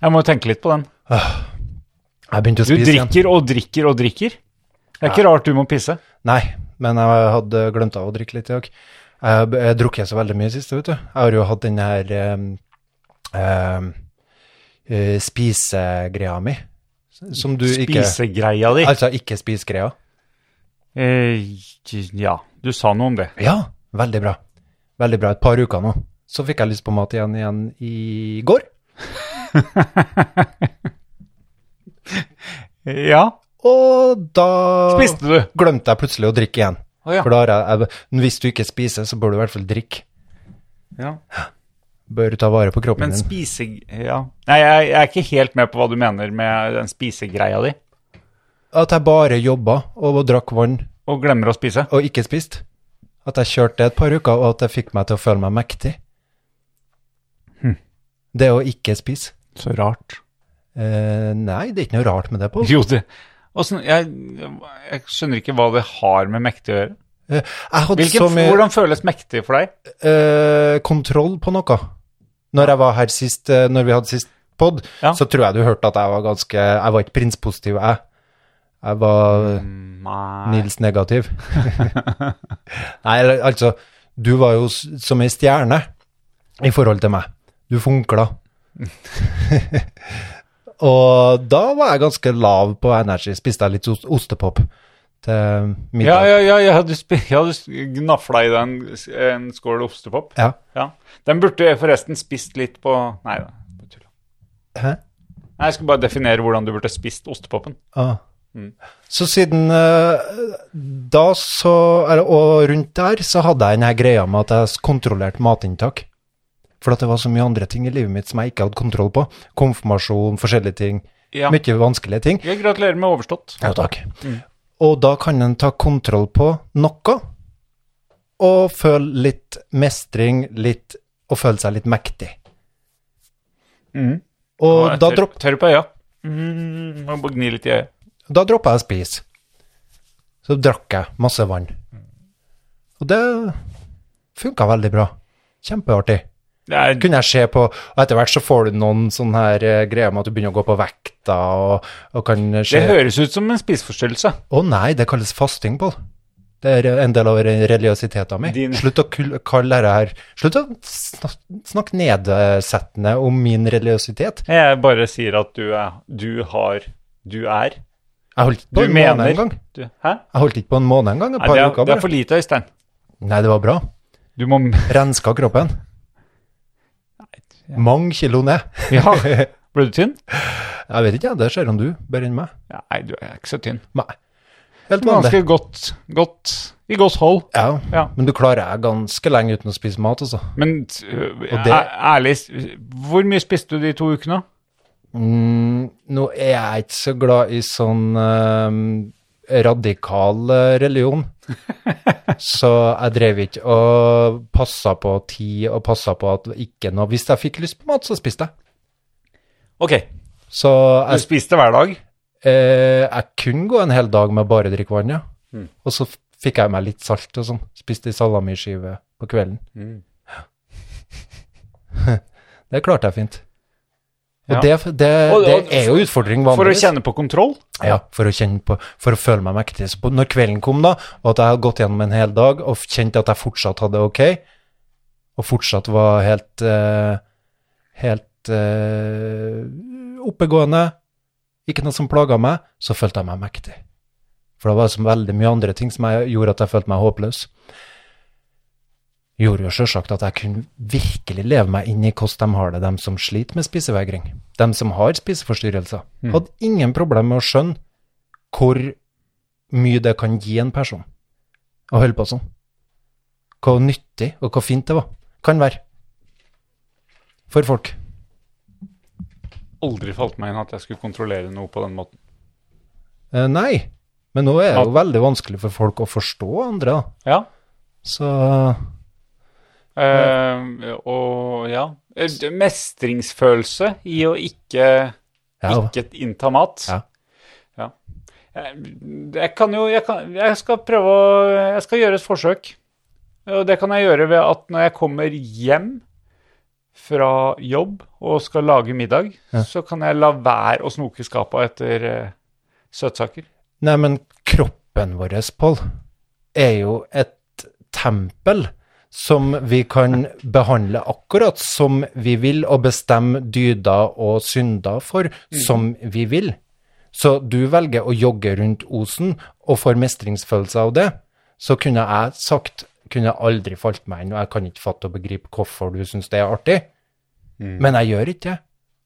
jeg må jo tenke litt på den.
Jeg begynte å
Du
spise igjen.
drikker og drikker og drikker. Det er ikke rart du må pisse.
Nei, men jeg hadde glemt av å drikke litt i dag. Jeg b- jeg drukket så veldig mye sist, vet du. Jeg har jo hatt den her eh, eh, eh, spisegreia mi. s- Som du ikke
Spisegreia di.
Altså ikke spisegreia.
Eh, ja, du sa noe om det.
Ja, veldig bra. Veldig bra. Et par uker nå. Så fikk jeg lyst på mat igjen igjen i går.
Ja,
Og da
spiste du.
glemte jeg plutselig å drikke igjen.
Å ja.
For da har jeg, jeg Hvis du ikke spiser, så bør du i hvert fall drikke.
ja.
Bør ta vare på kroppen
Men
din.
spise... Ja. Nei, jeg, jeg er ikke helt med på hva du mener med den spisegreia di.
At jeg bare jobba og drakk vann
Og glemmer å spise.
og ikke spist. At jeg kjørte det et par uker, og at det fikk meg til å føle meg mektig.
Hm.
Det å ikke spise.
Så rart.
Eh, nei, det er ikke noe rart med det, Pål.
Jo, det... Åssen- jeg, jeg skjønner ikke hva det har med mektig å gjøre.
Eh, jeg hadde
Hvilken,
så mye
Hvordan føles mektig for deg?
eh, kontroll på noe. Når jeg var her sist, eh, når vi hadde sist pod,
Ja.
så tror jeg du hørte at jeg var ganske Jeg var ikke prinspositiv, jeg. Jeg var
Nei.
Nils negativ. Nei, eller, altså, du var jo s- som ei stjerne i forhold til meg. Du funkla. og da var jeg ganske lav på energi. Spiste jeg litt ost ostepop til
Ja,
middag.
ja, ja, jeg hadde, sp- jeg hadde s- gnafla i deg en, en skål ostepop.
Ja.
Ja. Den burde jeg forresten spist litt på Nei da. bare tull.
Hæ?
Nei, jeg skulle bare definere hvordan du burde spist ostepopen.
Ah.
Mm.
Så siden eh, da så eller, Og rundt der så hadde jeg denne greia med at jeg s- kontrollerte matinntak. For at det var så mye andre ting i livet mitt som jeg ikke hadde kontroll på. Konfirmasjon, forskjellige ting.
Ja.
Mye vanskelige ting.
Jeg gratulerer med overstått.
Ja, takk. Mm. Og da kan en ta kontroll på noe, og føle litt mestring, litt Og føle seg litt mektig.
Mhm.
Mm. Og
Jeg
da,
tør-
dropp,
Tørr på øya. Mm, må bare gni litt i øyet.
da droppa jeg å spise. Så drakk jeg masse vann. Og det funka veldig bra. Kjempeartig.
Det er-
kunne jeg se på, og etter hvert så får du noen sånne her eh, greier med at du begynner å gå på vekta, og, og kan se
Det høres ut som en spiseforstyrrelse.
Å nei, det kalles fasting, Pål. Det er en del av re- religiøsiteten min.
Din-
Slutt å kul- kalle det her Slutt å snak- snakke nedsettende om min religiøsitet.
Jeg bare sier at du er Du har Du er.
Jeg holdt ikke
Du
på en
mener
måned engang.
du, Hæ?
Jeg holdt ikke på en måned engang. Et
Nei,
par
det, er,
uker
det er
bare.
for lite, Øystein.
Nei, det var bra.
Du må
Renska kroppen. Mange kilo ned.
Ja. Ble du tynn?
Jeg vet ikke, jeg. Det ser om du, bedre enn meg.
Nei, du er ikke så tynn.
Nei. Helt vanlig.
Ganske godt, godt I godt hold.
Ja.
Ja.
Men du klarer jeg ganske lenge uten å spise mat, altså.
Men t- øh,
Og det-
æ- ærlig, s- hvor mye spiste du de to ukene?
Mm, nå er jeg ikke så glad i sånn eh, radikal eh, religion. så jeg drev ikke og passa på tid og passa på at ikke noe Hvis jeg fikk lyst på mat, så spiste jeg.
Ok,
Så
du
jeg,
spiste hver dag.
eh, jeg kunne gå en hel dag med bare å drikke vann, ja.
Mm.
Og så f- fikk jeg i meg litt salt og sånn. Spiste ei salamiskive på kvelden. det klarte jeg fint. Og
Ja.
det, det,
Og-
det
og-
er jo utfordring
For å
vanligvis.
kjenne på kontroll?
Ja, for å kjenne på, for å føle meg mektig. Så på- når kvelden kom da, og at jeg hadde gått gjennom en hel dag og kjent at jeg fortsatt hadde det ok, og fortsatt var helt, eh, helt eh, oppegående, ikke noe som plaga meg, så følte jeg meg mektig. For det var så veldig mye andre ting som jeg gjorde at jeg følte meg håpløs. Gjorde jo sjølsagt at jeg kunne virkelig leve meg inn i hvordan de har det, dem som sliter med spisevegring. Dem som har spiseforstyrrelser. Hadde ingen problem med å skjønne hvor mye det kan gi en person å holde på sånn. Hvor nyttig og hvor fint det var. Kan være. For folk.
Aldri falt meg inn at jeg skulle kontrollere noe på den måten.
Eh, nei, men nå er det jo veldig vanskelig for folk å forstå andre, da.
Ja.
Så
Eh, og ja Eh, d- Mestringsfølelse i å ikke,
ja,
ikke innta mat.
Ja.
Ja. Jeg, jeg kan jo jeg, kan, jeg skal prøve å Jeg skal gjøre et forsøk. Og det kan jeg gjøre ved at når jeg kommer hjem fra jobb og skal lage middag, så kan jeg la være å snoke i skapet etter eh, søtsaker.
Nei, men kroppen vår, Pål, er jo et tempel som vi kan behandle akkurat som vi vil, og bestemme dyder og synder for som vi vil. Så du velger å jogge rundt osen og får mestringsfølelse av det, så kunne jeg sagt kunne jeg aldri falt meg inn, og jeg kan ikke fatte og begripe hvorfor du syns det er artig. Men jeg gjør ikke det.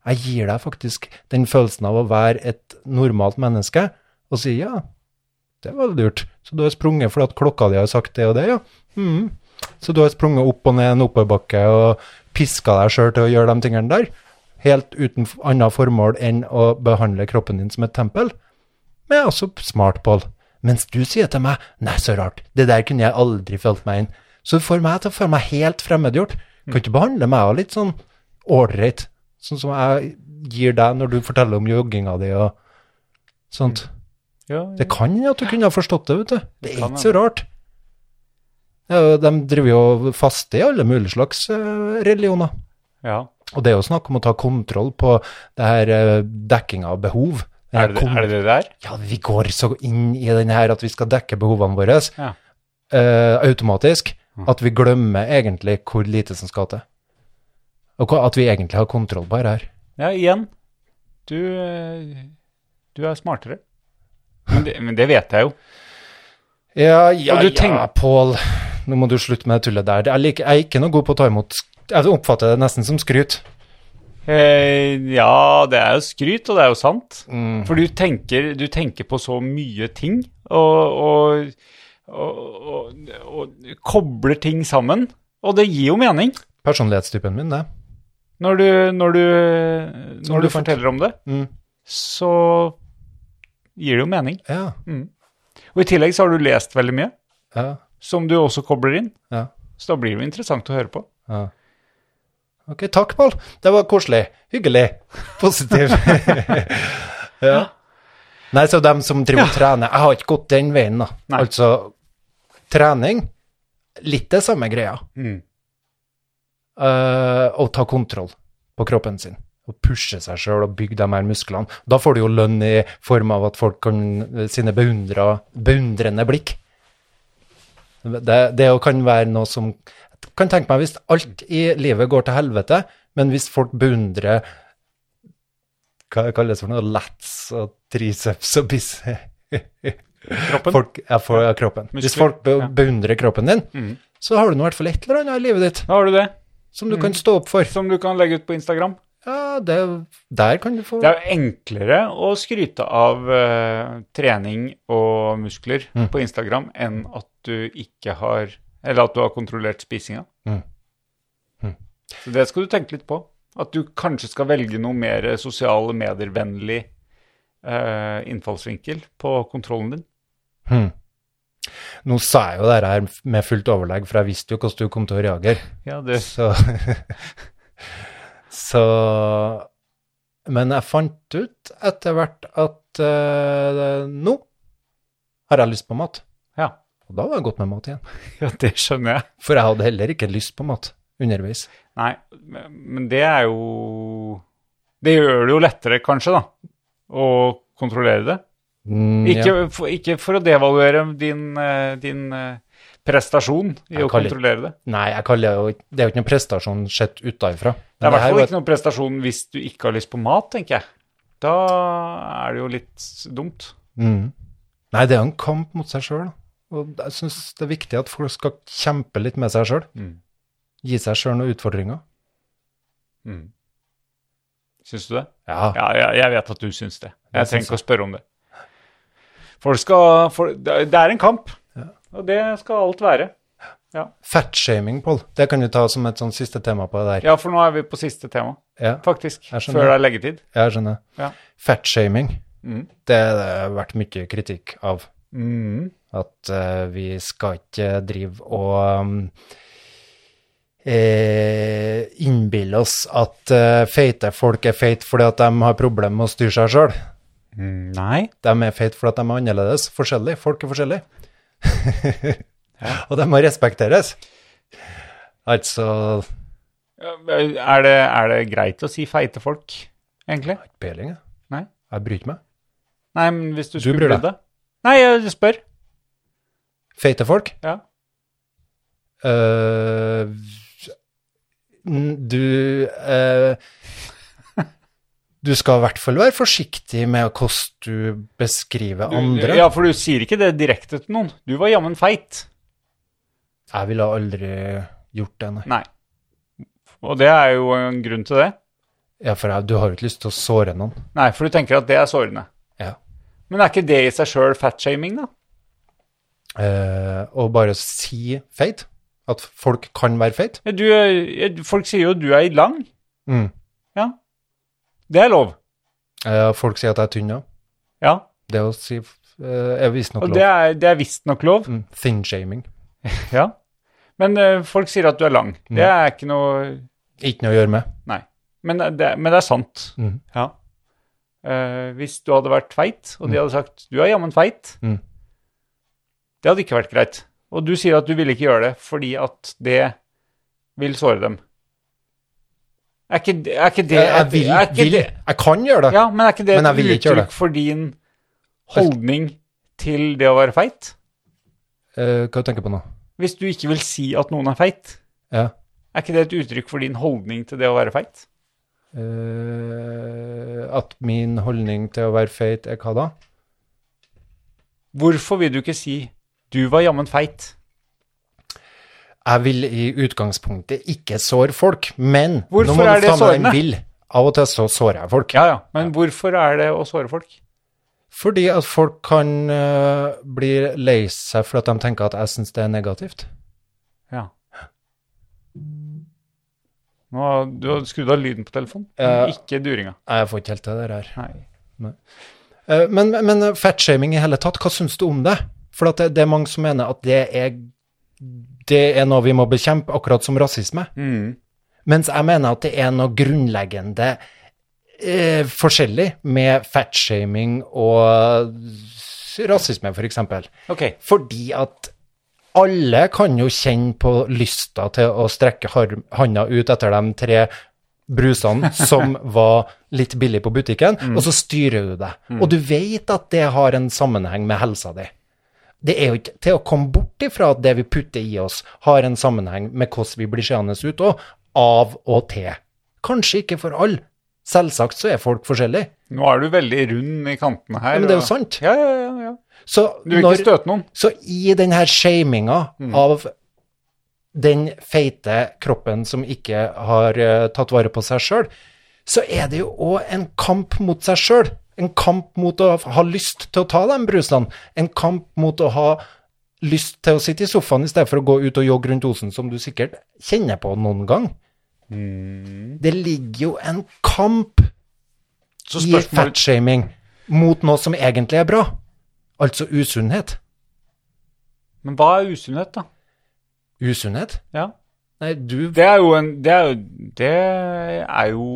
Jeg gir deg faktisk den følelsen av å være et normalt menneske og sier ja, det var lurt. Så du har sprunget fordi at klokka di har sagt det og det, ja. Mhm. Så du har sprunget opp og ned en oppoverbakke og piska deg sjøl til å gjøre de tingene der, helt uten f- annet formål enn å behandle kroppen din som et tempel. Men jeg er også smart, Pål. Mens du sier til meg Nei, så rart, det der kunne jeg aldri følt meg inn. Så du får meg til å føle meg helt fremmedgjort.
Mm.
Kan ikke behandle meg også litt sånn ålreit, sånn som jeg gir deg når du forteller om jogginga di og sånt.
Ja,
Det kan hende at du kunne ha forstått det, vet du. Det er
Mm. kan
ikke så rart. Ja, de driver jo og faster i alle mulige slags eh, religioner.
ja.
Og det er jo snakk om å ta kontroll på det her eh, dekkinga av behov. Den her
Er, det,
kon-
er det det der?
Ja, vi går så inn i den her at vi skal dekke behovene våre
Ja.
eh, automatisk, at vi glemmer egentlig hvor lite som skal til. Og hva- at vi egentlig har kontroll på det her.
Ja, igjen. Du, eh, du er smartere. Men det, men det vet jeg jo.
Ja, ja,
Og du
ja, Pål. Nå må du slutte med det tullet der. Jeg, liker, jeg er ikke noe god på å ta imot sk- Jeg oppfatter det nesten som skryt.
Eh, ja, det er jo skryt, og det er jo sant.
Mm.
For du tenker, du tenker på så mye ting, og, og, og, og, og kobler ting sammen. Og det gir jo mening
Personlighetstypen min, det.
når du, når du,
Som
når
du
du
fant.
forteller om det.
Mm.
Så gir det jo mening.
Ja.
Og i tillegg så har du lest veldig mye,
ja,
som du også kobler inn.
ja,
Så da blir det jo interessant å høre på.
ja. Ok, takk, Pål. Det var koselig. Hyggelig. Positiv. ja. Nei, så dem som driver og trener Jeg har ikke gått den veien, da.
Nei.
Altså, trening Litt det samme greia.
Mm.
eh, og ta kontroll på kroppen sin. Og pushe seg sjøl og bygge de her musklene. Da får du jo lønn i form av at folk kan eh, sine beundra, beundrende blikk. Det, det jo kan være noe som kan tenke meg Hvis alt i livet går til helvete, men hvis folk beundrer Hva kalles det for noe? Lats og triceps og bis...
Kroppen.
Folk, ja, for, ja, kroppen. Hvis
Muskler,
folk be,
ja. Mm.
beundrer kroppen din, så har du nå i hvert fall et eller annet i livet ditt
Da har du det,
som du kan stå opp for.
som du kan legge ut på Instagram.
Ja, det, der kan du få
Det er jo enklere å skryte av eh, trening og muskler på Instagram enn at du ikke har Eller at du har kontrollert spisinga.
Mm. Mm.
Så det skal du tenke litt på. At du kanskje skal velge noe mer sosiale medier-vennlig eh, innfallsvinkel på kontrollen din.
Hm. Nå sa jeg jo det her med fullt overlegg, for jeg visste jo hvordan du kom til å reagere.
Ja, det,
Så Så Men jeg fant ut etter hvert at eh, nå har jeg lyst på mat.
ja.
Og da var det godt med mat igjen.
ja, det skjønner jeg.
For jeg hadde heller ikke lyst på mat underveis.
Nei, men det er jo Det gjør det jo lettere, kanskje, da, å kontrollere det.
Mm,
Ikke,
ja.
for, ikke for å devaluere din, eh, din eh, prestasjon i
Jeg
å
kaller-
kontrollere det.
Nei, jeg kaller det jo ikke- Det er jo ikke noen prestasjon sett utenfra.
Det er i hvert fall
jo et-
ikke noen prestasjon hvis du ikke har lyst på mat, tenker jeg. Da er det jo litt dumt.
Mm. Nei, det er jo en kamp mot seg sjøl. Og jeg syns det er viktig at folk skal kjempe litt med seg sjøl.
Mm.
Gi seg sjøl noen utfordringer.
Syns du det?
Ja.
Ja, jeg, jeg vet at du syns det.
Jeg
Jeg
syns
trenger ikke å spørre om det. Folk skal folk- Det det er en kamp, og det skal alt være.
Fatshaming, Pål. Det kan du ta som et sånn siste tema på det der.
Ja, for nå er vi på siste tema,
Ja,
faktisk.
Jeg skjønner.
Før det er leggetid.
jeg skjønner.
Ja.
Fatshaming,
Mm.
det har det vært mye kritikk av.
Mm.
At eh, vi skal ikke drive og um, eh, innbille oss at eh, feite folk er feite fordi at de har problemer med å styre seg sjøl. Mm,
Nei.
De er feite fordi at de er annerledes, forskjellige. Folk er forskjellige. Og de må respekteres. Altså
Er det, er det greit å si feite folk, egentlig?
Peiling, jeg.
Nei.
Jeg bryr ikke meg.
Nei, men hvis du,
Du
skulle
bryr deg.
brydd deg? Nei, jeg spør.
Feite folk?
Ja.
Eh, n- du eh, Du skal i hvert fall være forsiktig med hvordan du beskriver andre.
Ja, for du sier ikke det direkte til noen. Du var jammen feit.
Jeg ville aldri gjort det, nei.
Nei. Og det er jo en grunn til det.
Ja, for jeg, du har jo ikke lyst til å såre noen.
Nei, for du tenker at det er sårende.
Ja.
Men er ikke det i seg sjøl fatshaming, da?
Eh, og bare si feit. At folk kan være feit.
Ja, Du, eh, folk sier jo du er lang.
Mm.
Ja. Det er lov.
Eh, folk sier at jeg er tynn, ja.
Ja.
Det å si eh, er visstnok
Og
lov.
det er, det er visstnok lov.
Mm, Thin-shaming.
Ja. Men eh, folk sier at du er lang. Det er ikke noe
Ikke noe å gjøre med.
Nei. Men eh, det, men det er sant.
Mhm.
Ja. Eh, hvis du hadde vært feit,
Mm.
og de hadde sagt 'du er jammen feit',
Mhm.
det hadde ikke vært greit. Og du sier at du ville ikke gjøre det fordi at det vil såre dem. Er ikke, det- er ikke det
Jeg, jeg vil,
er ikke
vil.
det-
Jeg kan gjøre det.
Ja, men er ikke det
Men jeg
et
vil ikke gjøre
uttrykk
det.
for din holdning til det å være feit?
Eh, hva tenker du på nå?
Hvis du ikke vil si at noen er feit,
Ja.
er ikke det et uttrykk for din holdning til det å være feit?
Eh, at min holdning til å være feit er hva da?
Hvorfor vil du ikke si 'du var jammen feit'?
Jeg vil i utgangspunktet ikke såre folk, men
Hvorfor
nå må du
er det
ta med
sårende?
en vil. Av og til så sårer jeg folk.
Ja, ja. Men hvorfor er det å såre folk?
Fordi at folk kan eh, bli lei seg for at de tenker at jeg syns det er negativt.
Ja. Nå, har- du har skrudd av lyden på telefonen,
Ja.
men ikke duringa.
Nei, Jeg får ikke helt til det der.
Nei.
Eh, Men, men fatshaming i hele tatt, hva syns du om det? For at det, det er mange som mener at det er, det er noe vi må bekjempe, akkurat som rasisme.
Mm.
Mens jeg mener at det er noe grunnleggende eh, forskjellig med fatshaming og rasisme, f.eks. For eksempel.
Ok.
Fordi at alle kan jo kjenne på lysta til å strekke har- handa ut etter de tre brusene som var litt billig på butikken,
Mm.
og så styrer du det. Og du vet at det har en sammenheng med helsa di. Det er jo ikke til å komme bort ifra at det vi putter i oss, har en sammenheng med hvordan vi blir seende ut òg, av og til. Kanskje ikke for alle. Selvsagt så er folk forskjellige,
Nå er du veldig rund i kantene her.
men det er
og-
jo sant.
Ja, ja, ja. ja.
Så
Du vil
når-
ikke støte noen?
så i den her shaminga av den feite kroppen som ikke har eh, tatt vare på seg sjøl, så er det jo òg en kamp mot seg sjøl. En kamp mot å ha lyst til å ta de brusene. En kamp mot å ha lyst til å sitte i sofaen i stedet for å gå ut og jogge rundt Osen, som du sikkert kjenner på noen gang. Det ligger jo en kamp
Så
i
spørsmål,
fatshaming mot noe som egentlig er bra, altså usunnhet.
men hva er usunnhet, da?
Usunnhet?
Ja.
Nei, du
Det er jo en Det er jo, det er jo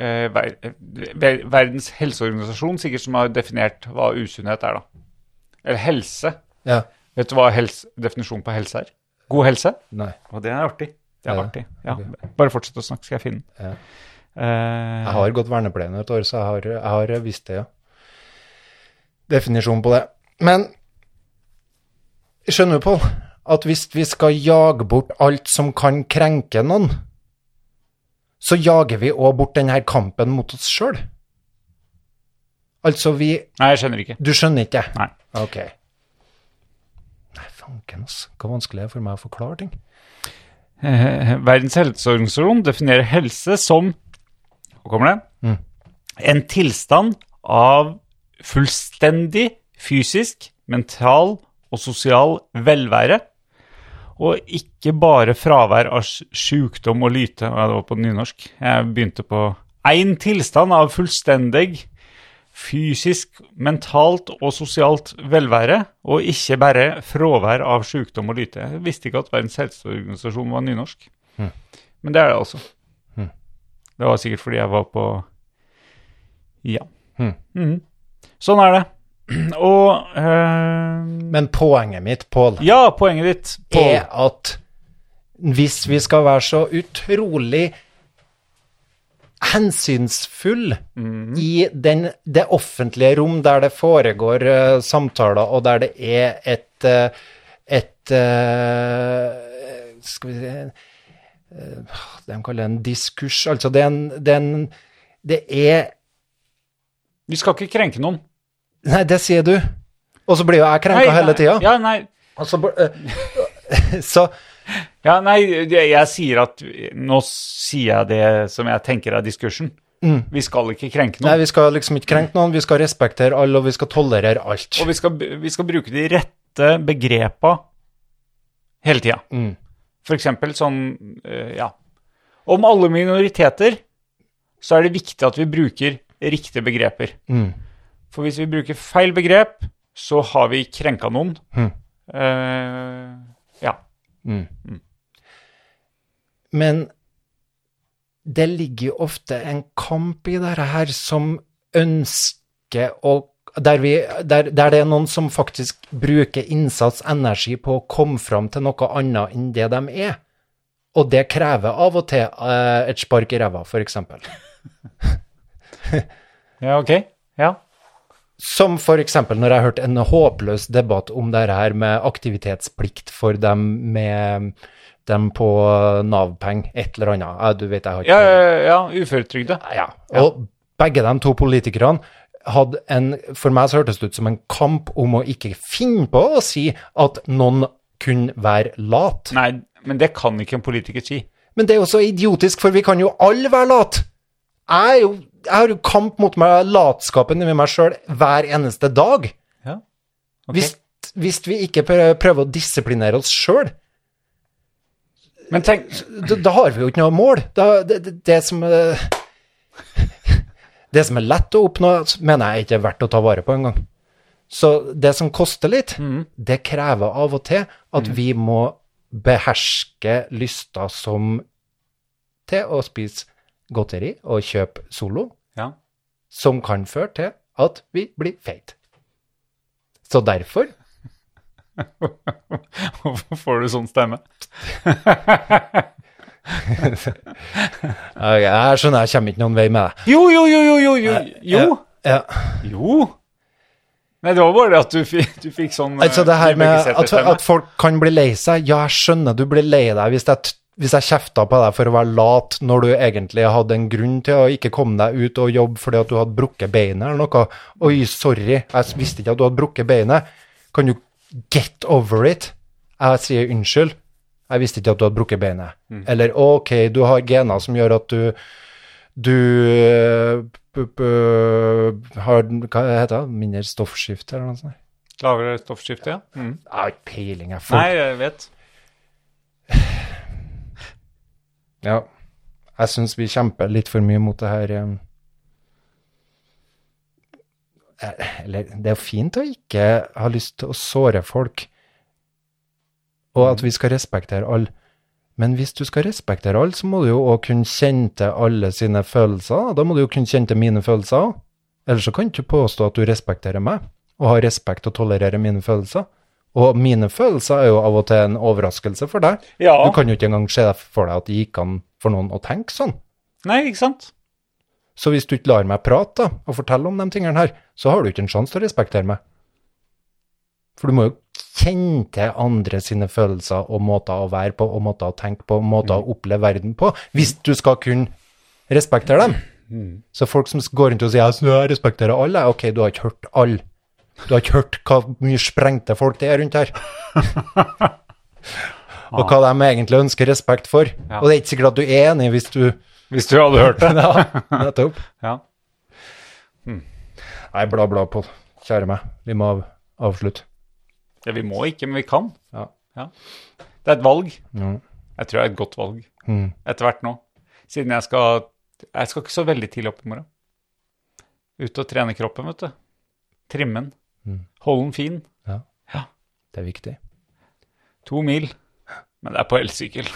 eh, ver, ver, Verdens helseorganisasjon sikkert som har definert hva usunnhet er, da. Eller helse.
Ja.
Vet du hva helse, definisjonen på helse er? God helse?
Nei.
Og det er artig. Det
Er
er
det?
artig. Ja. Bare fortsett å snakke, skal jeg finne den.
Ja.
Eh,
Jeg har gått vernepleien et år, så jeg har, jeg har visst det, ja. Definisjonen på det. Men skjønner du, Pål, at hvis vi skal jage bort alt som kan krenke noen, så jager vi òg bort denne kampen mot oss sjøl. Altså, vi
Nei, jeg skjønner ikke.
Du skjønner ikke det?
Nei.
Ok. Nei, fanken, altså. Hva vanskelig det er for meg å forklare ting.
Eh, Verdens helseorganisasjon definerer helse som Hvor kommer det? En tilstand av fullstendig fysisk, mental og sosial velvære. Og ikke bare fravær av sj- sjukdom og lyte. Ja, det var på nynorsk. Jeg begynte på Ein tilstand av fullstendig fysisk, mentalt og sosialt velvære, og ikke bare fravær av sykdom og lyte. Jeg visste ikke at Verdens helseorganisasjon var nynorsk. Men det er det altså. Det var sikkert fordi jeg var på Ja. Mhm. Sånn er det. Og eh,
Men poenget mitt, Pål,
Ja, poenget ditt på
er at hvis vi skal være så utrolig hensynsfull
Mhm.
i den, det offentlige rom der det foregår eh, samtaler, og der det er et, eh, et eh, Skal vi si eh, De kaller det en diskurs. Altså, det er en, det er en Det er
Vi skal ikke krenke noen.
Nei, det sier du. Og så blir jo jeg
Nei,
krenka hele tida.
Ja, nei,
Og så bl- eh, så
Ja, nei, det- jeg sier at Nå sier jeg det som jeg tenker er diskursen. Vi skal ikke krenke
Nei,
noen.
vi skal liksom ikke krenke noen, vi skal respektere alle, og vi skal tolerere alt.
og vi skal, vi skal bruke de rette begrepa hele tida.
Mm.
For eksempel sånn eh, Ja. Om alle minoriteter så er det viktig at vi bruker riktige begreper.
Mm.
For hvis vi bruker feil begrep, så har vi krenka noen. Eh, ja.
Men det ligger jo ofte en kamp i dette her som ønsker å der, vi, der, der det er noen som faktisk bruker innsats, energi, på å komme fram til noe annet enn det de er. Og det krever av og til eh, et spark i ræva, for eksempel.
Ja, OK. Ja.
Som for eksempel når jeg hørte en håpløs debatt om det her med aktivitetsplikt for dem med dem på Nav-peng, et eller annet. Ja, du vet, jeg har ikke
Ja, ja, ja uføretrygda.
ja. Og begge de to politikerne hadde en For meg så hørtes det ut som en kamp om å ikke finne på å si at noen kunne være lat.
Nei, men det kan ikke en politiker si.
Men det er jo så idiotisk, for vi kan jo alle være lat. Jeg, er jo, jeg har jo kamp mot meg, latskapen i meg sjøl hver eneste dag.
Ja.
Hvis, hvis vi ikke prø- prøver å disiplinere oss sjøl,
Men tenk,
da, da har vi jo ikke noe mål. Da, det, det, det som eh, Det som er lett å oppnå, mener jeg ikke er verdt å ta vare på engang. Så det som koster litt, det krever av og til at vi må beherske lyster som til å spise godteri og kjøpe Solo,
ja.
som kan føre til at vi blir feite. Så derfor
Hvorfor får du sånn stemme?
Jeg jeg skjønner jeg kommer ikke noen vei med deg.
Jo, jo, jo, jo, jo, jo, jo.
Ja.
jo. Nei, det var bare det at du fikk, du fikk sånn eh,
Altså det her
Vibeke
med at,
Sæther-stemme.
at folk kan bli lei seg. Ja, jeg skjønner du blir lei deg hvis jeg, t- hvis jeg kjefta på deg for å være lat når du egentlig hadde en grunn til å ikke komme deg ut og jobbe fordi at du hadde brukket beinet eller noe. Oi, sorry, jeg visste ikke at du hadde brukket beinet. Kan du get over it? Jeg sier unnskyld. Jeg visste ikke at du hadde brukket beinet. Eller OK, du har gener som gjør at du Du eh, p- p- har Hva heter det? Mindre stoffskifte eller noe sånt?
Lavere stoffskifte, ja. Mm.
Jeg har ikke peiling, jeg.
Nei,
Folk-
jeg vet.
Ja. Jeg syns vi kjemper litt for mye mot det her eh, eh, Eller det er jo fint å ikke ha lyst til å såre folk, og at vi skal respektere alle. Men hvis du skal respektere alle, så må du jo òg kunne kjenne til alle sine følelser. Da må du jo kunne kjenne til mine følelser òg. Ellers så kan du ikke påstå at du respekterer meg, og har respekt og tolererer mine følelser. Og mine følelser er jo av og til en overraskelse for deg.
Ja.
Du kan jo ikke engang se for deg at det gikk an for noen å tenke sånn.
Nei, ikke sant?
Så hvis du ikke lar meg prate da, og fortelle om de tingene her, så har du ikke en sjanse til å respektere meg. For du må jo kjenne til andre sine følelser og måter å være på, og måter å tenke på, og måter å oppleve verden på, hvis du skal kunne respektere dem. Så folk som går rundt og sier at jeg respekterer alle, ok, du har ikke hørt alle. Du har ikke hørt hva mye sprengte folk det er rundt her. og hva de egentlig ønsker respekt for. Og det er ikke sikkert at du er enig hvis du
Hvis du hadde hørt det.
Ja, nettopp.
Ja.
Nei, bla, bla, Pål. Kjære meg. Vi må av, avslutte.
ja, vi må ikke, men vi kan.
Ja.
Det er et valg.
Ja. Mm.
Jeg tror det er et godt valg etter hvert nå. Siden jeg skal Jeg skal ikke så veldig tidlig opp i morgen. Ut og trene kroppen, vet du. Trimme den.
Mm.
Holde den fin.
Det er viktig.
To mil. Men det er på elsykkel.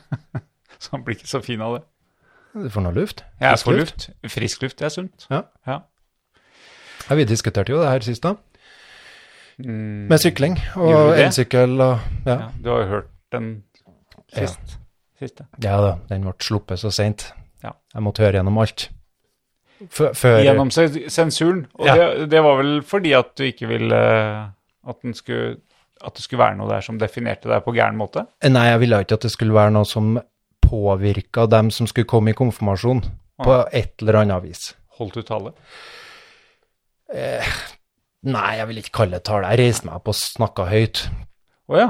så han blir ikke så fin av det.
Du får noe luft.
Jeg er
Frisk
for luft. Frisk luft, det er sunt.
Ja.
Ja.
Ja, vi diskuterte jo det her sist, da.
Mm.
Med sykling
Gjorde
og
vi det?
elsykkel og ja.
Ja, Du har jo hørt den
Ja.
sist. Siste.
ja da, den ble sluppet så seint.
Ja.
Jeg måtte høre gjennom alt. Før, før
Gjennom se- sensuren. Og
Ja.
det, det var vel fordi at du ikke ville at, den skulle, at det skulle være noe der som definerte deg på gæren måte?
Nei, jeg ville ikke at det skulle være noe som påvirka dem som skulle komme i konfirmasjon, på et eller annet vis.
Holdt du tale?
Nei, jeg vil ikke kalle det tale. Jeg reiste meg opp og snakka høyt.
Å ja.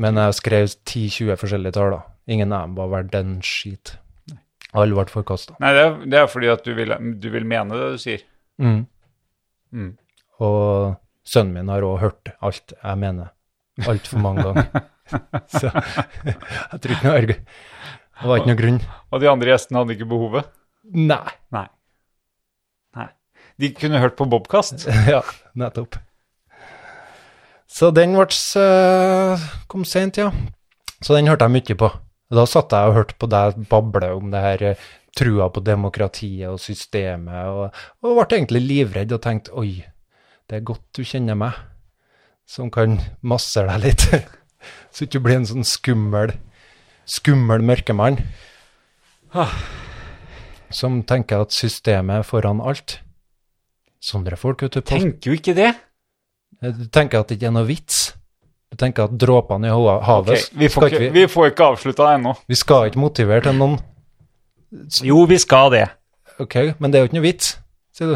Men jeg skrev 10-20 forskjellige tall, da. Ingen av dem var verdt en skit. Alle ble forkasta.
Nei, det er, det er fordi at du vil, du vil mene det du sier. Mm.
Og sønnen min har òg hørt alt jeg mener. Altfor mange ganger. Så jeg tror ikke noe arg. Det var ikke noe grunn.
Og de andre gjestene hadde ikke behovet?
Nei.
Nei. Nei. De kunne hørt på Bobkast.
Ja, nettopp. Så den ble s- eh, kom sent, ja. Så den hørte jeg mye på. Da satt jeg og hørte på deg bable om det her eh, trua på demokratiet og systemet, og, og ble egentlig livredd og tenkte oi, det er godt du kjenner meg, som kan massere deg litt, så ikke du blir en sånn skummel, skummel mørkemann som tenker at systemet er foran alt. Sånne folk ute på
Tenker jo ikke det!
Eh, du tenker at det ikke er noe vits? Du tenker at dråpene i ho-
Ok,
havet
vi, får
skal
ikke,
ikke, vi,
vi får ikke avslutta det ennå.
vi skal ikke motivere til noen
Jo, vi skal det.
Ok, men det er jo ikke noe vits, sier du.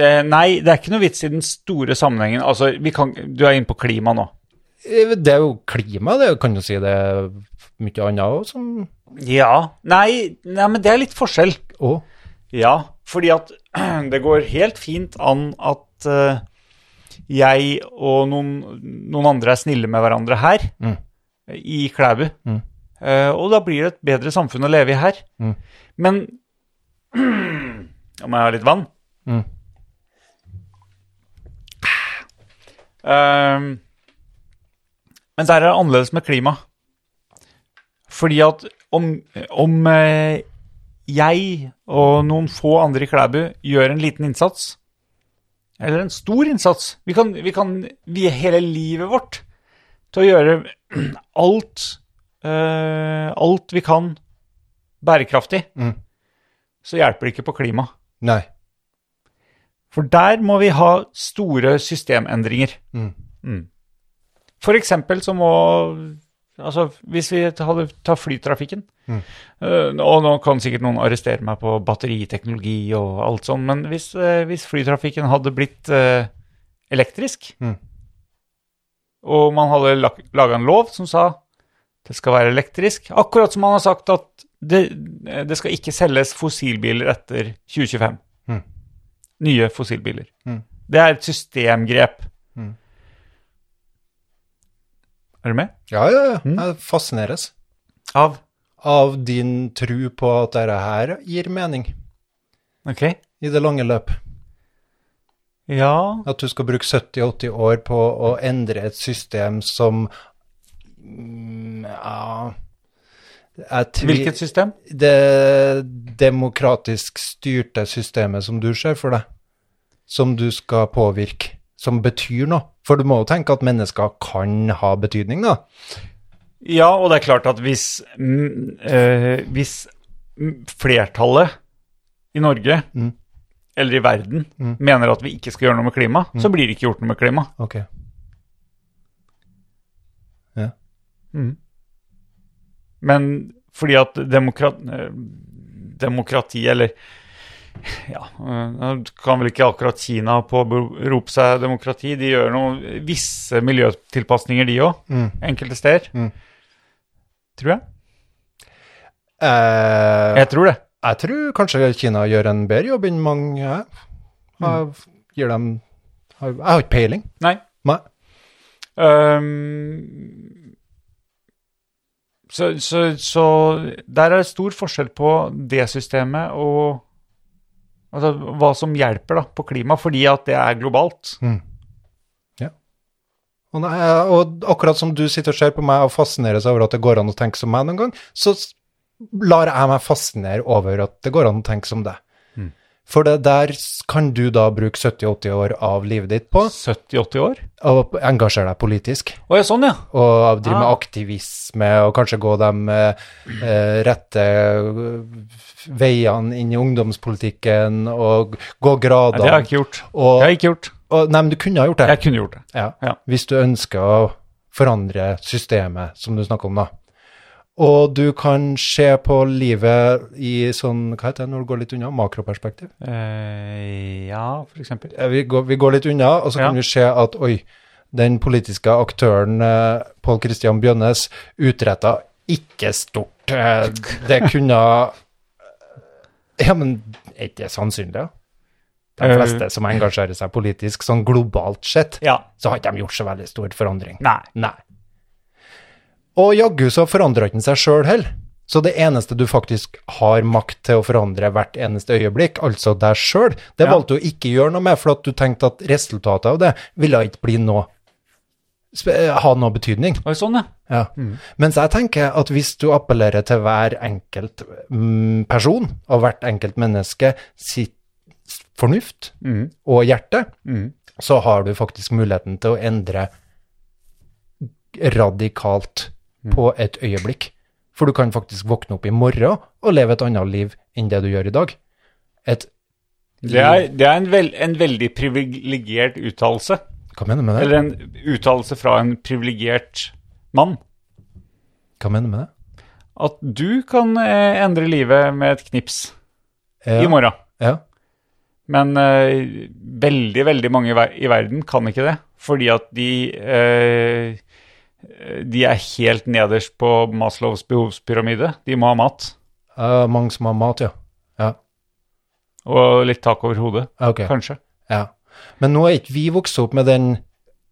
Eh, Nei, det er ikke noe vits i den store sammenhengen. Altså, vi kan, du er inne på klima nå.
Eh, Det er jo klima, det kan du si. Det er mye annet òg som
Ja. Nei, nei, men det er litt forskjell.
Å,
Ja, fordi at det går helt fint an at eh, jeg og noen, noen andre er snille med hverandre her,
Mm.
i Klæbu. Eh, og da blir det et bedre samfunn å leve i her.
Mm.
Men Nå må jeg ha litt vann.
Mm.
Eh, men der er det annerledes med klima. Fordi at om, om eh, jeg og noen få andre i Klæbu gjør en liten innsats, eller en stor innsats Vi kan, vi kan vie hele livet vårt til å gjøre alt eh, Alt vi kan bærekraftig,
Mm.
så hjelper det ikke på klima.
nei.
For der må vi ha store systemendringer.
Mm.
Mm. For eksempel så må Altså, hvis vi hadde tar flytrafikken
Mm.
eh, Og nå kan sikkert noen arrestere meg på batteriteknologi og alt sånt, men hvis, eh, hvis flytrafikken hadde blitt eh, elektrisk,
Mm.
og man hadde laga en lov som sa det skal være elektrisk, akkurat som man har sagt at det, det skal ikke selges fossilbiler etter 2025. Nye fossilbiler. Det er et systemgrep. Er du med?
Ja, ja, ja. Jeg fascineres
Av.
av din tru på at dette her gir mening
Ok.
i det lange løp.
Ja.
At du skal bruke 70-80 år på å endre et system som mm, ja, jeg tvi-
Hvilket system?
det demokratisk styrte systemet som du ser for deg, som du skal påvirke, som betyr noe. For du må jo tenke at mennesker kan ha betydning, da.
Ja, og det er klart at hvis, mm, eh, hvis mm, flertallet i Norge eller i verden mener at vi ikke skal gjøre noe med klima, så blir det ikke gjort noe med klima.
Ok. Eh,
Men fordi at demokrat, eh, demokrati, eller ja, eh, nå kan vel ikke akkurat Kina påberope seg demokrati. De gjør noen visse miljøtilpasninger, de òg, enkelte steder. Tror jeg.
Eh, jeg,
Jeg tror det.
tror kanskje Kina gjør en bedre jobb enn mange her. Jeg gir dem Jeg har ikke peiling.
Nei.
Nei.
Ehm, så, så, så der er det stor forskjell på det systemet og altså, hva som hjelper da, på klima, fordi at det er globalt.
Og, nei, og akkurat som du sitter og ser på meg og fascineres over at det går an å tenke som meg noen gang, så s- lar jeg meg fascinere over at det går an å tenke som deg.
Mm.
For det der s- kan du da bruke 70-80 år av livet ditt på,
70-80 år?
og engasjere deg politisk,
Å ja, sånn, ja.
og drive med
Ah.
aktivisme, og kanskje gå de eh, eh, rette eh, veiene inn i ungdomspolitikken, og gå
Nei, det har jeg
grader.
ikke gjort.
Og,
Jeg har ikke gjort.
og, nei, men du kunne ha gjort det.
Jeg kunne gjort det.
Ja.
Ja.
Hvis du ønsker å forandre systemet, som du snakker om, da. Og du kan se på livet i sånn Hva heter det når du går litt unna? Makroperspektiv?
Eh, ja, for eksempel.
Eh, Vi går, vi går litt unna, og så
Ja.
kan vi se at oi, den politiske aktøren eh, Pål Christian Bjønnes utretta ikke stort. Eh, det kunne eh, Ja, men er ikke det sannsynlig? da? De
Eh.
fleste som engasjerer seg politisk, sånn globalt sett,
Ja.
så har ikke de gjort så veldig stor forandring.
Nei.
Nei. Og jaggu så forandrer ikke den seg sjøl heller. Så det eneste du faktisk har makt til å forandre hvert eneste øyeblikk, altså deg sjøl, det
Ja.
valgte du ikke gjøre noe med, for at du tenkte at resultatet av det ville ikke bli noe sp- ha noe betydning.
Å, sånn, ja.
Ja. Mens jeg tenker at hvis du appellerer til hver enkelt mm, person og hvert enkelt menneske sitt fornuft og hjerte, så har du faktisk muligheten til å endre radikalt på et øyeblikk. For du kan faktisk våkne opp i morgen og leve et annet liv enn det du gjør i dag. Et
Det er, det er en, vel, en veldig privilegert uttalelse.
Hva mener du med det?
Eller en uttalelse fra en privilegert mann.
Hva mener du med det?
at du kan eh, endre livet med et knips
Ja,
i morgen.
Ja.
Men eh, veldig, veldig mange i, ver i verden kan ikke det, fordi at de eh, de er helt nederst på Maslows behovspyramide. De må ha mat
Eh, mange som har mat, ja. Ja,
og litt tak over hodet,
ok.
kanskje.
Ja. Men nå er ikke vi vokst opp med den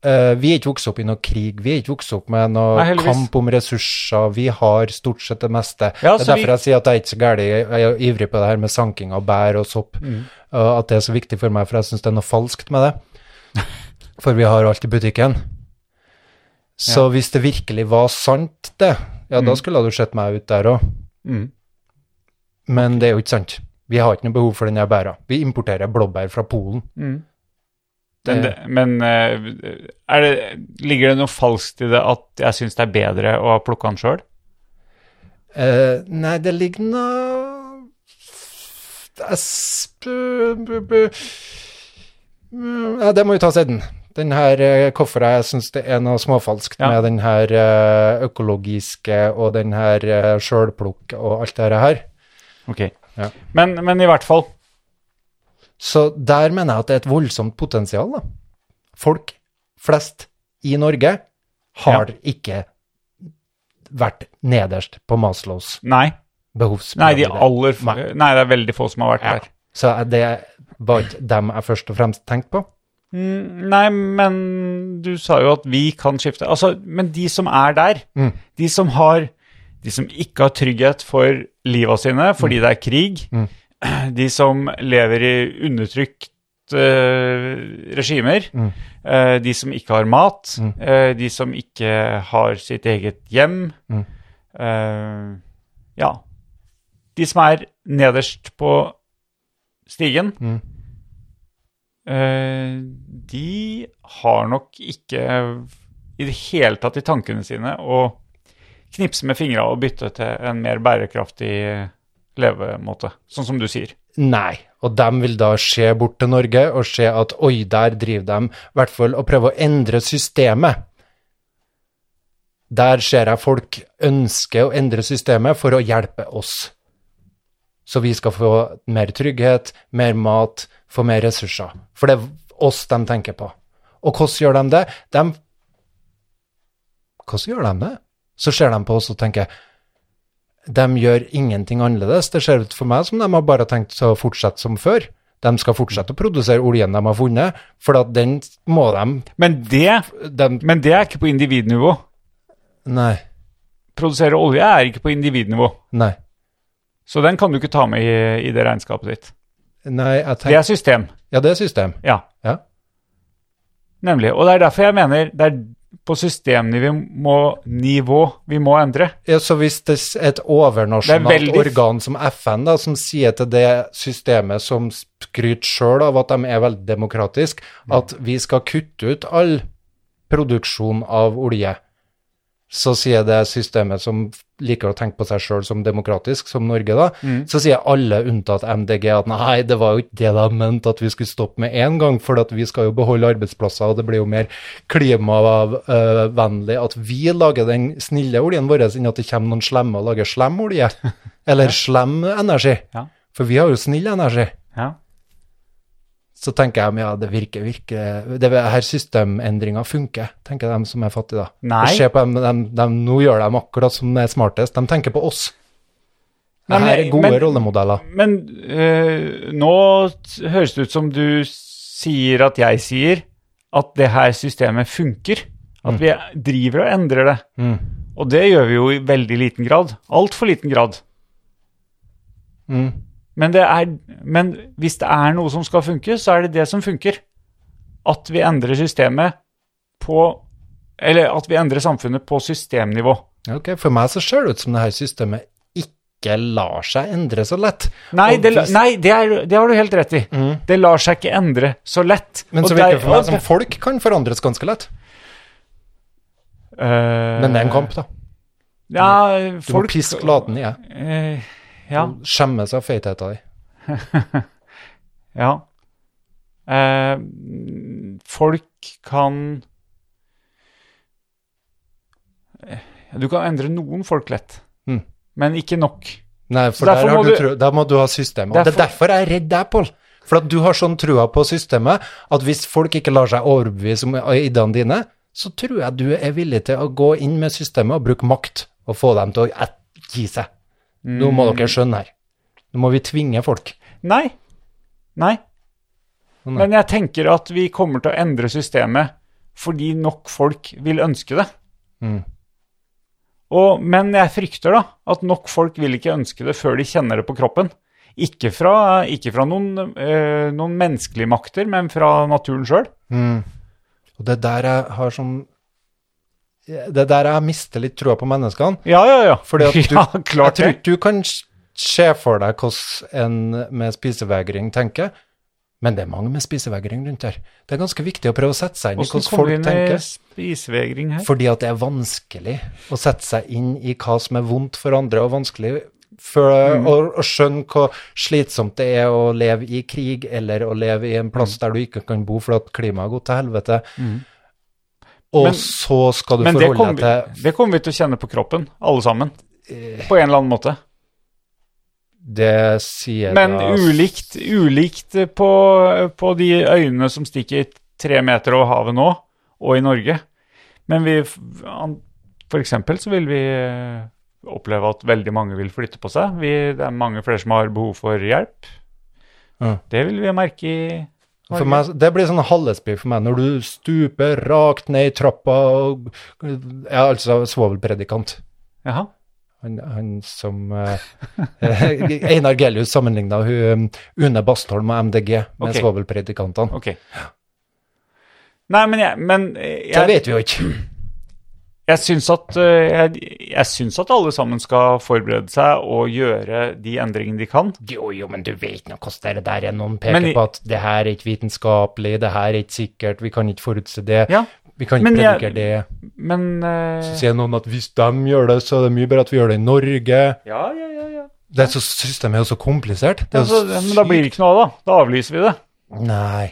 eh, Vi er ikke vokst opp i noe krig, vi er ikke vokst opp med noe
Nei, heldigvis.
kamp om ressurser. Vi har stort sett det meste.
Ja,
det er
så vi-
derfor jeg sier at jeg er ikke så gæren. Jeg er ivrig på det her med sanking av bær og sopp.
Mm.
og at det er så viktig for meg, for jeg syns det er noe falskt med det. For vi har alt i butikken. Så hvis det virkelig var sant, det, ja, da skulle du sett meg ut der òg.
Mm.
Men det er jo ikke sant. Vi har ikke noe behov for den her bæra. Vi importerer blåbær fra Polen.
Den,
Det-
men eh, er det, ligger det noe falskt i det at jeg syns det er bedre å ha plukka den sjøl?
Eh, nei, det ligger noe Jeg s- bu- bu- bu- Mm, Ja, det må vi ta siden. Den her, eh, hvorfor jeg syns det er noe småfalskt
Ja.
med den her eh, økologiske og den her eh, sjølplukk og alt det her.
Ok.
Ja.
Men, men i hvert fall.
Så der mener jeg at det er et voldsomt potensial. da. Folk flest i Norge har ikke vært nederst på Maslows
Nei. Nei, de
behovsprøvde.
aller få. Nei, det er veldig få som har vært der.
Så er det var ikke dem jeg først og fremst tenkte på.
Mm, Nei, men du sa jo at vi kan skifte. Altså, men de som er der, de som har De som ikke har trygghet for liva sine fordi det er krig, de som lever i undertrykt eh, regimer, eh, de som ikke har mat, eh, de som ikke har sitt eget hjem eh, Ja. De som er nederst på stigen, Eh, de har nok ikke i det hele tatt i tankene sine å knipse med fingra og bytte til en mer bærekraftig eh, levemåte, sånn som du sier.
Nei. Og dem vil da se bort til Norge og se at oi, der driver de, i hvert fall å prøve å endre systemet. Der ser jeg folk ønsker å endre systemet for å hjelpe oss. Så vi skal få mer trygghet, mer mat, få mer ressurser. For det er oss de tenker på. Og hvordan gjør de det? De Hvordan gjør de det? Så ser de på oss og tenker de gjør ingenting annerledes. Det ser ut for meg som de har bare tenkt å fortsette som før. De skal fortsette å produsere oljen de har funnet, for at den må de,
Men det,
de
men det er ikke på individnivå.
Nei.
Produsere olje er ikke på individnivå,
Nei.
så den kan du ikke ta med i, i det regnskapet ditt.
Nei, jeg
Det er
tenker
system,
Ja, det er system.
ja.
Ja.
Nemlig. Og det er derfor jeg mener det er på systemnivå må- nivå vi må endre.
Ja, så hvis det er et
Det
overnasjonalt
er veldig-
organ som FN, da, som sier til det systemet som skryter sjøl av at de er veldig demokratiske, at vi skal kutte ut all produksjon av olje, så sier det systemet som liker å tenke på seg sjøl som demokratisk, som Norge, da, så sier alle unntatt MDG at nei, det var jo ikke det de mente at vi skulle stoppe med en gang, for at vi skal jo beholde arbeidsplasser, og det blir jo mer klimavennlig at vi lager den snille oljen vår, enn at det kommer noen slemme og lager slem olje, eller slem energi.
Ja.
For vi har jo snill energi
Ja.
så tenker jeg, men ja, det virker, virker, det her systemendringer funker, tenker de som er fattige da.
Nei.
Og Se på dem, dem, dem, nå gjør de akkurat som det er smartest, de tenker på oss.
Nei,
Det her
men-
er gode
men-
rollemodeller.
Men eh, nå t- høres det ut som du sier at jeg sier at det her systemet funker. At
Mm.
vi driver og endrer det. Og det gjør vi jo i veldig liten grad. Altfor liten grad.
Mm.
Men, det er, men hvis det er noe som skal funke, så er det det som funker. At vi endrer systemet på Eller at vi endrer samfunnet på systemnivå.
Ok, for meg så ser det ut som det her systemet ikke lar seg endre så lett.
Nei,
Og
det, la-
hvis- Mm.
nei det, er, det har du helt rett i. Det lar seg ikke endre så lett.
Men
Og
så
der-
virker det for meg
og
som
det-
folk kan forandres ganske lett.
Eh,
Men det er en kamp da.
Ja,
Eh, Du må piske laten i, jeg.
Eh, ja,
Skjemme seg av feithetet di.
ja. Eh, folk kan Eh, Du kan endre noen folk lett,
Mm.
men ikke nok.
Nei, for
Så derfor
der, har
må
du,
du-
tro, der må du ha system. Og det er derfor
Derfor-
jeg er redd deg, Pål. For at du har sånn trua på systemet at hvis folk ikke lar seg overbevise om eh, ideene dine, så tror jeg du er villig til å gå inn med systemet og bruke makt og få dem til å et- gi seg. Nå
Mm.
må dere skjønne her. Nå må vi tvinge folk.
Nei. Nei.
Å, nei.
Men jeg tenker at vi kommer til å endre systemet fordi nok folk vil ønske det.
Mm.
Og, men jeg frykter da at nok folk vil ikke ønske det før de kjenner det på kroppen. Ikke fra, ikke fra noen, eh, noen menneskelige makter, men fra naturen sjøl.
Og det er der jeg har sånn Det er der jeg mister litt trua på menneskene.
Ja, ja, ja.
Fordi at du,
ja,
jeg tror
klart
ikke
det.
du kan s- se for deg hvordan en med spisevegring tenker, men det er mange med spisevegring rundt her. Det er ganske viktig å prøve å sette seg inn i
Åssen
hvordan
kommer
folk
vi inn i
tenker.
spisevegring her?
Fordi at det er vanskelig å sette seg inn i hva som er vondt for andre, og vanskelig for
Mm.
å, å skjønne hvor slitsomt det er å leve i krig, eller å leve i en plass
Mm.
der du ikke kan bo fordi at klimaet har gått til helvete. Og
Men-
så skal du
Men det
forholde
kommer
deg til
vi, det kommer vi til å kjenne på kroppen, alle sammen.
Eh.
På en eller annen måte.
Det sier
Men
da-
ulikt, ulikt på, på de øyene som stikker tre meter over havet nå, og i Norge. Men vi, f- an- for eksempel så vil vi eh, oppleve at veldig mange vil flytte på seg. Vi, det er mange flere som har behov for hjelp.
Ja.
Det vil vi merke i
For meg, det blir sånn halvespy for meg når du stuper rakt ned i trappa og Ja, altså svovelpredikant.
Jaha.
Han, han som eh, Einar Gelius sammenligna hun um, Une Bastholm og MDG med
Ok.
svovelpredikantene.
Ok. Nei, men jeg Men jeg,
Det vet vi jo ikke.
jeg syns at, eh, jeg, jeg syns at alle sammen skal forberede seg og gjøre de endringene de kan.
Jo, jo, men du vet nå hvordan det der er. Noen peker
Men i-
på at det her er ikke vitenskapelig, det her er ikke sikkert, vi kan ikke forutse det,
Ja,
vi kan ikke
men jeg-
predikere det.
men eh,
Så sier noen at hvis de gjør det, så er det mye bedre at vi gjør det i Norge.
Ja, ja, ja. ja.
Det er så, systemet er jo så komplisert. Det er
Altså,
jo
men da blir det ikke noe av, da. Da avlyser vi det.
Nei,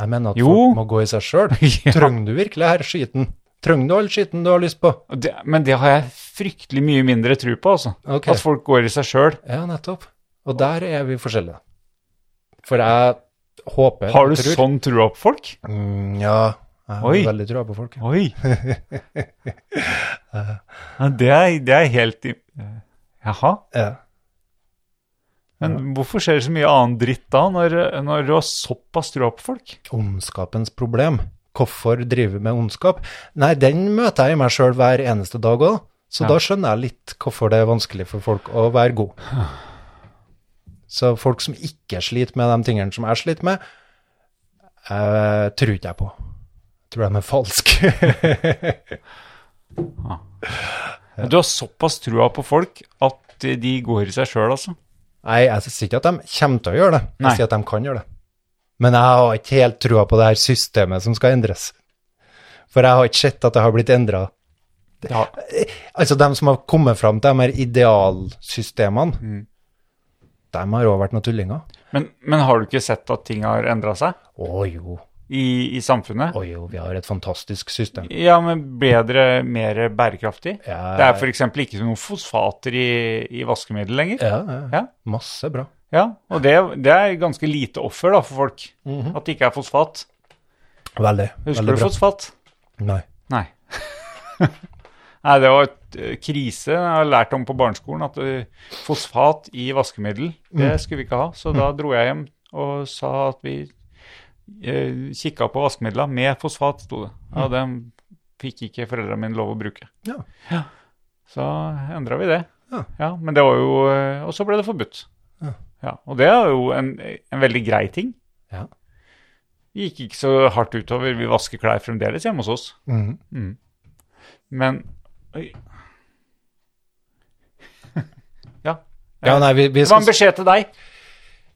jeg mener at
Jo.
folk må gå i seg sjøl.
Ja.
Trenger du virkelig her skiten? Trenger du all skiten du har lyst på?
Og Det, men det har jeg fryktelig mye mindre tro på, altså.
Ok.
At folk går i seg sjøl.
Ja, nettopp. Og der er vi forskjellige. For jeg håper
Har du
og tror-
sånn trua på folk?
Mm, ja, jeg har
Oi.
veldig trua på folk.
Oi! ja, det, er, det er helt i... Jaha.
Ja.
Men hvorfor skjer det så mye annen dritt da, når, når du har såpass trua på folk?
ondskapens problem. Hvorfor drive med ondskap? Nei, den møter jeg i meg sjøl hver eneste dag òg, så
Ja.
da skjønner jeg litt hvorfor det er vanskelig for folk å være god. Så folk som ikke sliter med de tingene som jeg sliter med, eh, tror ikke jeg på. Tror de er falske.
Du har såpass trua på folk at de går i seg sjøl, altså.
Nei, jeg sier ikke at de kommer til å gjøre det,
Nei.
jeg sier at de kan gjøre det. Men jeg har ikke helt trua på det her systemet som skal endres. For jeg har ikke sett at det har blitt endra
Ja.
Altså, de som har kommet fram til de her idealsystemene,
Mm.
de har òg vært noen tullinger.
Men, men har du ikke sett at ting har endra seg
Å jo,
i, i samfunnet?
å jo, vi har et fantastisk system.
Ja, men bedre, mer bærekraftig?
Ja.
Det er f.eks. ikke noen fosfater i, i vaskemiddel lenger.
Ja, ja.
Ja.
Masse bra.
Ja, og det, det er ganske lite offer da for folk, at det ikke er fosfat.
Veldig,
Husker
Mhm. veldig
du
bra.
fosfat?
Nei.
Nei. Nei, det var et eh, krise jeg har lært om på barneskolen, at eh, fosfat i vaskemiddel, det
Mm.
skulle vi ikke ha. Så da dro jeg hjem og sa at vi uh, kikka på vaskemidla med fosfat, sto det. Ja, den fikk ikke foreldrene mine lov å bruke.
Mm. Ja.
Så endra vi det.
Ja.
men det var jo eh, Og så ble det forbudt.
Ja.
og det er jo en, en veldig grei ting.
Ja.
Vi gikk ikke så hardt utover. Vi vasker klær fremdeles hjemme hos oss.
Mhm.
Men Oi. Ja.
Ja, nei, vi, vi
Det var
skal
en beskjed til deg.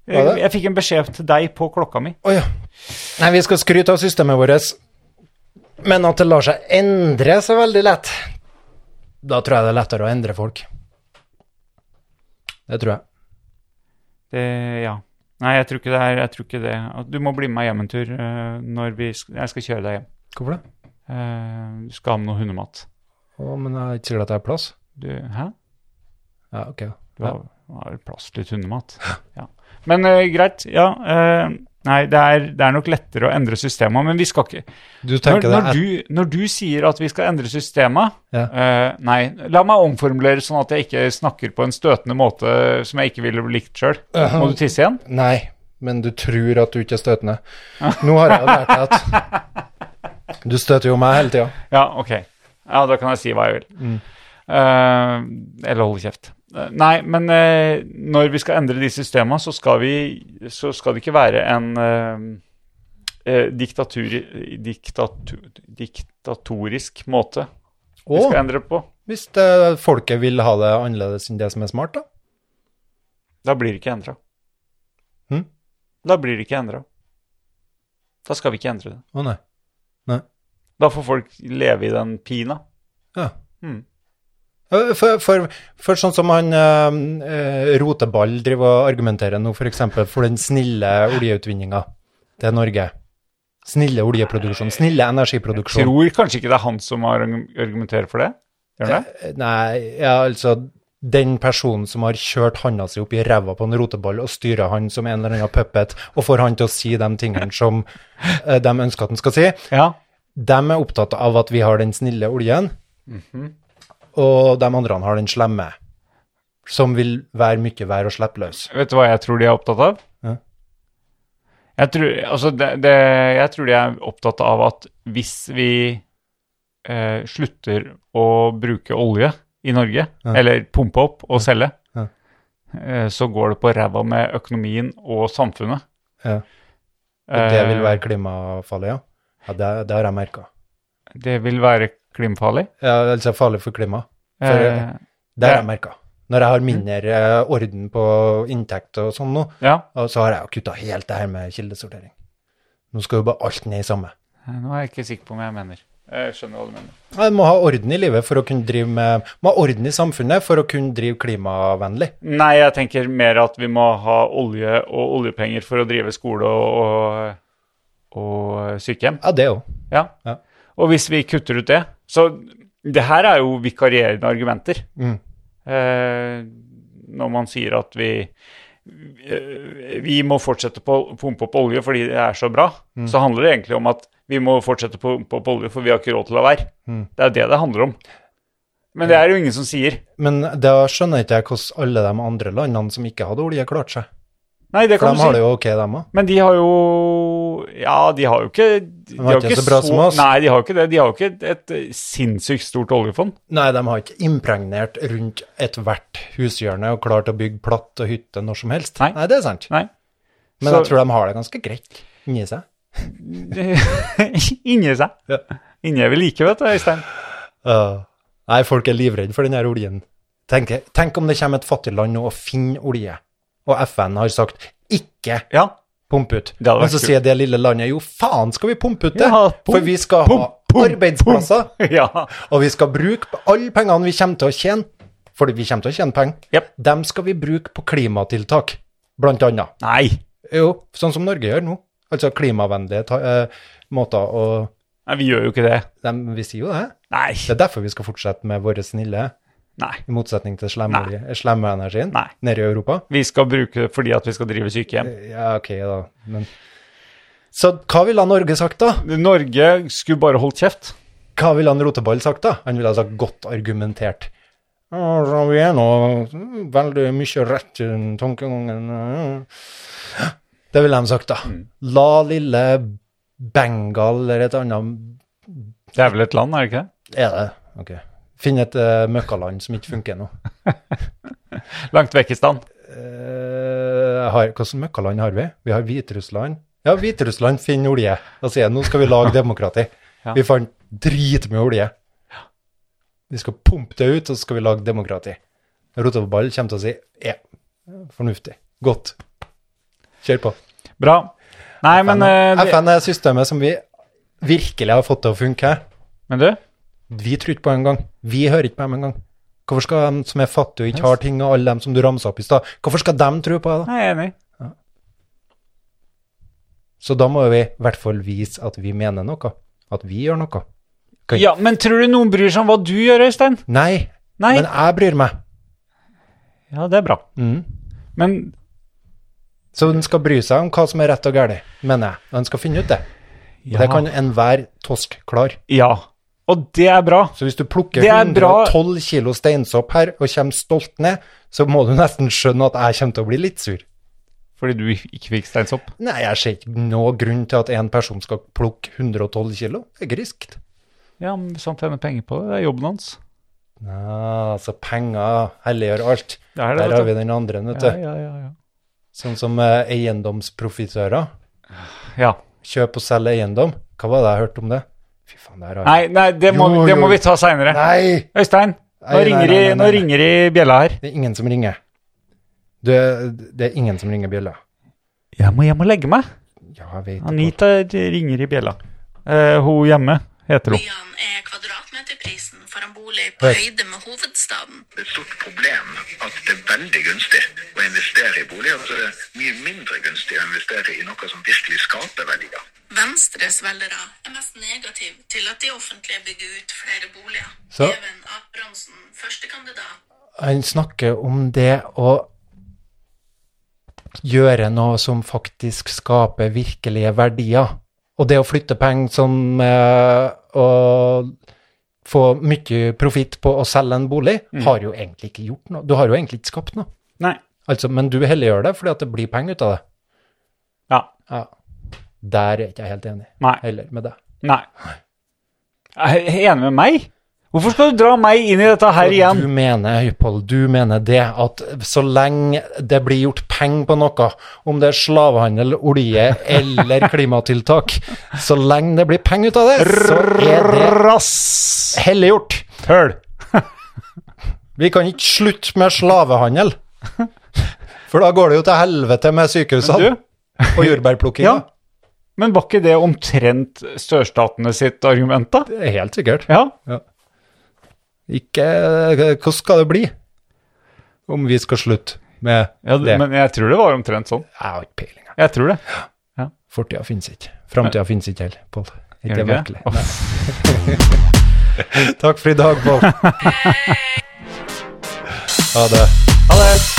Hva er det?
Jeg fikk en beskjed til deg på klokka mi.
Å ja. Nei, vi skal skryte av systemet vårt, men at det lar seg endre så veldig lett, da tror jeg det er lettere å endre folk. Det tror jeg.
Det, ja. Nei, jeg tror ikke det er jeg tror ikke det. At Du må bli med meg hjem en tur eh, når vi sk- Jeg skal kjøre deg hjem.
Hvorfor det?
Eh, du skal ha med noe hundemat.
Å, men jeg er ikke sikker at jeg har plass.
Du, hæ?
Ja, ok.
Du har, har plass til litt hundemat. Ja. Men eh, greit. Ja. eh, nei, det er, det er nok lettere å endre systemet, men vi skal ikke
Du
Når,
tenker det
når,
er
du, når du sier at vi skal endre systemet
Ja.
eh, Nei, la meg omformulere sånn at jeg ikke snakker på en støtende måte som jeg ikke ville likt sjøl. Må du tisse igjen?
Nei, men du tror at du ikke er støtende. Nå har jeg jo lært deg at Du støter jo meg hele tida.
Ja, ok. Ja, da kan jeg si hva jeg vil.
Mm.
Eh, eller holde kjeft. Eh, Nei, men eh, når vi skal endre de systemene, så skal, vi, så skal det ikke være en eh, eh, diktatur, diktatu, diktatorisk måte vi
Og
skal endre det på.
hvis eh, folket vil ha det annerledes enn det som er smart, da.
Da blir det ikke endra.
Hm?
Da blir det ikke endra. Da skal vi ikke endre det.
Å nei.
Da får folk leve i den pina.
Ja.
Mm.
Eh, For, for, for sånn som han eh, eh, Roteball driver og argumenterer nå, f.eks. eksempel for den snille oljeutvinninga til Norge. Snille oljeproduksjon, snille energiproduksjon.
Tror kanskje ikke det er han som har argu- argumenterer for det? Gjør han det?
Nei, ja, altså den personen som har kjørt handa si opp i ræva på en roteball og styrer han som en eller annen puppet, og får han til å si de tingene som eh, de ønsker at han skal si,
Ja. Mhm.
de er opptatt av at vi har den snille oljen. og de andre har den slemme, som vil være mye vær å slippe løs.
Vet du hva jeg tror de er opptatt av?
Ja.
Jeg, tror, altså det, det, jeg tror de er opptatt av at hvis vi eh, slutter å bruke olje i Norge, eller pumpe opp og selge,
Ja.
eh, så går det på ræva med økonomien og samfunnet.
Ja. Og det
Eh,
vil være klimafarlig, ja. ja det, det har jeg merka.
Det vil være klimafarlig.
Ja, altså farlig for klimaet. For,
Eh,
Det har
Ja.
jeg merka. Når jeg har mindre eh, orden på inntekt og sånn nå,
ja,
og så har jeg jo kutta helt det her med kildesortering. Nå skal jo bare alt ned i samme.
nå er jeg ikke sikker på om jeg mener. Jeg skjønner hva du mener.
Jeg må ha orden i livet for å kunne drive med Må ha orden i samfunnet for å kunne drive klimavennlig.
Nei, jeg tenker mer at vi må ha olje og oljepenger for å drive skole og, og, og sykehjem.
Ja, det òg.
Ja.
Ja.
Og hvis vi kutter ut det Så det her er jo vikarierende argumenter.
Mm.
Eh, når man sier at vi eh, vi må fortsette på å pumpe opp olje fordi det er så bra,
Mm.
så handler det egentlig om at vi må fortsette på å pumpe opp olje, for vi har ikke råd til å la være.
Mm.
Det er det det handler om. Men det er jo ingen som sier.
Men da skjønner ikke jeg hvordan alle de andre landene som ikke hadde olje, klarte seg.
Nei, det
For
kan
de
du si.
har det jo ok, dem òg.
Men de har jo Ja, de har jo ikke De
var ikke så bra som oss.
Nei, de har jo ikke det. De har jo ikke et, et eh, sinnssykt stort oljefond.
Nei, de har ikke impregnert rundt ethvert hushjørne og klart å bygge platt og hytte når som helst.
Nei.
det er sant.
Nei.
Men
Så-
jeg tror de har det ganske greit inni seg.
Inni seg.
Ja.
Inni er vi like, vet du, Øystein.
Ja. nei, folk er livredde for den her oljen. Tenk, tenk om det kommer et fattig land nå og finner olje, og FN har sagt ikke
Ja.
pump ut.
hadde vært
Men så
kult.
sier det lille landet jo faen skal vi pumpe ut det,
Ja, pump,
for vi skal
pump,
ha
pump,
arbeidsplasser,
ja.
og vi skal bruke alle pengene vi kommer til å tjene, for vi kommer til å tjene penger,
Jep.
dem skal vi bruke på klimatiltak, blant annet.
Nei.
Jo, sånn som Norge gjør nå. Altså klimavennlige ta, eh, måter, og
Nei, vi gjør jo ikke det.
dem, vi sier jo det.
Nei.
Det er derfor vi skal fortsette med våre snille
Nei.
i motsetning til
Nei.
slemme slemme energien
Nei.
nede i Europa.
Vi skal bruke det fordi at vi skal drive sykehjem.
Ja, ok, da. Men Så hva ville han Norge sagt, da?
Norge skulle bare holdt kjeft.
Hva ville han Roteball sagt, da? Han ville ha sagt godt argumentert. Ja, så vi er nå mm, veldig mye rett i den tankegangen ja. Det ville de sagt, da.
Mm.
La lille Bengal eller et annet
Det er vel et land, er det ikke det?
Er det? Ok. Finn et eh, møkkaland som ikke funker nå.
Langt vekk i stand.
Eh, har, hvordan møkkaland har vi? Vi har Hviterussland. Ja, Hviterussland finner olje. Da sier jeg, nå skal vi lage demokrati.
Ja.
Vi fant dritmye olje. Vi skal pumpe det ut, og så skal vi lage demokrati. Roteball kommer til å si, ja, fornuftig. Godt. Kjør på.
Bra. Nei, men eh, det-
FN er systemet som vi virkelig har fått til å funke.
Men du?
Vi tror ikke på dem engang. Vi hører ikke på dem engang. Hvorfor skal de som er fattige og ikke har ting, og alle dem som du ramset opp i stad, hvorfor skal de tro på det da?
Nei, jeg er enig.
Så da må vi i hvert fall vise at vi mener noe. At vi gjør noe. Oi.
Ja, men tror du noen bryr seg om hva du gjør, Øystein?
Nei,
Nei.
men Mm. jeg bryr meg.
Ja, det er bra. Men
Så den skal bry seg om hva som er rett og galt, mener jeg. Og den skal finne ut det. Og
ja.
Det kan enhver tosk klare.
ja. Og det er bra.
Så hvis du plukker
Det er bra.
112 kilo steinsopp her og kommer stolt ned, så må du nesten skjønne at jeg kommer til å bli litt sur.
Fordi du ikke fikk steinsopp.
Nei, jeg ser ikke noe grunn til at en person skal plukke 112 kilo. Det er griskt.
Ja, men hvis han tjener penger på det, det er jobben hans.
Ja, så penger helliggjør alt.
Det er det,
Der
vet
har
du.
vi den andre, vet du.
Ja, ja, ja, ja.
Sånn som eh, eiendomsprofitører.
ja.
Kjøp og selge eiendom. Hva var det jeg hørte om det? Fy faen, det her har
Nei, nei, det må,
Jo,
det
jo.
må vi ta seinere.
Nei!
Øystein, nå
Nei, nei,
ringer,
nei,
i-
nei,
nå
nei.
ringer i bjella her.
Det er ingen som ringer. Det, det er ingen som ringer bjella.
Jeg må hjem og legge meg.
Ja, jeg vet det.
Anita ringer i bjella. Eh, hun hjemme heter hun.
Byene er E. kvadratmeterprisen for en bolig på høyde med hovedstaden.
et stort problem at det er veldig gunstig å investere i boliger. Så det er mye mindre gunstig å investere i noe som virkelig skaper verdier.
Venstres velgere er mest negativ til at de offentlige bygger ut flere boliger.
Så-
Even Abrahamsen, førstekandidat
Han snakker om det å gjøre noe som faktisk skaper virkelige verdier. Og det å flytte penger som eh, å få mye profitt på å selge en bolig, har jo egentlig ikke gjort noe. Du har jo egentlig ikke skapt noe.
Nei.
Altså, men du helliggjør det fordi at det blir penger ut av det.
Ja.
Ja. Der er ikke jeg helt enig
Nei.
heller med deg.
Nei. Er du enig med meg? Hvorfor skal du dra meg inn i dette her igjen?
Du mener, Høypold, du mener det at så lenge det blir gjort penger på noe, om det er slavehandel, olje eller klimatiltak, så lenge det blir penger ut av det, så er det
Rass!
helliggjort.
Høl!
Vi kan ikke slutte med slavehandel. For da går det jo til helvete med
Du,
sykehusene og jordbærplukkinga.
ja. Men var ikke det omtrent sørstatene sitt argument, da?
Det er Helt sikkert.
Ja.
Ikke eh, Hvordan skal det bli om vi skal slutte med
ja
det?
men jeg tror det var omtrent sånn.
Jeg har ikke peiling. jeg.
Jeg tror det.
Fortida finnes ikke. Framtida finnes ikke heller, Pål.
Gjør
Ikke
det ikke?
virkelig. Takk for i dag, Pål. Ha det.
Ha det.